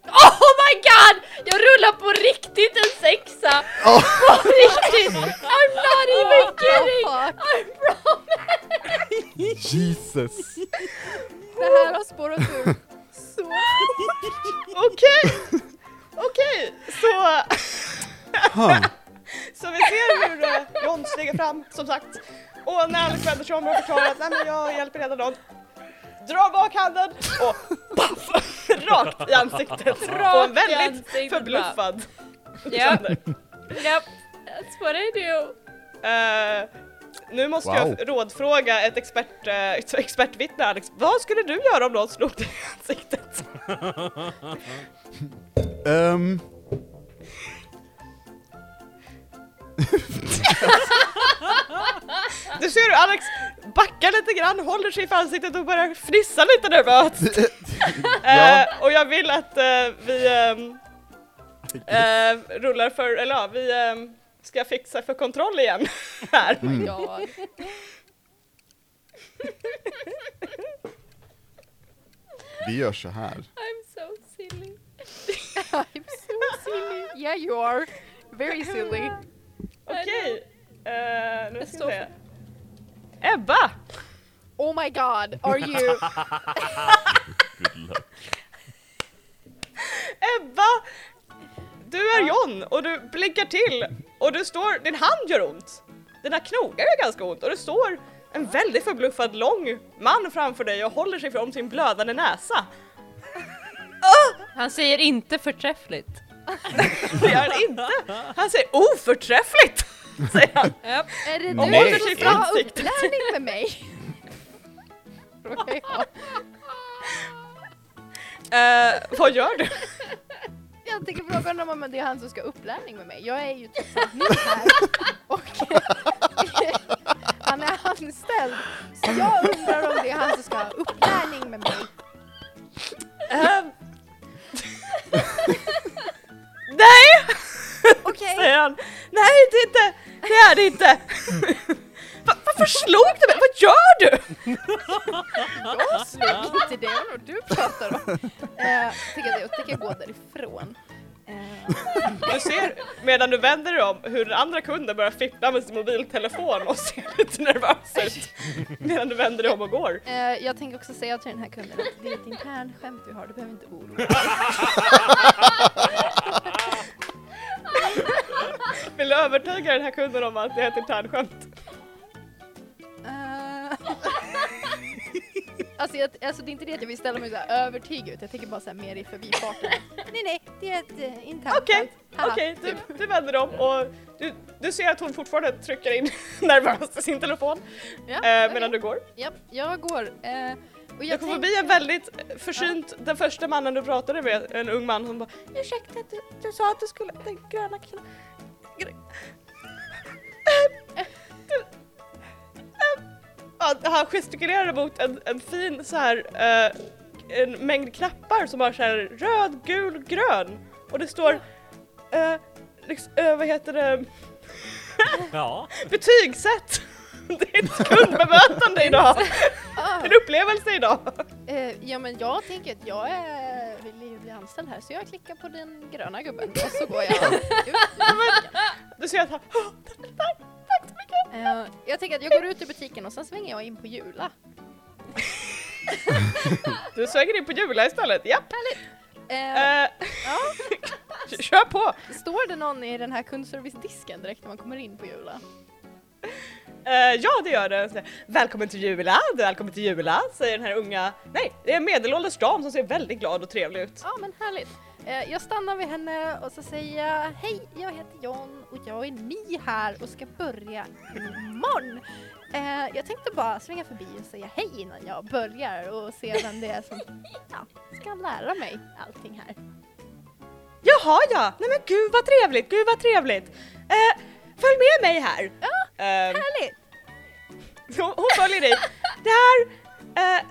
S1: Oh my god! Jag rullar på riktigt en sexa!
S3: Åh.
S1: På riktigt! I'm not even kidding!
S5: Fuck.
S1: I'm promise!
S3: Jesus.
S5: Det här har spårat ur så
S2: Okej, okej, så,
S3: Huh.
S2: så vi ser hur eh, John stiger fram, som sagt. Och när Alex vänder sig om och förklarar att nej men jag hjälper redan någon, dra bak handen och paff! Rakt i ansiktet på en
S1: i
S2: väldigt
S1: ansiktet
S2: förbluffad
S1: Ja.
S2: Alexander.
S1: Yep, that's what I do!
S2: Eh, nu måste
S3: Wow.
S2: jag rådfråga ett, expert, eh, ett expertvittne Alex. Vad skulle du göra om någon slog dig i ansiktet?
S3: Ehm.
S2: Du ser hur Alex backar lite grann, håller sig för ansiktet och börjar fnissa lite nervöst.
S3: ja.
S2: Eh, och jag vill att eh, vi ehm, eh, rullar för, eller ja, vi ehm, ska fixa för kontroll igen här.
S1: Mm.
S5: jag.
S3: Vi gör så här.
S1: I'm so silly.
S5: I'm so silly. Yeah you are. Very silly.
S2: Okej, eh, nu ska
S1: står
S2: vi se. Ebba!
S5: Oh my god, are you?
S6: Good luck.
S2: Ebba! Du är John och du blinkar till och du står, din hand gör ont. Dina knogar gör ganska ont och det står en väldigt förbluffad lång man framför dig och håller sig från sin blödande näsa.
S1: Han säger inte förträffligt.
S2: Det gör han inte. Han säger oförträffligt! Säger han.
S1: Yep.
S5: Är det
S3: Nej,
S5: du som
S2: sitt
S5: ska ha
S2: ansikte.
S5: upplärning med mig? Råkar jag.
S2: Eh, vad gör du?
S5: Jag tänker fråga honom om det är han som ska ha upplärning med mig. Jag är ju trots allt ny här. Och han är anställd. Så jag undrar om det är han som ska ha upplärning med mig.
S2: Ehm,
S5: Okej,
S2: säger han. Nej det är inte, det är det inte. Va, varför slog du mig? Vad gör du?
S5: jag slog inte det, det var vad du pratar om. Eh, tänker att jag tänker gå därifrån. Eh,
S2: Du ser medan du vänder dig om hur den andra kunden börjar fippla med sin mobiltelefon och ser lite nervös ut medan du vänder dig om och går.
S5: eh, jag tänker också säga till den här kunden att det är ett internt skämt vi har, du behöver inte oroa dig.
S2: Vill du övertyga den här kunden om att det är ett internskämt?
S5: Eh, alltså, jag, alltså det är inte det att jag vill ställa mig så här övertygad ut, jag tänker bara så här mer i förbifarten. Nej nej, det är ett eh, internt
S2: Okej,
S5: skämt. Haha. typ.
S2: Okej, du, du vänder dig om och du, du ser att hon fortfarande trycker in nervöst sin telefon
S5: Ja,
S2: eh,
S5: okej.
S2: medan du går.
S5: Japp, jag går. Eh, och
S2: Du
S5: jag
S2: kommer
S5: tänk-
S2: förbi en väldigt eh, försynt, den första mannen du pratade med, en ung man som bara Ursäkta, du, du sa att du skulle, den gröna killen. Gr- Ehm, du- ehm." Ja, Han gestikulerar mot en, en fin så här eh, en mängd knappar som har så här röd, gul, grön och det står eh, liksom, eh, vad heter det,
S4: Ja.
S2: betygsätt! Det är ett kundbemötande idag,
S5: Ah,
S2: en upplevelse idag!
S5: eh, ja men jag tänker att jag är, vill ju bli anställd här så jag klickar på den gröna gubben och så går jag.
S2: Du ser att han
S5: Eh, jag tänker att jag går ut ur butiken och sen svänger jag in på Jula.
S2: Du svänger in på Jula istället, japp!
S5: Eh,
S2: Eh,
S5: ja,
S2: kör på!
S5: står det någon i den här kundservicedisken direkt när man kommer in på Jula?
S2: Eh, ja, det gör det. Så, Välkommen till Jula, välkommen till Jula, säger den här unga, nej, det är en medelålders dam som ser väldigt glad och trevlig ut.
S5: Ja men härligt. Eh, jag stannar vid henne och så säger jag Hej, jag heter John och jag är ny här och ska börja imorgon. Eh, jag tänkte bara svänga förbi och säga hej innan jag börjar och se vem det är som ja, ska lära mig allting här.
S2: Jaha ja, nej men gud vad trevligt, gud vad trevligt! Eh, följ med mig här! Ja,
S5: Härligt!
S2: hon, hon följer dig. Det här, eh,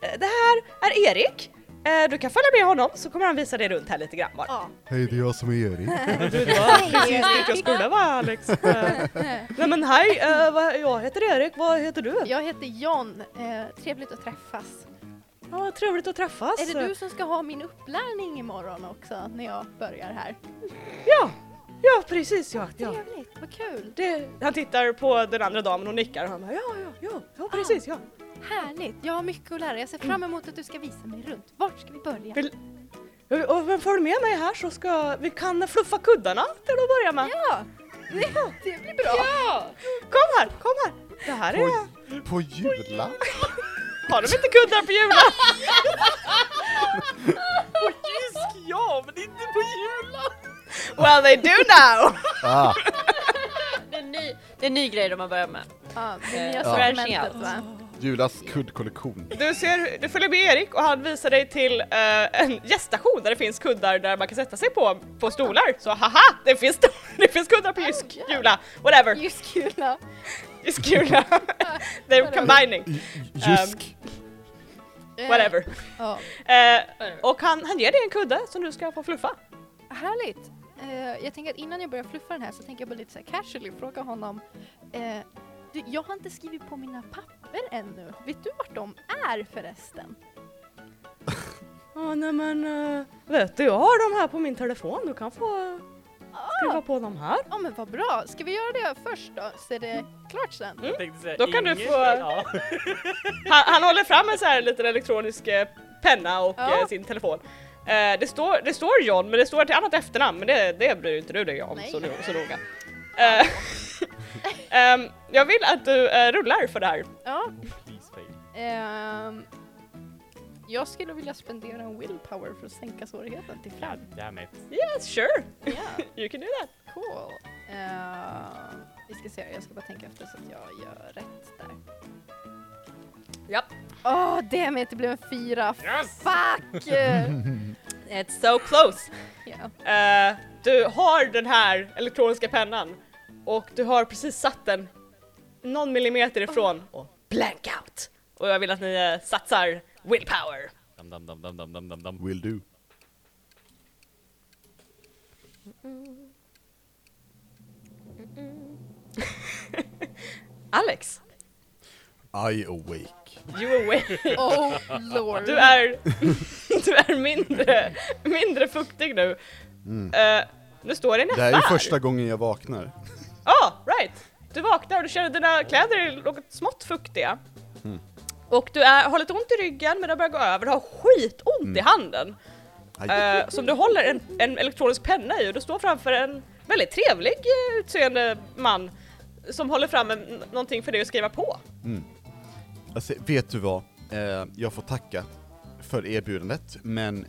S2: det här är Erik, eh, du kan följa med honom så kommer han visa dig runt här lite grann bara.
S5: Ja.
S3: Hej, det är jag som är Erik.
S2: Du var precis dit jag skulle vara Alex. Eh, Nej men hej, eh, vad- jag heter Erik, vad heter du?
S5: Jag heter John, eh, trevligt att träffas.
S2: Ja, trevligt att träffas.
S5: Är det du som ska ha min upplärning imorgon också när jag börjar här?
S2: Ja, ja precis ja. ja.
S5: Trevligt, vad kul!
S2: Det, han tittar på den andra damen och nickar och han bara ja, ja, ja,
S5: Ah.
S2: ja precis ja.
S5: Härligt, jag har mycket att lära. Jag ser fram emot att du ska visa mig runt. Vart ska vi börja?
S2: Vill- Och- Och men följ med mig här så ska vi kan fluffa kuddarna till att börja med.
S5: Ja, det, det blir bra.
S2: Kom här, kom här. Det här är...
S3: På, på Jula?
S2: Har de inte kuddar på julen?
S4: Tysk ja, men inte på julen!
S2: Well they do now!
S3: Ah,
S1: Det är en ny, det är en ny grej de har börjat med.
S5: Ja, det
S1: Eh,
S5: nya
S1: ja.
S5: sortimentet va?
S3: Julas kuddkollektion.
S2: Du, ser, du följer med Erik och han visar dig till eh, en gäststation där det finns kuddar där man kan sätta sig på, på stolar. Så haha, det finns, sto- det finns kuddar på Jysk
S5: ja.
S2: Jula. Whatever,
S5: Just kul.
S2: Jysk Jula. They're combining.
S3: Jysk.
S2: Whatever.
S5: Ja.
S2: Eh, och han, han ger dig en kudde som du ska få fluffa.
S5: Härligt. Eh, jag tänker att innan jag börjar fluffa den här så tänker jag bara lite så här casually fråga honom. eh, du, jag har inte skrivit på mina papper ännu. Vet du vart de är förresten?
S2: Ja, nej men eh, vet du, jag har de här på min telefon. Du kan få skriva på de här.
S5: Ja men vad bra. Ska vi göra det först då så är det klart sen?
S4: Jag tänkte säga
S2: Mm. Då kan du
S4: ingen-
S2: få-
S4: Ja.
S2: Han, han håller fram en så här liten elektronisk eh, penna och
S5: Ja.
S2: eh, sin telefon. Eh, det, står, det står John, men det står ett annat efternamn, men det, det bryr inte du dig om
S5: Nej.
S2: så, no- så noga. Eh, ehm, jag vill att du eh, rullar för det här.
S5: Ja.
S4: Please fail.
S5: ehm, jag skulle vilja spendera en willpower för att sänka svårigheten till fram.
S4: Damn it.
S2: Yes, sure,
S5: Ja.
S2: you can do that.
S5: Cool. Eh, vi ska se, jag ska bara tänka efter så att jag gör rätt där.
S1: Japp.
S5: Åh, damn it, det blev en fyra.
S4: Yes!
S5: Fuck!
S2: It's so close.
S5: ja.
S2: Eh, du har den här elektroniska pennan och du har precis satt den någon Oh. millimeter ifrån och blackout. Och jag vill att ni eh, satsar willpower.
S4: Ja,
S6: Dam, dam, dam, dam, dam, dam, dam, dam.
S3: Will do.
S2: Alex,
S3: I awake.
S2: you away.
S5: Oh lord.
S2: Du är, du är mindre, mindre fuktig nu.
S3: Mm.
S2: Eh, nu står det
S3: Det
S2: nästa
S3: här är ju första gången jag vaknar.
S2: Ja, right! Du vaknar och du känner att dina kläder är något smått fuktiga.
S3: Mm.
S2: Och du är, har lite ont i ryggen men det börjar gå över, du har skitont
S3: Mm.
S2: i handen.
S3: Aj.
S2: Eh, som du håller en, en elektronisk penna i och du står framför en väldigt trevlig eh, utseende man som håller fram en, n- någonting för dig att skriva på.
S3: Alltså, vet du vad? Eh, jag får tacka för erbjudandet, men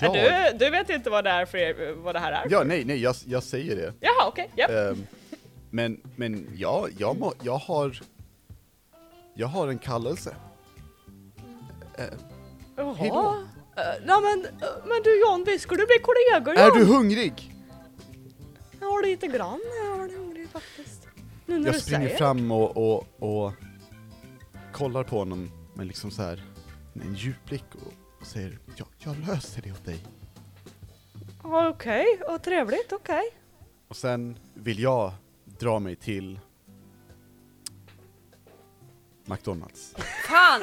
S3: jag...
S2: Eh, Du, du vet inte vad det, är för er, vad det här är?
S3: Ja, nej, nej, jag, jag säger det.
S2: Jaha, okej. ja.
S3: Ehm, men, men ja, jag, må, jag har... Jag har en kallelse. hej då.
S2: Jaha. Eh, nej men, eh, men du John, vi skulle bli kollegor
S3: Är
S2: John.
S3: du hungrig?
S2: Ja lite grann jag var hungrig faktiskt. Nu när
S3: Jag
S2: du
S3: springer
S2: säger
S3: fram och, och, och kollar på honom med liksom så här med en djup blick och, och säger ja, jag löser det åt dig.
S2: Ja, Okej, ja, trevligt, okej.
S3: Och sen vill jag dra mig till McDonalds.
S1: Fan!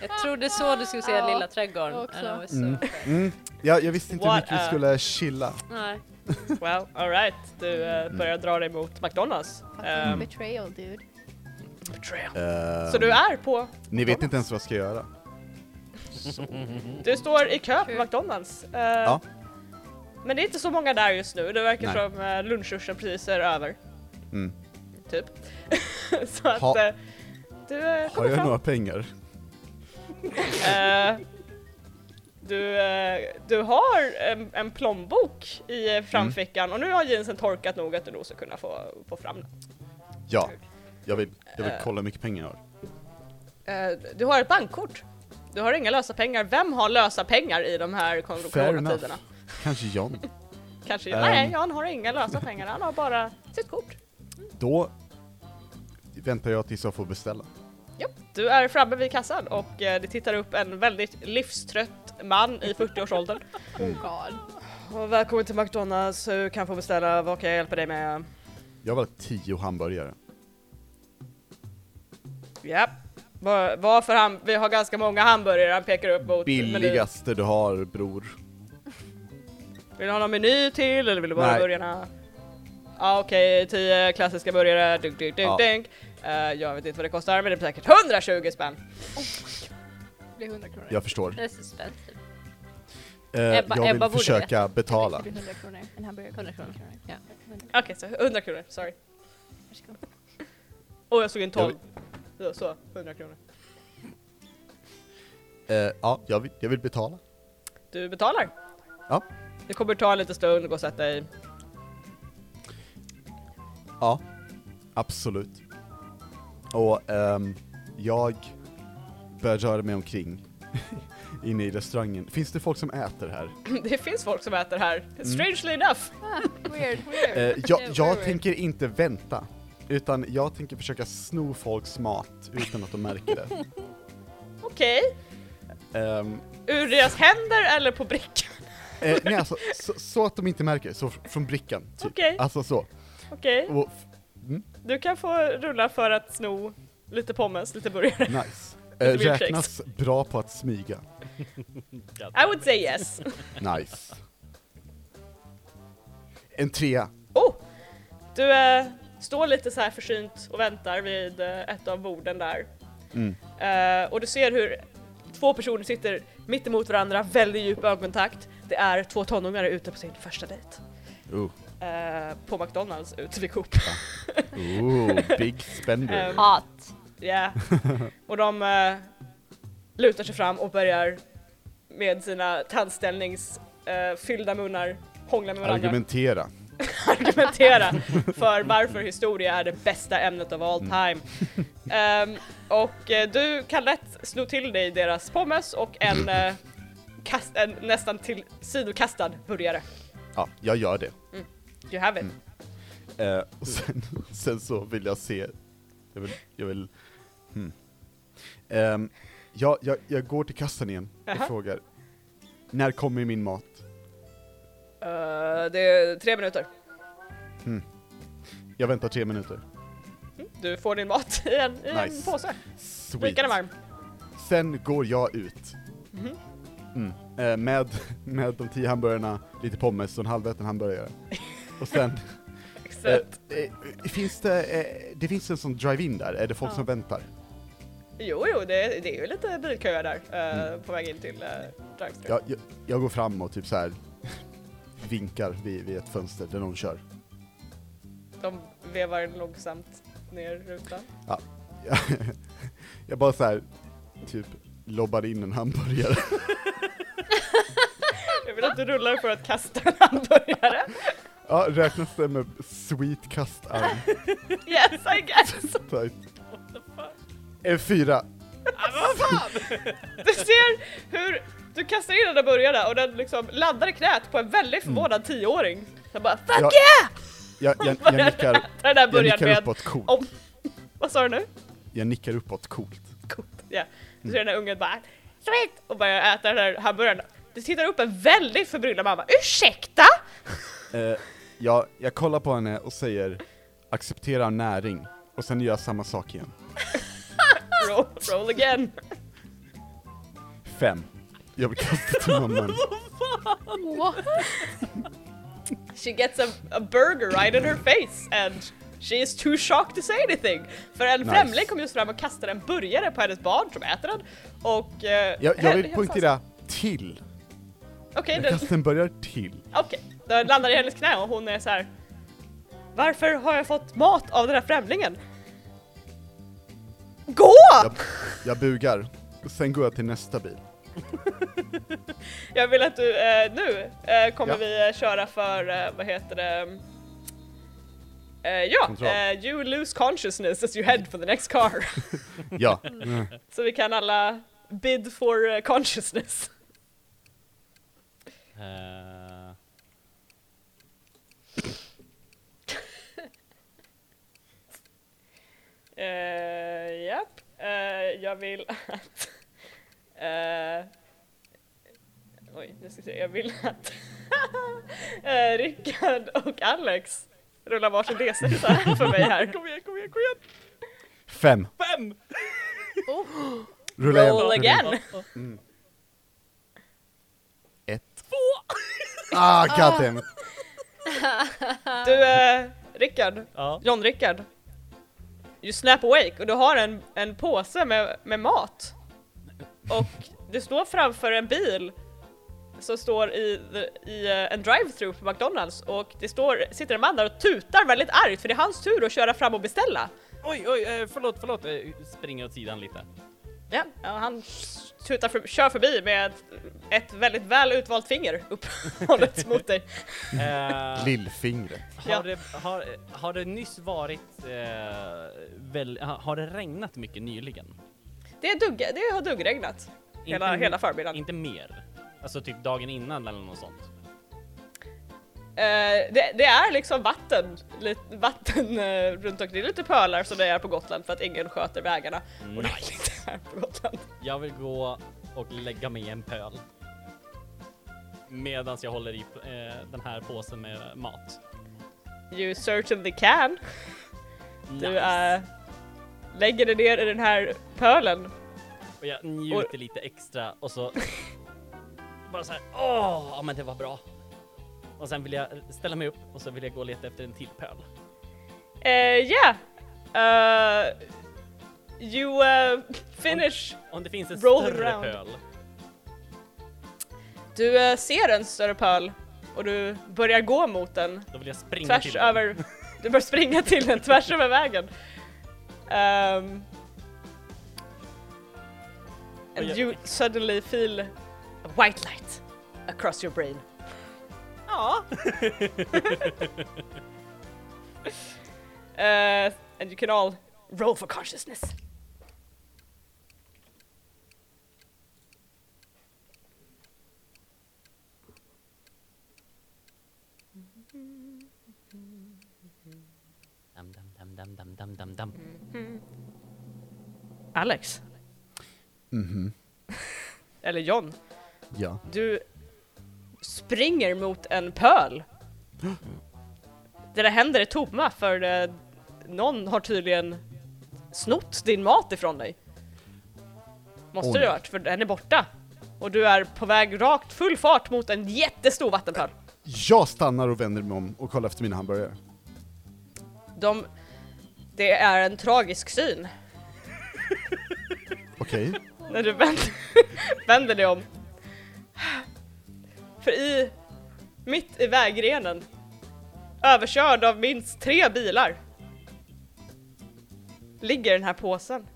S1: Jag trodde så du skulle säga
S5: Ja,
S1: Lilla trädgården.
S5: jag också.
S1: And I was so
S3: Mm.
S1: afraid.
S3: Mm. Ja, jag visste inte hur
S2: What
S3: mycket vi
S2: a-
S3: skulle chilla.
S1: Nej.
S2: Well, alright. Du eh,
S3: Mm.
S2: börjar dra dig mot McDonalds.
S5: Fucking
S2: Ehm,
S5: betrayal dude.
S2: så du är på,
S3: Ni vet inte ens vad jag ska göra.
S2: du står i kö på
S5: Kul.
S2: McDonalds. Eh,
S3: Ja.
S2: Men det är inte så många där just nu, det verkar
S3: Nej.
S2: som uh, lunchruschen precis är över.
S3: Mm.
S2: Typ. så att
S3: Ha-
S2: eh, du eh,
S3: Har
S2: kommer
S3: jag
S2: fram.
S3: några pengar?
S2: Eh, du, eh, du har en, en plånbok i eh, framfickan och nu har jeansen torkat nog att du nog ska kunna få, få fram den.
S3: Ja. Jag vill, jag vill
S2: Eh.
S3: kolla hur mycket pengar jag har.
S2: Eh, du har ett bankkort. Du har inga lösa pengar. Vem har lösa pengar i de här kon-
S3: Fair
S2: coronatiderna?
S3: Kanske John.
S2: Kanske,
S3: Ehm.
S2: Nej, Jan har inga lösa pengar. Han har bara sitt kort.
S3: Då väntar jag tills jag får beställa.
S2: Du är framme vid kassan och eh, det tittar upp en väldigt livstrött man i 40-årsåldern.
S5: Oh god.
S2: Och välkommen till McDonalds. Du kan få beställa. Vad kan jag hjälpa dig med?
S3: Jag vill ha tio hamburgare.
S2: Ja. Va- Vad för ham- Vi har ganska många hamburgare han pekar upp mot.
S3: Billigaste du har bror.
S2: Vill du ha någon meny till eller vill du bara
S3: Nej.
S2: ha burgarna? Ja okej, 10 klassiska burgare, dunk dunk dunk
S3: Ja.
S2: dunk. Eh, jag vet inte vad det kostar men det blir säkert 120 spänn.
S5: Det är 100 kronor.
S3: Jag förstår.
S1: Det är så spännande.
S3: Eh,
S1: Ebba- Ebba
S3: jag vill
S1: borde
S3: försöka
S5: Det
S3: betala.
S5: blir 100 kronor. En hamburgare kostar
S1: 100 kronor.
S5: 100 kronor.
S1: Ja.
S5: 100.
S2: Okej så 100 kronor, sorry.
S5: Varsågod.
S2: Åh jag såg en 12. Så, så, 100 kronor.
S3: Eh, ja, jag vill, jag vill betala.
S2: Du betalar.
S3: Ja.
S2: Det kommer ta en liten stund, gå och sätta dig.
S3: Ja, absolut. Och ehm, jag börjar röra mig omkring inne i restaurangen. Finns det folk som äter här?
S2: det finns folk som äter här.
S3: Mm.
S2: Strangely enough.
S5: Weird.
S3: Eh, jag,
S1: Det är
S3: jag
S1: weird.
S3: tänker inte vänta, utan jag tänker försöka sno folks mat utan att de märker det.
S2: Okej.
S3: Ehm,
S2: Ur deras händer eller på brickan?
S3: eh, nej alltså, så, så att de inte märker, så fr- från brickan. Typ.
S2: Okej.
S3: Alltså så.
S2: Okej.
S3: Och, f-
S2: Du kan få rulla för att sno lite pommes, lite burgare.
S3: nice. Eh,
S2: milkshakes.
S3: räknas bra på att smyga.
S2: I would say yes.
S3: Nice. En trea.
S2: Oh! Du eh, står lite så här försynt och väntar vid eh, ett av borden där.
S3: Mm.
S2: Eh, och du ser hur två personer sitter mitt emot varandra, väldigt djup ögonkontakt. Det är två tonåringar ute på sin första dejt.
S3: Oh.
S2: Eh, på McDonalds ute vid Coop.
S3: Ooh, Oh, big spender.
S2: Ehm,
S1: Hat.
S2: Ja. Och de eh, lutar sig fram och börjar med sina tandställningsfyllda fyllda munnar hångla med varandra.
S3: Argumentera.
S2: argumentera för varför historia är det bästa ämnet av all
S3: Mm.
S2: time. Ehm, och eh, du kan lätt sno till dig deras pommes och en,
S3: Mm.
S2: eh, kast, en nästan till sidokastad burgare.
S3: Ja, jag gör det.
S2: You have
S3: Mm.
S2: it.
S3: Eh, och sen, sen så vill jag se, jag vill, jag vill hmm. Ehm, Jag, jag, jag går till kassan igen och
S2: Jaha.
S3: frågar. När kommer min mat?
S2: Eh, det är tre minuter.
S3: Jag väntar tre minuter.
S2: Du får din mat i en, i
S3: Nice.
S2: en påse.
S3: Sweet.
S2: Rikande varm.
S3: Sen går jag ut.
S2: Mhm.
S3: Mm. Eh, med, med de tio hamburgarna, lite pommes och en halvätten hamburgare. Och sen, eh,
S2: Exakt.
S3: eh, finns det, eh, det finns en sån drive-in där, är det folk
S2: Ja.
S3: som väntar?
S2: Jo, jo, det, det är ju lite bilköer där eh,
S3: Mm.
S2: på väg in till uh, Drive-thru.
S3: Jag, jag, jag går fram och typ så här vinkar vid, vid ett fönster där någon kör.
S2: De vevar långsamt ner rutan.
S3: Jag bara så här typ lobbar in en hamburgare.
S2: Jag vill att du rullar för att kasta en hamburgare.
S3: ja, räknas det med sweet kastarm?
S2: Yes, I guess!
S3: Tight. En fyra.
S2: Du ser hur du kastar in den där burgaren och den liksom landar i knät på en väldigt förvånad tioåring. Den bara fuck
S3: Mm. Jag, jag, jag, jag nickar,
S2: den där
S3: jag
S2: burgaren
S3: nickar
S2: med... Oh.
S3: uppåt coolt.
S2: Om- Vad sa du nu?
S3: Jag nickar uppåt coolt.
S2: Coolt. Ja. Du
S3: Mm.
S2: ser den där ungen bara Sweet! och börjar äta den där hamburgaren. Du tittar upp en väldigt förbryllad mamma. Ursäkta?
S3: Eh, jag, jag kollar på henne och säger acceptera näring och sen gör jag samma sak igen.
S2: Roll, roll again.
S3: Fem. Jag vill kasta till mamman.
S5: What?
S2: She gets a, a burger right in her face and she is too shocked to say anything. För en
S3: Nice.
S2: främling kom just fram och kastade en burgare på hennes barn som äter den. Och... eh,
S3: Jag, jag vill
S2: hen-
S3: poängtera till.
S2: Okej,
S3: Jag
S2: den,
S3: kastar en börjar till.
S2: okej. den landar i hennes knä och hon är så här. Varför har jag fått mat av den här främlingen? Gå!
S3: Jag, jag bugar. Och sen går jag till nästa bil.
S2: Jag vill att du eh, nu eh, kommer
S3: Ja.
S2: vi eh, köra för, eh, vad heter det? Eh, ja,
S3: Kontroll.
S2: eh, you lose consciousness as you head for the next car.
S3: Ja. Mm.
S2: Så vi kan alla bid for eh, consciousness.
S4: Eh,
S2: Eh, japp. Eh, jag vill att... eh, oj, nu ska vi se. Jag vill att eh, Rickard och Alex rullar varsin D6 här för mig här. Kom igen, kom igen, kom igen!
S3: Fem.
S4: Fem!
S3: Rulla igen.
S2: Roll
S3: Rulla igen.
S2: again!
S3: Ett. Ah, goddammit.
S2: Du, eh, Rickard,
S4: Ja.
S2: John Rickard. You snap awake och du har en, en påse med, med mat. Och du står framför en bil som står i, the- i eh, en drive-through på McDonalds och det står, sitter en man där och tutar väldigt argt för det är hans tur att köra fram och beställa.
S4: Oj, oj, eh, förlåt, förlåt. Eh, Springer åt sidan lite.
S2: Ja, ja, han tutar för, kör förbi med ett, ett väldigt väl utvalt finger upphållet mot dig.
S4: Eh,
S3: Lillfingret.
S2: Ja.
S4: Har det, har, har det nyss varit, eh, väl, ha- har det regnat mycket nyligen?
S2: Det, är dugg, det har duggregnat hela,
S4: Inte-
S2: hela förmiddagen.
S4: Inte mer? Alltså typ dagen innan eller något sånt?
S2: Eh, det, det är liksom vatten, lite vatten eh, runt omkring. Det är lite pölar som det är på Gotland för att ingen sköter vägarna. Och det är
S4: Nej.
S2: lite här på Gotland.
S4: Jag vill gå och lägga mig i en pöl. Medan jag håller i eh, den här påsen med mat.
S2: You certainly can. Du eh, lägger dig ner i den här pölen.
S4: Och jag njuter lite extra och så bara så här, åh, ja, men det var bra. Och sen vill jag ställa mig upp och så vill jag gå och leta efter en till pöl.
S2: Eh, yeah! Eh, you eh, finish.
S4: Om det finns en
S2: Roll
S4: större
S2: around.
S4: pöl.
S2: Du eh, ser en större pöl och du börjar gå mot den.
S4: Då vill jag springa
S2: tvärs
S4: till den.
S2: över, du bör springa till den tvärs över vägen. Um,
S4: Och
S2: and
S4: jag-
S2: you suddenly feel a white light across your brain. Ja. uh, and you can all roll for consciousness.
S4: Dam, Mm. dam, dam, dam, dam, dam, dam.
S2: Alex,
S3: Mhm,
S2: eller John,
S3: ja.
S2: du springer mot en pöl. Där det händer är tomma för eh, någon har tydligen snott din mat ifrån dig. Måste
S3: Oj.
S2: du ha hört, för den är borta. Och du är på väg rakt full fart mot en jättestor vattenpöl.
S3: Jag stannar och vänder mig om och kollar efter mina hamburgare.
S2: De, det är en tragisk syn
S3: Okej.
S2: när du vänder, vänder dig om. För i, mitt i vägrenen, överkörd av minst tre bilar, ligger den här påsen.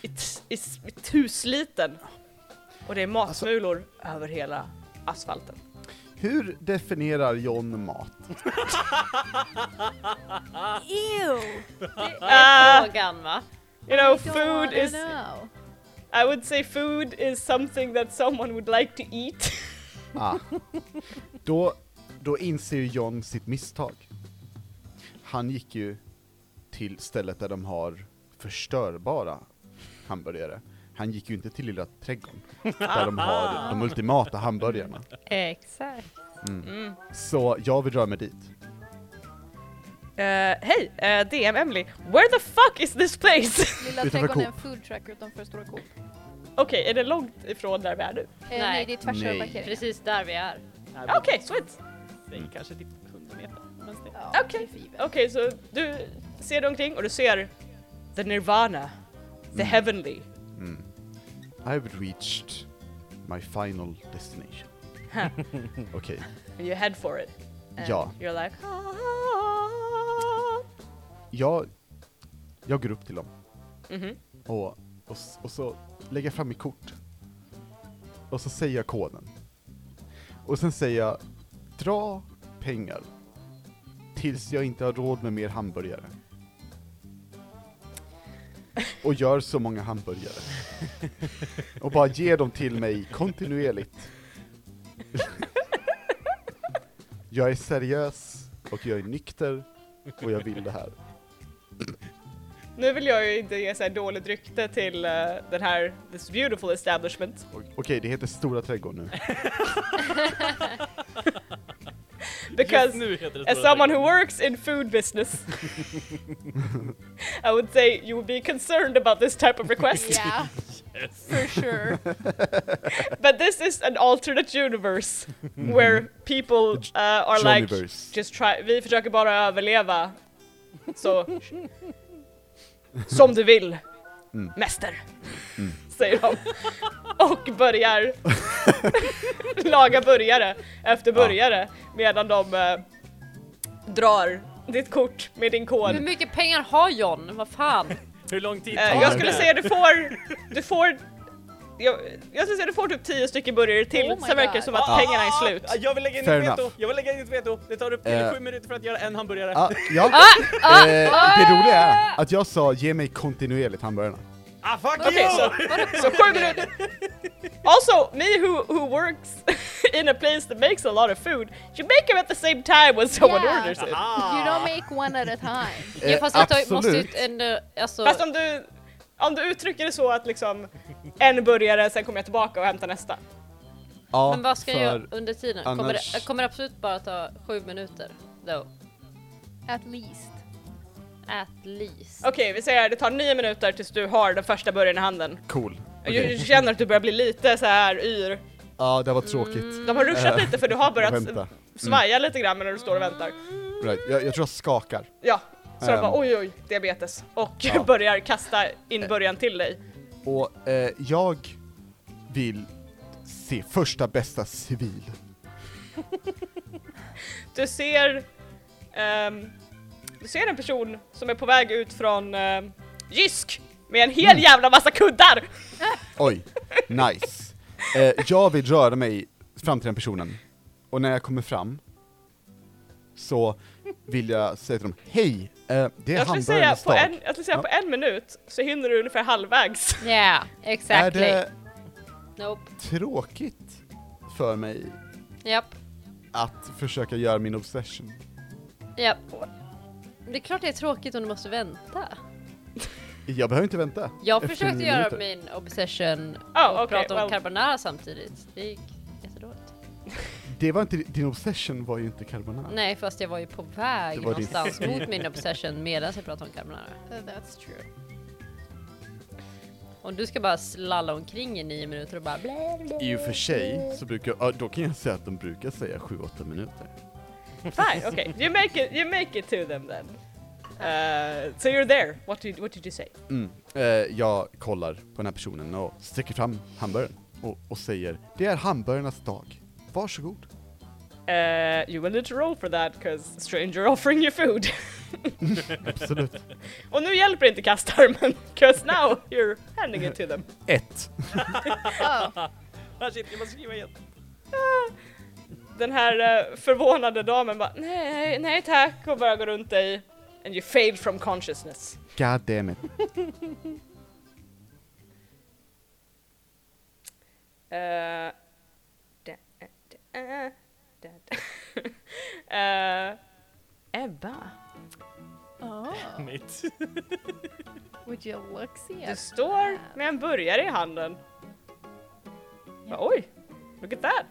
S2: I, t- i, s- i tusliten. Och det är matsmulor över hela asfalten.
S3: Hur definierar John mat?
S5: Ew!
S1: Det är
S2: Ah.
S1: frågan va?
S2: You know, food is...
S5: Know.
S2: I would say food is something that someone would like to eat.
S3: Ah. Då, då inser ju John sitt misstag. Han gick ju till stället där de har förstörbara hamburgare. Han gick ju inte till lilla trädgården, där de har de ultimata hamburgarna.
S1: Exakt.
S3: Mm.
S2: Mm.
S3: Så jag vill röra mig dit.
S2: Eh, Hej, eh, DM Emily. Where the fuck is this place?
S5: Lilla
S3: Utanför
S5: trädgården är en
S3: Coop.
S5: food truck utanför Stora Coop. Eh,
S2: Okej, är det långt ifrån där vi är nu?
S5: nej.
S1: Nej.
S5: det är tvärs
S3: Nej.
S5: över parkeringen.
S1: Precis där vi är.
S2: Ja, Okej, sweet.
S4: Säg kanske typ 100 meter. men det-
S5: Ja,
S2: Okej.
S5: det är fiber.
S2: Okej, så du ser dig omkring och du ser the nirvana, the
S3: Mm.
S2: heavenly.
S3: Mm. I've reached my final destination.
S2: Huh.
S3: Okej,
S2: And you head for it. And
S3: Ja.
S2: You're like... "Ah."
S3: jag, jag går upp till dem
S2: Mhm.
S3: och, och, s- och så lägger jag fram mitt kort. Och så säger jag koden. Och sen säger jag, dra pengar tills jag inte har råd med mer hamburgare. Och gör så många hamburgare. Och bara ger dem till mig kontinuerligt. Jag är seriös och jag är nykter och jag vill det här.
S2: Nu vill jag ju inte ge så här dåligt rykte till eh, den här, this beautiful establishment.
S3: Och- Okej, det heter Stora Trädgården nu.
S2: Because
S4: Just nu heter det
S2: As
S4: Stora
S2: someone who
S4: Trädgården.
S2: works in food business, I would say you would be concerned about this type of request.
S5: Yeah, for sure.
S2: But this is an alternate universe where people uh, are like,
S3: Johnnyverse.
S2: just try, vi försöker bara överleva. Så, som du vill,
S3: Mm.
S2: mäster,
S3: Mm.
S2: säger de. Och börjar laga burgare efter
S3: Ja.
S2: burgare medan de eh, drar ditt kort med din kod.
S1: Hur mycket pengar har John? Vad fan?
S4: Hur lång tid
S2: Eh,
S4: tar
S2: jag
S4: det?
S2: skulle säga du får, du får, jag, jag skulle säga du får typ 10 stycken burgare till,
S5: Oh my
S2: sen verkar det
S5: God.
S2: som att
S4: Ah,
S2: pengarna är slut.
S4: ah, Jag vill lägga in
S3: Fair
S4: ett veto!
S3: enough.
S4: Jag vill lägga in ett veto! Det tar upp
S3: Eh.
S4: till sju minuter för att göra en hamburgare.
S3: Ah, ja.
S1: Ah,
S3: eh, det roliga är att jag sa ge mig kontinuerligt hamburgarna.
S4: Ah, fuck
S2: Okej,
S4: you!
S2: så, så sju minuter. Also, me who, who works in a place that makes a lot of food, you make them at the same time when someone
S5: Yeah.
S2: orders
S3: Ah.
S2: it.
S5: You don't make one at a time.
S1: Ja, fast
S3: Eh,
S1: jag tar, måste
S3: absolut.
S1: ut en... eh, Alltså,
S2: Fast om du, om du uttrycker det så att liksom en burgare, sen kommer jag tillbaka och hämtar nästa.
S3: Ja,
S1: men vad ska jag göra
S3: för-
S1: under tiden? Kommer, det,
S3: annars-
S1: jag kommer absolut bara ta sju minuter. Though.
S5: At least.
S1: At least.
S2: Okej, vi säger det tar nio minuter tills du har den första burgaren i handen.
S3: Cool.
S2: Du
S3: Okej.
S2: du känner att du börjar bli lite så här yr.
S3: Ja, det var tråkigt.
S1: Mm.
S2: De har ruschat
S3: Eh,
S2: lite för du har
S3: Jag
S2: börjat
S3: Vänta. Mm.
S2: svaja lite grann när du står och väntar.
S3: Right. Jag, jag tror jag skakar.
S2: Ja, så de
S3: Ehm.
S2: bara oj oj, diabetes. Och
S3: Ja.
S2: börjar kasta in början till dig.
S3: Och eh, jag vill se första bästa civil.
S2: Du ser, ehm, du ser en person som är på väg ut från um, Jysk med en hel
S3: Mm.
S2: jävla massa kuddar!
S3: Oj, nice. Eh, jag vill röra mig fram till den personen. Och när jag kommer fram så vill jag säga till dem, hej, eh, det är
S2: Jag skulle säga,
S3: hamburgarnas
S2: på
S3: dag.
S2: en, jag skulle säga på en minut så hinner du ungefär halvvägs.
S1: Yeah,
S3: Är
S1: exactly.
S3: det
S1: Nope.
S3: tråkigt för mig
S1: Japp.
S3: att försöka göra min obsession.
S1: Japp. Det är klart det är tråkigt om du måste vänta.
S3: Jag behöver inte vänta.
S1: Jag
S3: Efter
S1: försökte
S3: nio
S1: göra
S3: minuter.
S1: min obsession
S2: Oh,
S1: och
S2: okay,
S1: prata om
S2: well.
S1: carbonara samtidigt. Det gick jättedåligt.
S3: Det var inte, din obsession var ju inte carbonara.
S1: Nej, fast jag var ju på väg
S3: Det var din
S1: någonstans
S3: speed.
S1: mot min obsession medan jag pratade om carbonara.
S5: That's true.
S1: Och du ska bara slalla omkring i nio minuter och bara blä, blä.
S3: I och för sig så brukar, ja, då kan jag säga att de brukar säga 7-8 minuter.
S2: Fine, okay. You make it, you make it to them then. Uh, so you're there. What did, what did you say?
S3: Mm. Eh, jag kollar på den här personen och sträcker fram hamburgaren och, och säger Det är hamburgarnas dag. Varsågod.
S2: Uh, you will need to roll for that because stranger offering you food.
S3: Absolut.
S2: Och nu hjälper inte kastarmen, 'cause now you're handing it to them.
S3: Ett.
S5: Oh,
S4: Ah, shit, jag måste skriva igen.
S2: Ah. Den här eh, förvånade damen bara nej, nej tack och börjar gå runt dig. And you fade from consciousness.
S3: God damn it.
S2: Eh, da, eh, da, eh, da, da. Eh, Ebba,
S1: Ah.
S5: oh.
S4: Mitt.
S5: Would you look see
S2: du
S5: it?
S2: står med en burgare i handen. Bara, Oj, look at that!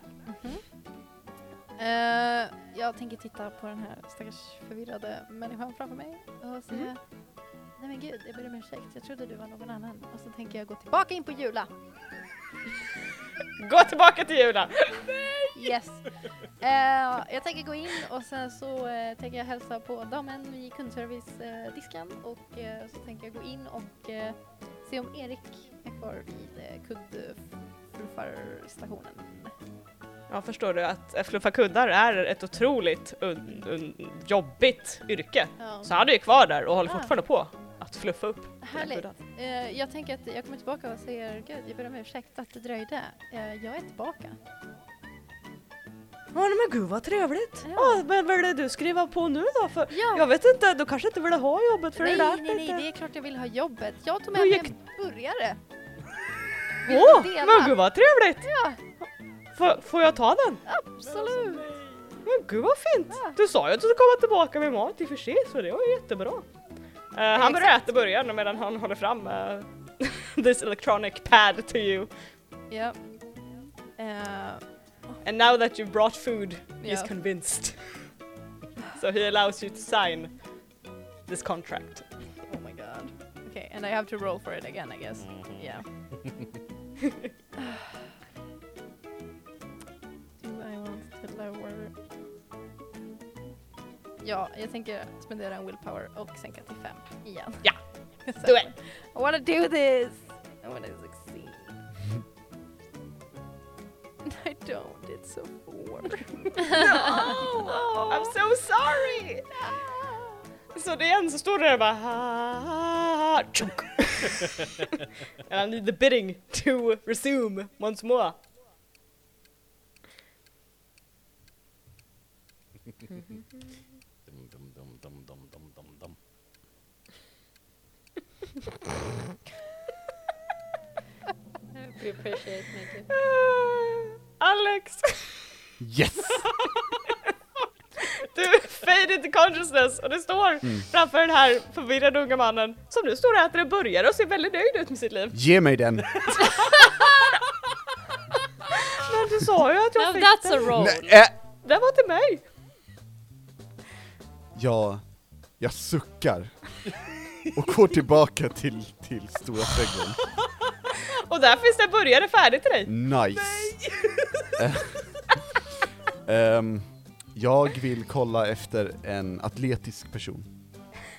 S5: Eh, jag tänker titta på den här stackars förvirrade människan framför mig och säga
S1: Mm.
S5: Nej men gud, jag ber om ursäkt. Jag trodde du var någon annan. Och så tänker jag gå tillbaka in på Jula.
S2: Gå tillbaka till Jula!
S5: Yes! Eh, jag tänker gå in och sen så eh, tänker jag hälsa på damen vid kundservice-disken och eh, så tänker jag gå in och eh, se om Erik är kvar vid eh, kundfluffarstationen.
S2: Ja, förstår du att eh, fluffa kuddar är ett otroligt un- un- jobbigt yrke.
S5: Ja.
S2: Så han är ju kvar där och håller
S5: Ah.
S2: fortfarande på att fluffa upp den här
S5: Härligt.
S2: kudden.
S5: Eh, jag tänker att jag kommer tillbaka och säger gud, jag ber om ursäkt att det dröjde. Eh, jag är tillbaka.
S2: Ja men gud vad trevligt!
S5: Ja.
S2: Ja. men vad är det du skriver på nu då? För
S5: Ja.
S2: Jag vet inte, du kanske inte vill ha jobbet för det
S5: nej,
S2: lät
S5: nej, nej,
S2: inte.
S5: det är klart jag vill ha jobbet. Jag
S2: Då
S5: tog med mig
S2: gick-
S5: en burgare. Vill du
S2: Åh,
S5: dela?
S2: men gud vad trevligt!
S5: Ja.
S2: Får- får jag ta den?
S5: Absolut!
S2: Men gud vad fint!
S5: Ja.
S2: Du sa ju att du skulle komma tillbaka med mat i och för sig så det var ju jättebra. Eh, han börjar äta början medan han håller fram eh, this electronic pad to you.
S5: Ja. Eh,
S2: And now that you've brought food, he's
S5: Ja.
S2: convinced. so he allows you to sign this contract.
S5: Oh my god. Okay, and I have to roll for it again, I guess. Yeah. Do I want to lower? Ja, jag tänker spendera en willpower Oh, och sänka till fem igen.
S2: Ja.
S5: So,
S2: Do it!
S5: I wanna do this! I wanna succeed. I don't, it's a four.
S2: I'm so sorry! Så det igen så står det där bara "Ah, tjunk." And I need the bidding to resume once more.
S6: Dum, dum, dum, dum, dum, dum, dum, dum.
S1: We appreciate making.
S2: Ah, Alex,
S3: Yes!
S2: du fade into consciousness och det står framför den här förvirrade unga mannen som nu står och äter en burgare och ser väldigt nöjd ut med sitt liv.
S3: Ge mig den!
S2: Men du sa ju att jag
S1: Now
S2: fick
S1: that's a
S2: den.
S1: roll!
S3: Nej, äh.
S2: Den var till mig!
S3: Jag, jag suckar. Och går tillbaka till, till stora trädgården.
S2: Och där finns det en burgare färdig till dig.
S3: Nice! Eh, ehm, jag vill kolla efter en atletisk person.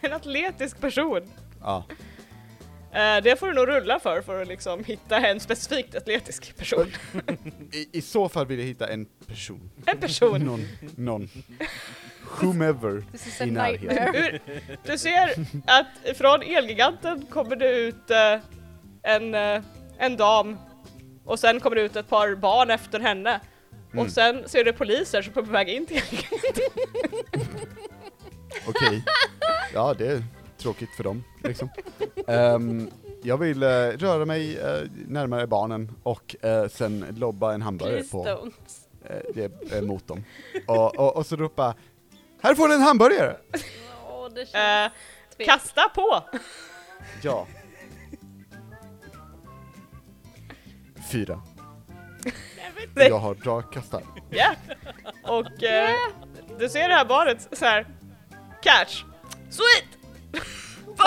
S2: En atletisk person.
S3: Ja.
S2: Eh, det får du nog rulla för, för att liksom hitta en specifikt atletisk person.
S3: I, I så fall vill jag hitta en person.
S2: En person.
S3: Någon, någon. Whomever
S5: This is a
S3: i närheten.
S5: nightmare.
S2: Ur, du ser att från Elgiganten kommer det ut eh, en, eh, en dam och sen kommer det ut ett par barn efter henne.
S3: Mm.
S2: Och sen ser du poliser som är på väg in till
S3: Okej. Ja, det är tråkigt för dem, liksom. Ehm, jag vill eh, röra mig eh, närmare barnen och eh, sen lobba en hamburgare
S1: Please
S3: på,
S1: don't.
S3: eh, det, eh, mot dem. Och, och, och så ropa Här får du en hamburgare!
S1: Eh, Åh, det känns
S2: Eh, Kasta på!
S3: Ja. Fyra.
S2: Nej.
S3: Jag har dragkastare.
S2: Ja! Och eh, du ser det här barnet så här. Catch! Sweet!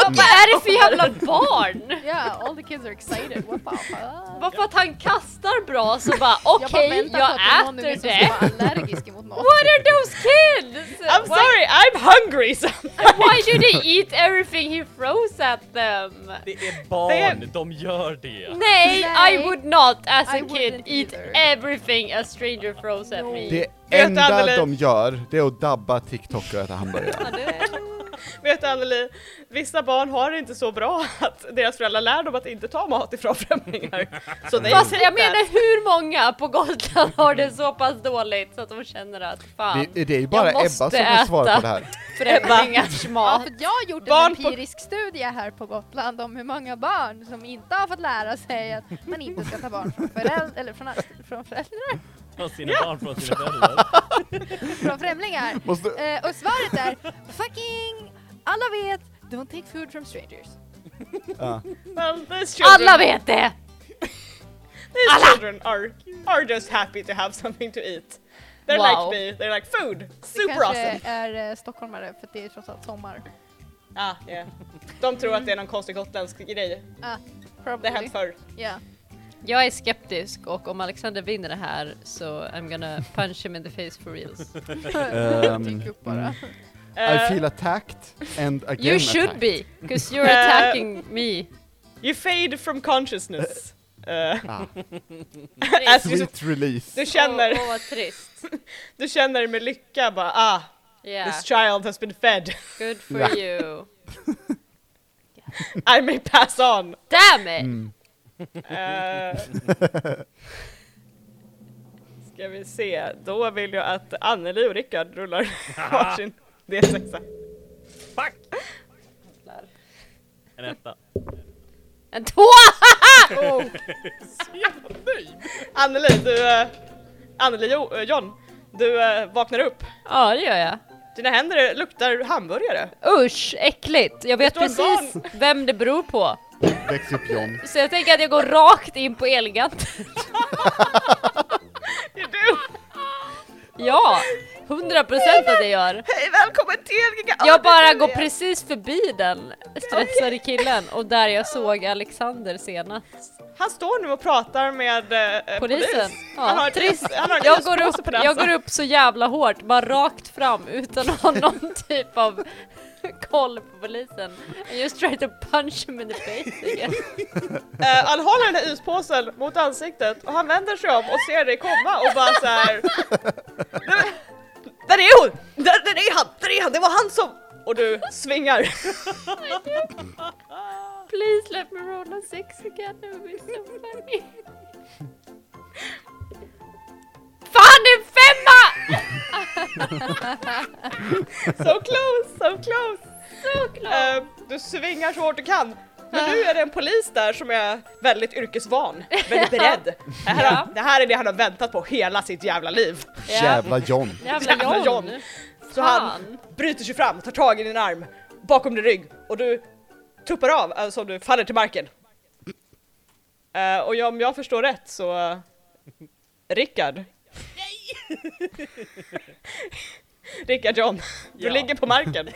S1: Vad är det för jävla barn?
S5: Yeah, all the kids are excited. What the fuck?
S1: Bara för att han kastar bra så bara okej, jag, äter det.
S5: Jag allergisk mot mat.
S1: What are those kids?
S2: I'm
S1: Why-
S2: sorry, I'm hungry! sa han.
S1: Why do they eat everything he throws at them?
S4: Det är barn, de gör det.
S1: Nej,
S5: Nej.
S1: I would not as a
S5: I
S1: kid
S5: wouldn't
S1: eat
S5: either.
S1: everything a stranger throws at
S5: No.
S1: me.
S3: Det
S2: Vet
S3: enda
S2: Anneli-
S3: de gör, det är att dabba TikTok och äta hamburgare.
S2: Vet du Anneli, vissa barn har det inte så bra att deras föräldrar lär dem att inte ta mat ifrån främlingar. Så det
S1: Fast jag menar hur många på Gotland har det så pass dåligt så att de känner att fan,
S3: Det, det är ju bara
S1: Jag
S3: Ebba
S1: måste
S3: som har svar
S1: äta.
S3: på det här.
S1: främlingars
S5: Ja,
S1: mat.
S5: för jag har gjort
S2: Barn
S5: en
S2: på-
S5: empirisk studie här på Gotland om hur många barn som inte har fått lära sig att man inte ska ta barn från föräldrar, eller från, från föräldrar,
S4: Ta sina barn från sina föräldrar.
S5: från främlingar.
S3: Måste,
S5: Eh, och svaret är fucking, alla vet, don't take food from strangers.
S3: ja.
S2: Well, these children,
S1: Alla vet det!
S2: these
S1: alla!
S2: children are, are just happy to have something to eat. They're
S1: Wow.
S2: like me, they're like food,
S5: Det
S2: super
S5: kanske
S2: awesome.
S5: är eh, stockholmare för det är trots allt sommar.
S2: Ah, yeah. De tror att det är någon konstig gotländsk grej.
S5: Ah,
S2: Det
S5: probably.
S2: har hänt förr.
S5: Yeah.
S1: Jag är skeptisk och om Alexander vinner det här så I'm gonna punch him in the face for reals.
S3: Ehm,
S5: Dyk upp bara.
S3: I
S2: Eh,
S3: feel attacked and again
S1: You should
S3: attacked.
S1: be, cause you're
S2: Eh.
S1: attacking me.
S2: You fade from consciousness. Eh,
S3: Ah,
S2: as you,
S3: sweet release.
S2: du, känner,
S1: Åh, åh, vad trist.
S2: du känner med lycka bara ah,
S1: Yeah,
S2: this child has been fed.
S1: good
S3: Ja.
S1: for you.
S2: I may pass on.
S1: Damn it!
S2: Eh, ska vi se, då vill jag att Anneli och Rickard rullar varsin D6.
S4: Fuck! En etta.
S1: En tvåa!
S2: Oh. Anneli, du... eh, Anneli jo, eh, John, du eh, vaknar upp.
S1: Ja, det gör jag.
S2: Dina händer luktar hamburgare.
S1: Usch, äckligt! Jag vet
S2: står ett barn.
S1: precis vem det beror på.
S3: Väx upp John.
S1: Så jag tänker att jag går rakt in på Elgiganten.
S2: Det är du!
S1: Ja, 100 procent att jag gör.
S2: Hej, välkommen till Giganten!
S1: Jag bara går precis förbi den stressade killen och där jag såg Alexander senast.
S2: Han står nu och pratar med eh,
S1: Polisen.
S2: Polis. Han har
S1: Ja,
S2: ett
S1: trist.
S2: ljus- han har ett
S1: Jag
S2: ljuspåse
S1: går, upp,
S2: på näsan.
S1: jag går upp så jävla hårt, bara rakt fram utan att ha någon typ av koll på polisen. I just tried to punch him in the face again.
S2: Eh, han håller den här ispåsen mot ansiktet och han vänder sig om och ser dig komma och bara så här. "Där- Där är hon! Där, där är han! Där är han! Det var han som... Och du svingar.
S1: Please let me roll a six again, it would be so funny. Fan det är en femma!
S2: So close, so close!
S1: Såklart!
S2: Eh, du svingar så hårt du kan. Men nu är det en polis där som är väldigt yrkesvan, väldigt beredd. Det här,
S1: Ja.
S2: det här är det han har väntat på hela sitt jävla liv.
S3: Jävla John.
S1: Jävla
S2: jävla
S1: John!
S2: John. Så han
S1: Fan.
S2: bryter sig fram, tar tag i din arm, bakom din rygg och du tuppar av eh, som du faller till marken. Eh, och jag, om jag förstår rätt så... eh, Rickard. Nej! Rickard John, du
S4: Ja.
S2: ligger på marken.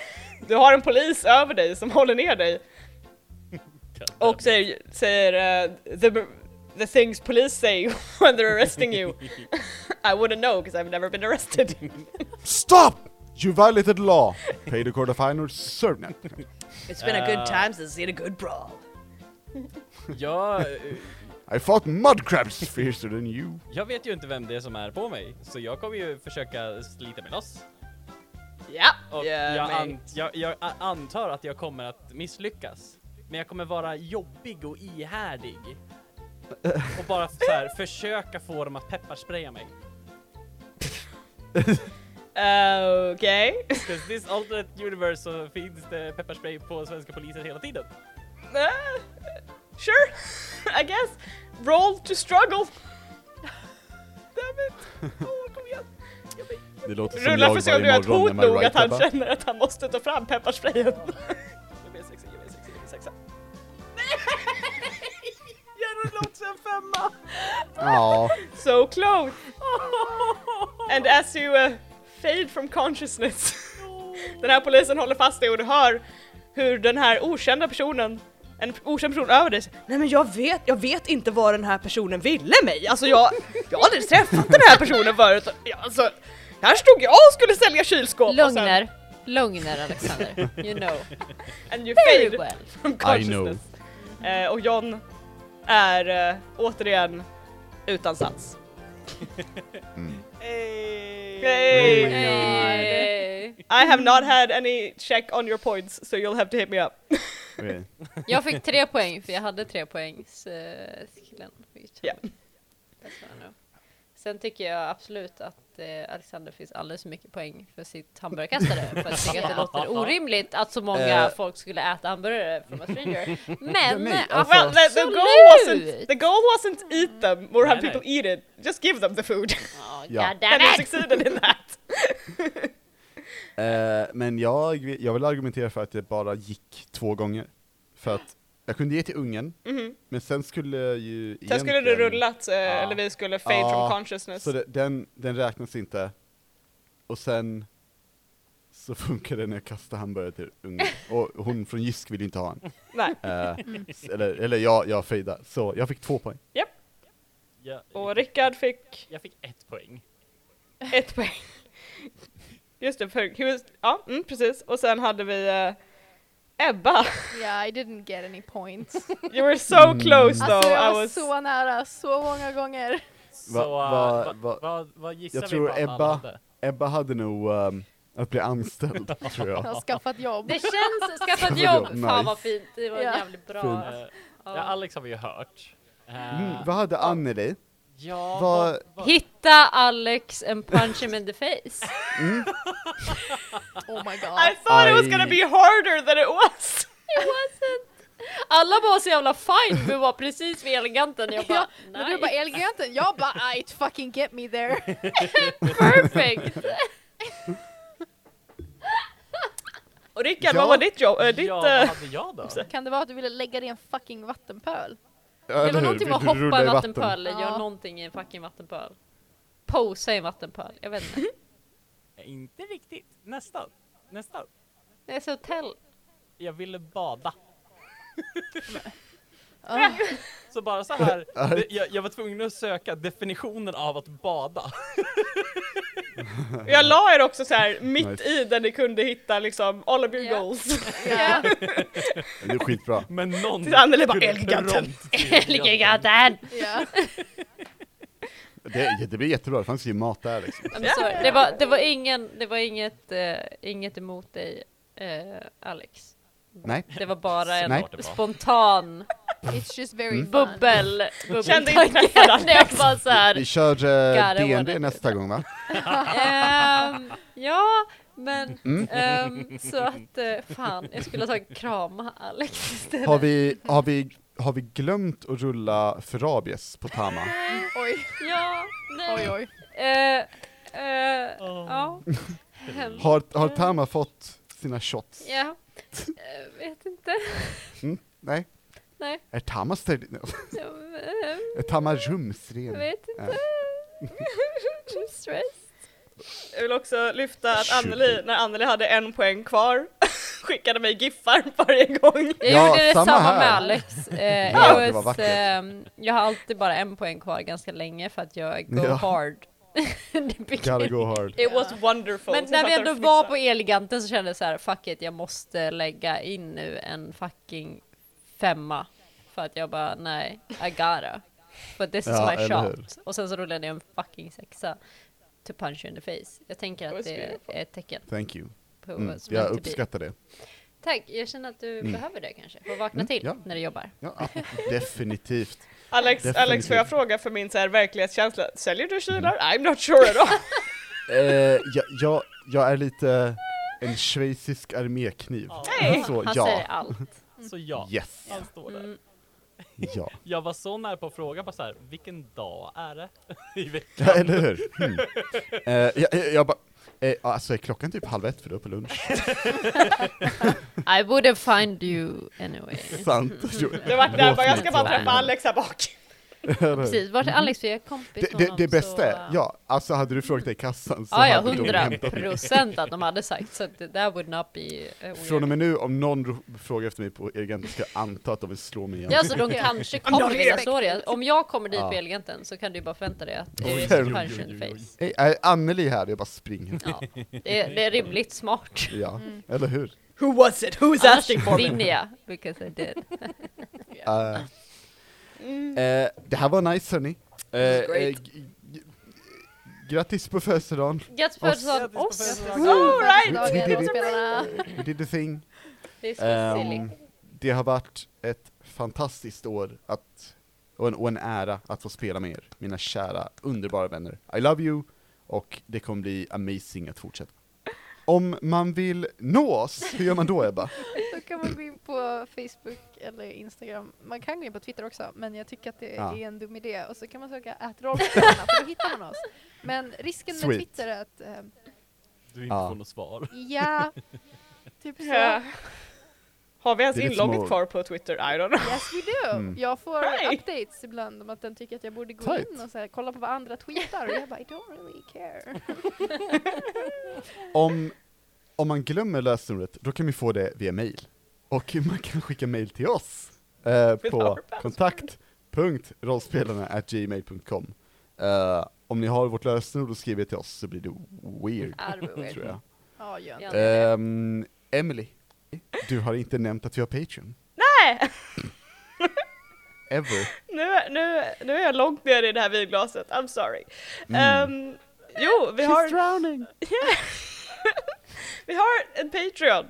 S2: Du har en polis över dig som håller ner dig. Och säger, säger eh, the, the things police say when they're arresting you. I wouldn't know because I've never been arrested.
S3: Stop! You violated law. Pay the court of fine or serve net.
S2: It's
S4: been a good time
S2: since it's been a good brawl.
S4: Jag, eh,
S3: I fought mud crabs fiercer than you.
S4: jag vet ju inte vem det är som är på mig, så jag kommer ju försöka slita mig loss.
S2: Ja,
S4: Och
S2: gör
S4: jag,
S2: mig.
S4: ant, jag, jag a- antar att jag kommer att misslyckas. Men jag kommer vara jobbig och ihärdig. Och bara så här, försöka få dem att pepparspraya mig.
S2: Eh, Okej.
S4: 'Cause this alternate universe så finns det pepparspray på svenska polisen hela tiden.
S2: Eh, sure, I guess. Roll to struggle. Damn it. Åh, kom igen.
S3: Det låter
S2: Rulla för att se om du är ett hot nog att han känner att han måste ta fram pepparsprayen. Ge mig en sexa, ge mig en sexa, ge mig en sexa. Nej! Jag rullade också en femma!
S5: hemma.
S3: Ja.
S2: So close! And as you uh, fade from consciousness Den här polisen håller fast dig och du hör hur den här okända personen en okänd person över dig säger, Nej men jag vet, jag vet inte vad den här personen ville mig, alltså jag, jag har aldrig träffat den här personen förut, Ja, alltså, här stod jag och skulle sälja kylskåp och sen,
S1: Lugner. Lugner Alexander. You know.
S2: and you
S1: Very
S2: fade
S1: well.
S2: from consciousness. Eh, och John är eh, återigen utan sats.
S3: Mm.
S2: Hey.
S1: Hey.
S2: I have not had any check on your points, so you'll have to hit me up.
S3: Okej.
S1: Jag fick tre poäng för jag hade tre poäng. Så killen fick ta
S2: Ja.
S1: den. Jag tar den nu. Sen tycker jag absolut att eh, Alexander finns alldeles för mycket poäng för sitt hamburgarkastare. För jag tycker att det låter orimligt att så många
S3: Eh.
S1: folk skulle äta hamburgare från en stranger. Men
S3: nej, alltså-
S2: Well, the, the goal wasn't
S1: absolut!
S2: the goal wasn't eat them or have
S4: Nej,
S2: people eat it. Just give them the food.
S1: Ja,
S3: Ja.
S1: God
S2: And
S1: damn
S2: you
S1: it!
S2: succeeded in that.
S3: Eh, men jag, jag vill argumentera för att det bara gick två gånger. För att jag kunde ge till ungen, men sen skulle ju
S2: Sen Mm-hmm. skulle det
S3: egentligen-
S2: rullat, eh, eller vi skulle fade
S3: Ja,
S2: from consciousness.
S3: Så det, den, den räknas inte. Och sen så funkar det när jag kastar hamburgare till ungen. Och hon från Jysk vill ju inte ha en.
S2: Nej.
S3: Eh, s- eller, eller jag, jag fejdar. Så jag fick två poäng.
S4: Jag,
S2: Och Rickard fick
S4: jag fick ett poäng.
S2: ett poäng. Just det, för, he was, ja mm, precis. Och sen hade vi eh, Ebba.
S5: Yeah, I didn't get any points.
S2: You were so
S3: Mm.
S2: close though.
S5: alltså
S2: I
S5: jag var
S2: was...
S5: så nära så många gånger.
S4: Så eh,
S3: Va- va-
S4: vad
S3: va-
S4: gissar
S3: jag
S4: vi
S3: tror
S4: på att alla
S3: Ebba-
S4: hade? Eh,
S3: Ebba hade nog ehm, att bli anställd, tror
S5: Jag
S3: jag.
S5: har skaffat jobb.
S1: Det känns, skaffa ett jobb!
S3: Nice.
S1: Fan vad fint, det var
S5: Ja.
S1: jävligt bra.
S3: Fint.
S1: alltså.
S4: Eh, ja, Alex har vi ju hört. Eh,
S3: Mm, vad hade Anneli?
S4: Ja,
S3: Vad-
S1: Hitta Alex and punch him in the face.
S5: Oh my
S2: I
S5: god.
S2: thought it was
S3: I-
S2: gonna be harder than it was.
S1: It wasn't. Alla var så jävla fine men var precis vid eleganten. Jag bara,
S5: Ja,
S1: nej,
S5: men du bara eleganten, jag bara "Ah, it fucking get me there.
S1: perfect!
S2: Och Rickard,
S3: Ja.
S2: vad var ditt jobb? Äh, ditt,
S4: ja,
S2: eh,
S4: vad hade jag då?
S5: Kan det vara att du ville lägga dig i en fucking vattenpöl?
S1: Det var någonting med att hoppa i en vattenpöl, eller göra
S5: Ja.
S1: någonting i en fucking vattenpöl. Posa i en vattenpöl, jag vet inte.
S4: Eh, Inte riktigt. Nästan. Nästan.
S1: Det är så hotell.
S4: Jag ville bada.
S5: Ah.
S4: Så bara så här. det- jag, jag var tvungen att söka definitionen av att bada.
S2: Jag la er också så här mitt
S3: Nice.
S2: i där ni kunde hitta liksom all of your
S1: Ja.
S2: goals.
S5: Ja.
S3: Det är skitbra.
S4: Men någon
S2: Tills Anneli bara
S4: skulle
S2: Elgiganten.
S4: prompt till
S1: Eleganten!
S5: Ja.
S3: Det, det blir jättebra, det fanns ju mat där liksom.
S1: I'm sorry. Det var, det var, ingen, det var inget, eh, inget emot dig eh, Alex.
S3: Nej.
S1: Det var bara en
S3: Nej.
S1: spontan
S5: It's just very
S3: Mm.
S5: fun.
S1: bubbel,
S2: Kände
S1: bubbeltanke.
S2: inte träffad Alex.
S1: När jag bara så här,
S3: Vi kör
S1: Gotta
S3: eh,
S1: wanna
S3: DND
S1: do
S3: nästa gång va?
S1: Ehm, ja, men
S3: Mm.
S1: ehm, så att eh, fan, jag skulle ha tagit krama Alex istället.
S3: Har vi, har vi, har vi glömt att rulla för rabies på Tama?
S5: Oj,
S1: Ja, nej.
S5: oj, oj.
S1: Eh, eh, Ja. Hem.
S3: Har, har Tama fått sina shots?
S1: Ja. Eh, vet inte.
S3: Nej?
S1: Nej.
S3: Är Tama ställ...
S1: Jag, eh,
S3: Är Tama rumsren?
S1: vet inte. I'm stressed.
S2: Jag vill också lyfta att Anneli, när Anneli hade en poäng kvar, skickade mig giffar varje gång.
S1: Jag
S3: Ja,
S1: gjorde
S3: samma
S1: detsamma
S3: här.
S1: med Alex. Eh,
S3: Ja, det
S1: jag,
S3: var
S1: was,
S3: vackert.
S1: ehm, jag har alltid bara en poäng kvar ganska länge för att jag go
S3: Ja.
S1: hard. det blir
S3: Gotta go hard.
S2: It was wonderful.
S1: Men
S2: Så
S1: när vi
S2: fattar
S1: ändå
S2: du
S1: var
S2: fnissa.
S1: på Eleganten så kände jag så här, fuck it, jag måste lägga in nu en fucking femma. För att jag bara, nej, I gotta. But this
S3: Ja,
S1: is my
S3: eller
S1: shot. Och sen så rullade jag en fucking sexa. To punch you in the face. Jag tänker
S2: was
S1: att det
S2: beautiful.
S1: är ett tecken
S3: Thank you.
S1: på
S3: Mm.
S1: mm, som
S3: Jag
S1: jag uppskattar.
S3: uppskattar det.
S1: Tack, jag känner att du behöver det kanske. För att vakna
S3: Mm,
S1: till
S3: ja.
S1: när du jobbar.
S3: Ja, ah, definitivt.
S2: Alex, Alex,
S3: Definitivt.
S2: får jag fråga för min så här verklighetskänsla, säljer du kylar? I'm not sure at all.
S3: Eh, jag, jag, jag är lite en schweizisk armékniv.
S2: Nej.
S3: Så,
S1: Han säger
S3: ja.
S1: allt.
S4: Så ja,
S3: Yes.
S4: han står där.
S1: Mm.
S3: Ja.
S4: Jag var så nära på att fråga bara så här, vilken dag är det? I veckan.
S3: Ja, eller hur? Mm. Eh, jag, jag, jag bara, eh, alltså är klockan typ halv ett för du är på lunch?
S1: I wouldn't find you anyway.
S3: Sant. Jo,
S2: Det var där
S3: låt
S2: bara, jag
S3: mig
S2: ska bara
S3: tro.
S2: träffa Alex här bak.
S1: Precis, vart är Alex? För jag är kompis
S3: Det,
S1: med
S3: det,
S1: honom,
S3: det bästa
S1: så,
S3: är,
S1: äh,
S3: ja, alltså hade du frågat i kassan så
S1: Ah, Ja, ja,
S3: hade de
S1: 100
S3: hämtat mig.
S1: procent att de hade sagt så att det där would not be uh,
S3: Från och med nu, om någon ro- frågar efter mig på Elgiganten ska jag anta att de vill slå mig igen.
S1: Ja, så de kanske kommer vilja slå dig. Om jag kommer dit
S3: Ja.
S1: på Elganten så kan du bara förvänta dig att
S3: Oj,
S1: det är
S3: oj,
S1: punch in the
S6: oj, oj.
S1: face.
S3: Hej, är Anneli här? Jag bara springer.
S1: Ja, det, är, det är rimligt smart.
S3: Ja, eller hur?
S2: Who was it? Who's asking
S1: Annars
S2: for me?
S1: vinner jag, because I did.
S3: Eh,
S1: Mm.
S3: eh, det här var nice hörni. Eh,
S2: This was
S3: eh,
S2: great.
S3: g- g- grattis på födelsedagen.
S1: Grattis på
S3: Oss.
S1: födelsedagen,
S4: Grattis på
S1: oss!
S4: födelsedagen.
S2: All right!
S3: Vi- vi-
S5: Dagen,
S3: vi-
S5: spelarna.
S3: We did the thing.
S1: Det är så silly.
S3: Ehm, det har varit ett fantastiskt år att, och, en, och en ära att få spela med er, mina kära underbara vänner. I love you, och det kommer bli amazing att fortsätta. Om man vill nå oss, hur gör man då Ebba?
S5: Då kan man gå in på Facebook eller Instagram. Man kan gå in på Twitter också, men jag tycker att det
S3: Ja.
S5: är en dum idé. Och så kan man söka att för då hittar man oss. Men risken med
S3: Sweet.
S5: Twitter är att, eh,
S4: Du inte
S3: Ja.
S4: får något svar.
S5: ja, typ så.
S2: Ja. Har vi ens
S3: Det är lite små-
S2: inlogget kvar på Twitter? I don't know.
S5: Yes we do!
S3: Mm.
S5: Jag får
S2: Hej!
S5: updates ibland om att den tycker att jag borde gå
S3: Tight.
S5: in och så här, kolla på vad andra tweetar och jag bara I don't really care.
S3: Om, om man glömmer lösenordet, då kan vi få det via mail. Och man kan skicka mail till oss eh, på
S2: our password.
S3: kontakt.rollspelarna.gmail.com eh, Om ni har vårt lösenord och skriver till oss så blir det weird,
S1: Ja, det var weird.
S3: tror jag.
S5: Ja, gör
S1: Ja.
S5: inte
S3: Ehm, Emily, du har inte nämnt att vi har Patreon.
S2: Nej!
S3: Ever.
S2: Nu, nu, nu är jag långt ner i det här vinglaset, I'm sorry.
S3: Mm.
S2: Ehm, jo, vi har...
S3: drowning!
S2: Vi har en Patreon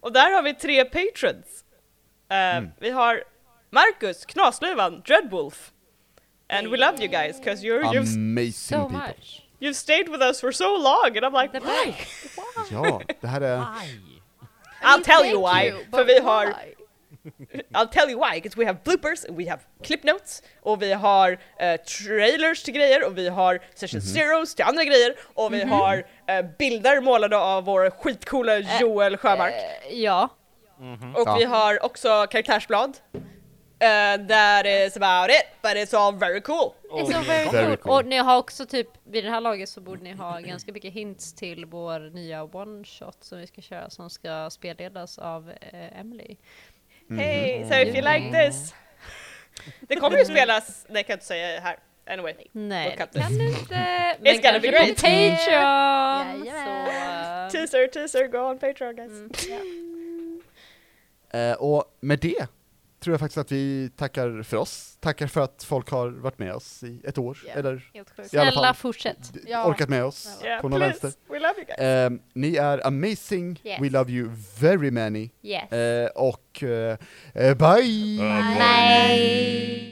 S2: och där har vi tre patrons. Eh, Vi har Marcus, Knaslövan, Dreadwolf. And we love you guys because you're,
S3: Um,
S2: you've,
S3: Amazing
S1: So
S3: people.
S1: much.
S2: you've stayed with us for so long and I'm like
S1: The
S2: why?
S1: best.
S3: Ja, det här är...
S4: Aj!
S2: I'll tell you
S5: Thank
S2: why.
S5: you,
S2: för
S5: but
S2: vi har,
S5: why?
S2: I'll tell you why because we have bloopers and we have clip notes och vi har eh, trailers till grejer och vi har session zeros till andra grejer och
S5: Mhm.
S2: vi har eh, bilder målade av vår skitcoola Joel Sjömark.
S1: Eh, ja.
S2: Och
S3: Ja.
S2: vi har också karaktärsblad. Uh, that is about it, but it's all very cool.
S1: It's so very,
S3: Very
S1: cool.
S3: cool.
S1: Och ni har också typ, vid det här laget så borde ni ha ganska mycket hints till vår nya one shot som vi ska köra som ska spelledas av eh, Emily.
S3: Mm.
S2: Hey, so if you like this. Det kommer ju spelas, det kan jag inte säga här. Anyway.
S1: Nej,
S2: Då
S1: det
S2: kan
S1: kan du inte. Men
S2: gonna be
S1: kanske
S2: great.
S1: på Patreon.
S5: Jajamän.
S1: Så, eh,
S2: Teaser, teaser, go on Patreon guys.
S3: Eh, och med det tror jag faktiskt att vi tackar för oss. Tackar för att folk har varit med oss i ett år,
S5: Ja.
S3: eller
S5: Helt sjukt.
S3: i alla
S1: snälla
S3: fall
S1: fortsätt.
S3: d-
S5: Ja.
S3: orkat med oss
S5: Snälla.
S2: Yeah,
S3: på någon
S2: please.
S3: vänster.
S2: We love you guys.
S3: Ehm, ni är amazing,
S1: Yes.
S3: we love you very many,
S1: Yes.
S3: Eh, och eh, eh, bye!
S1: Bye.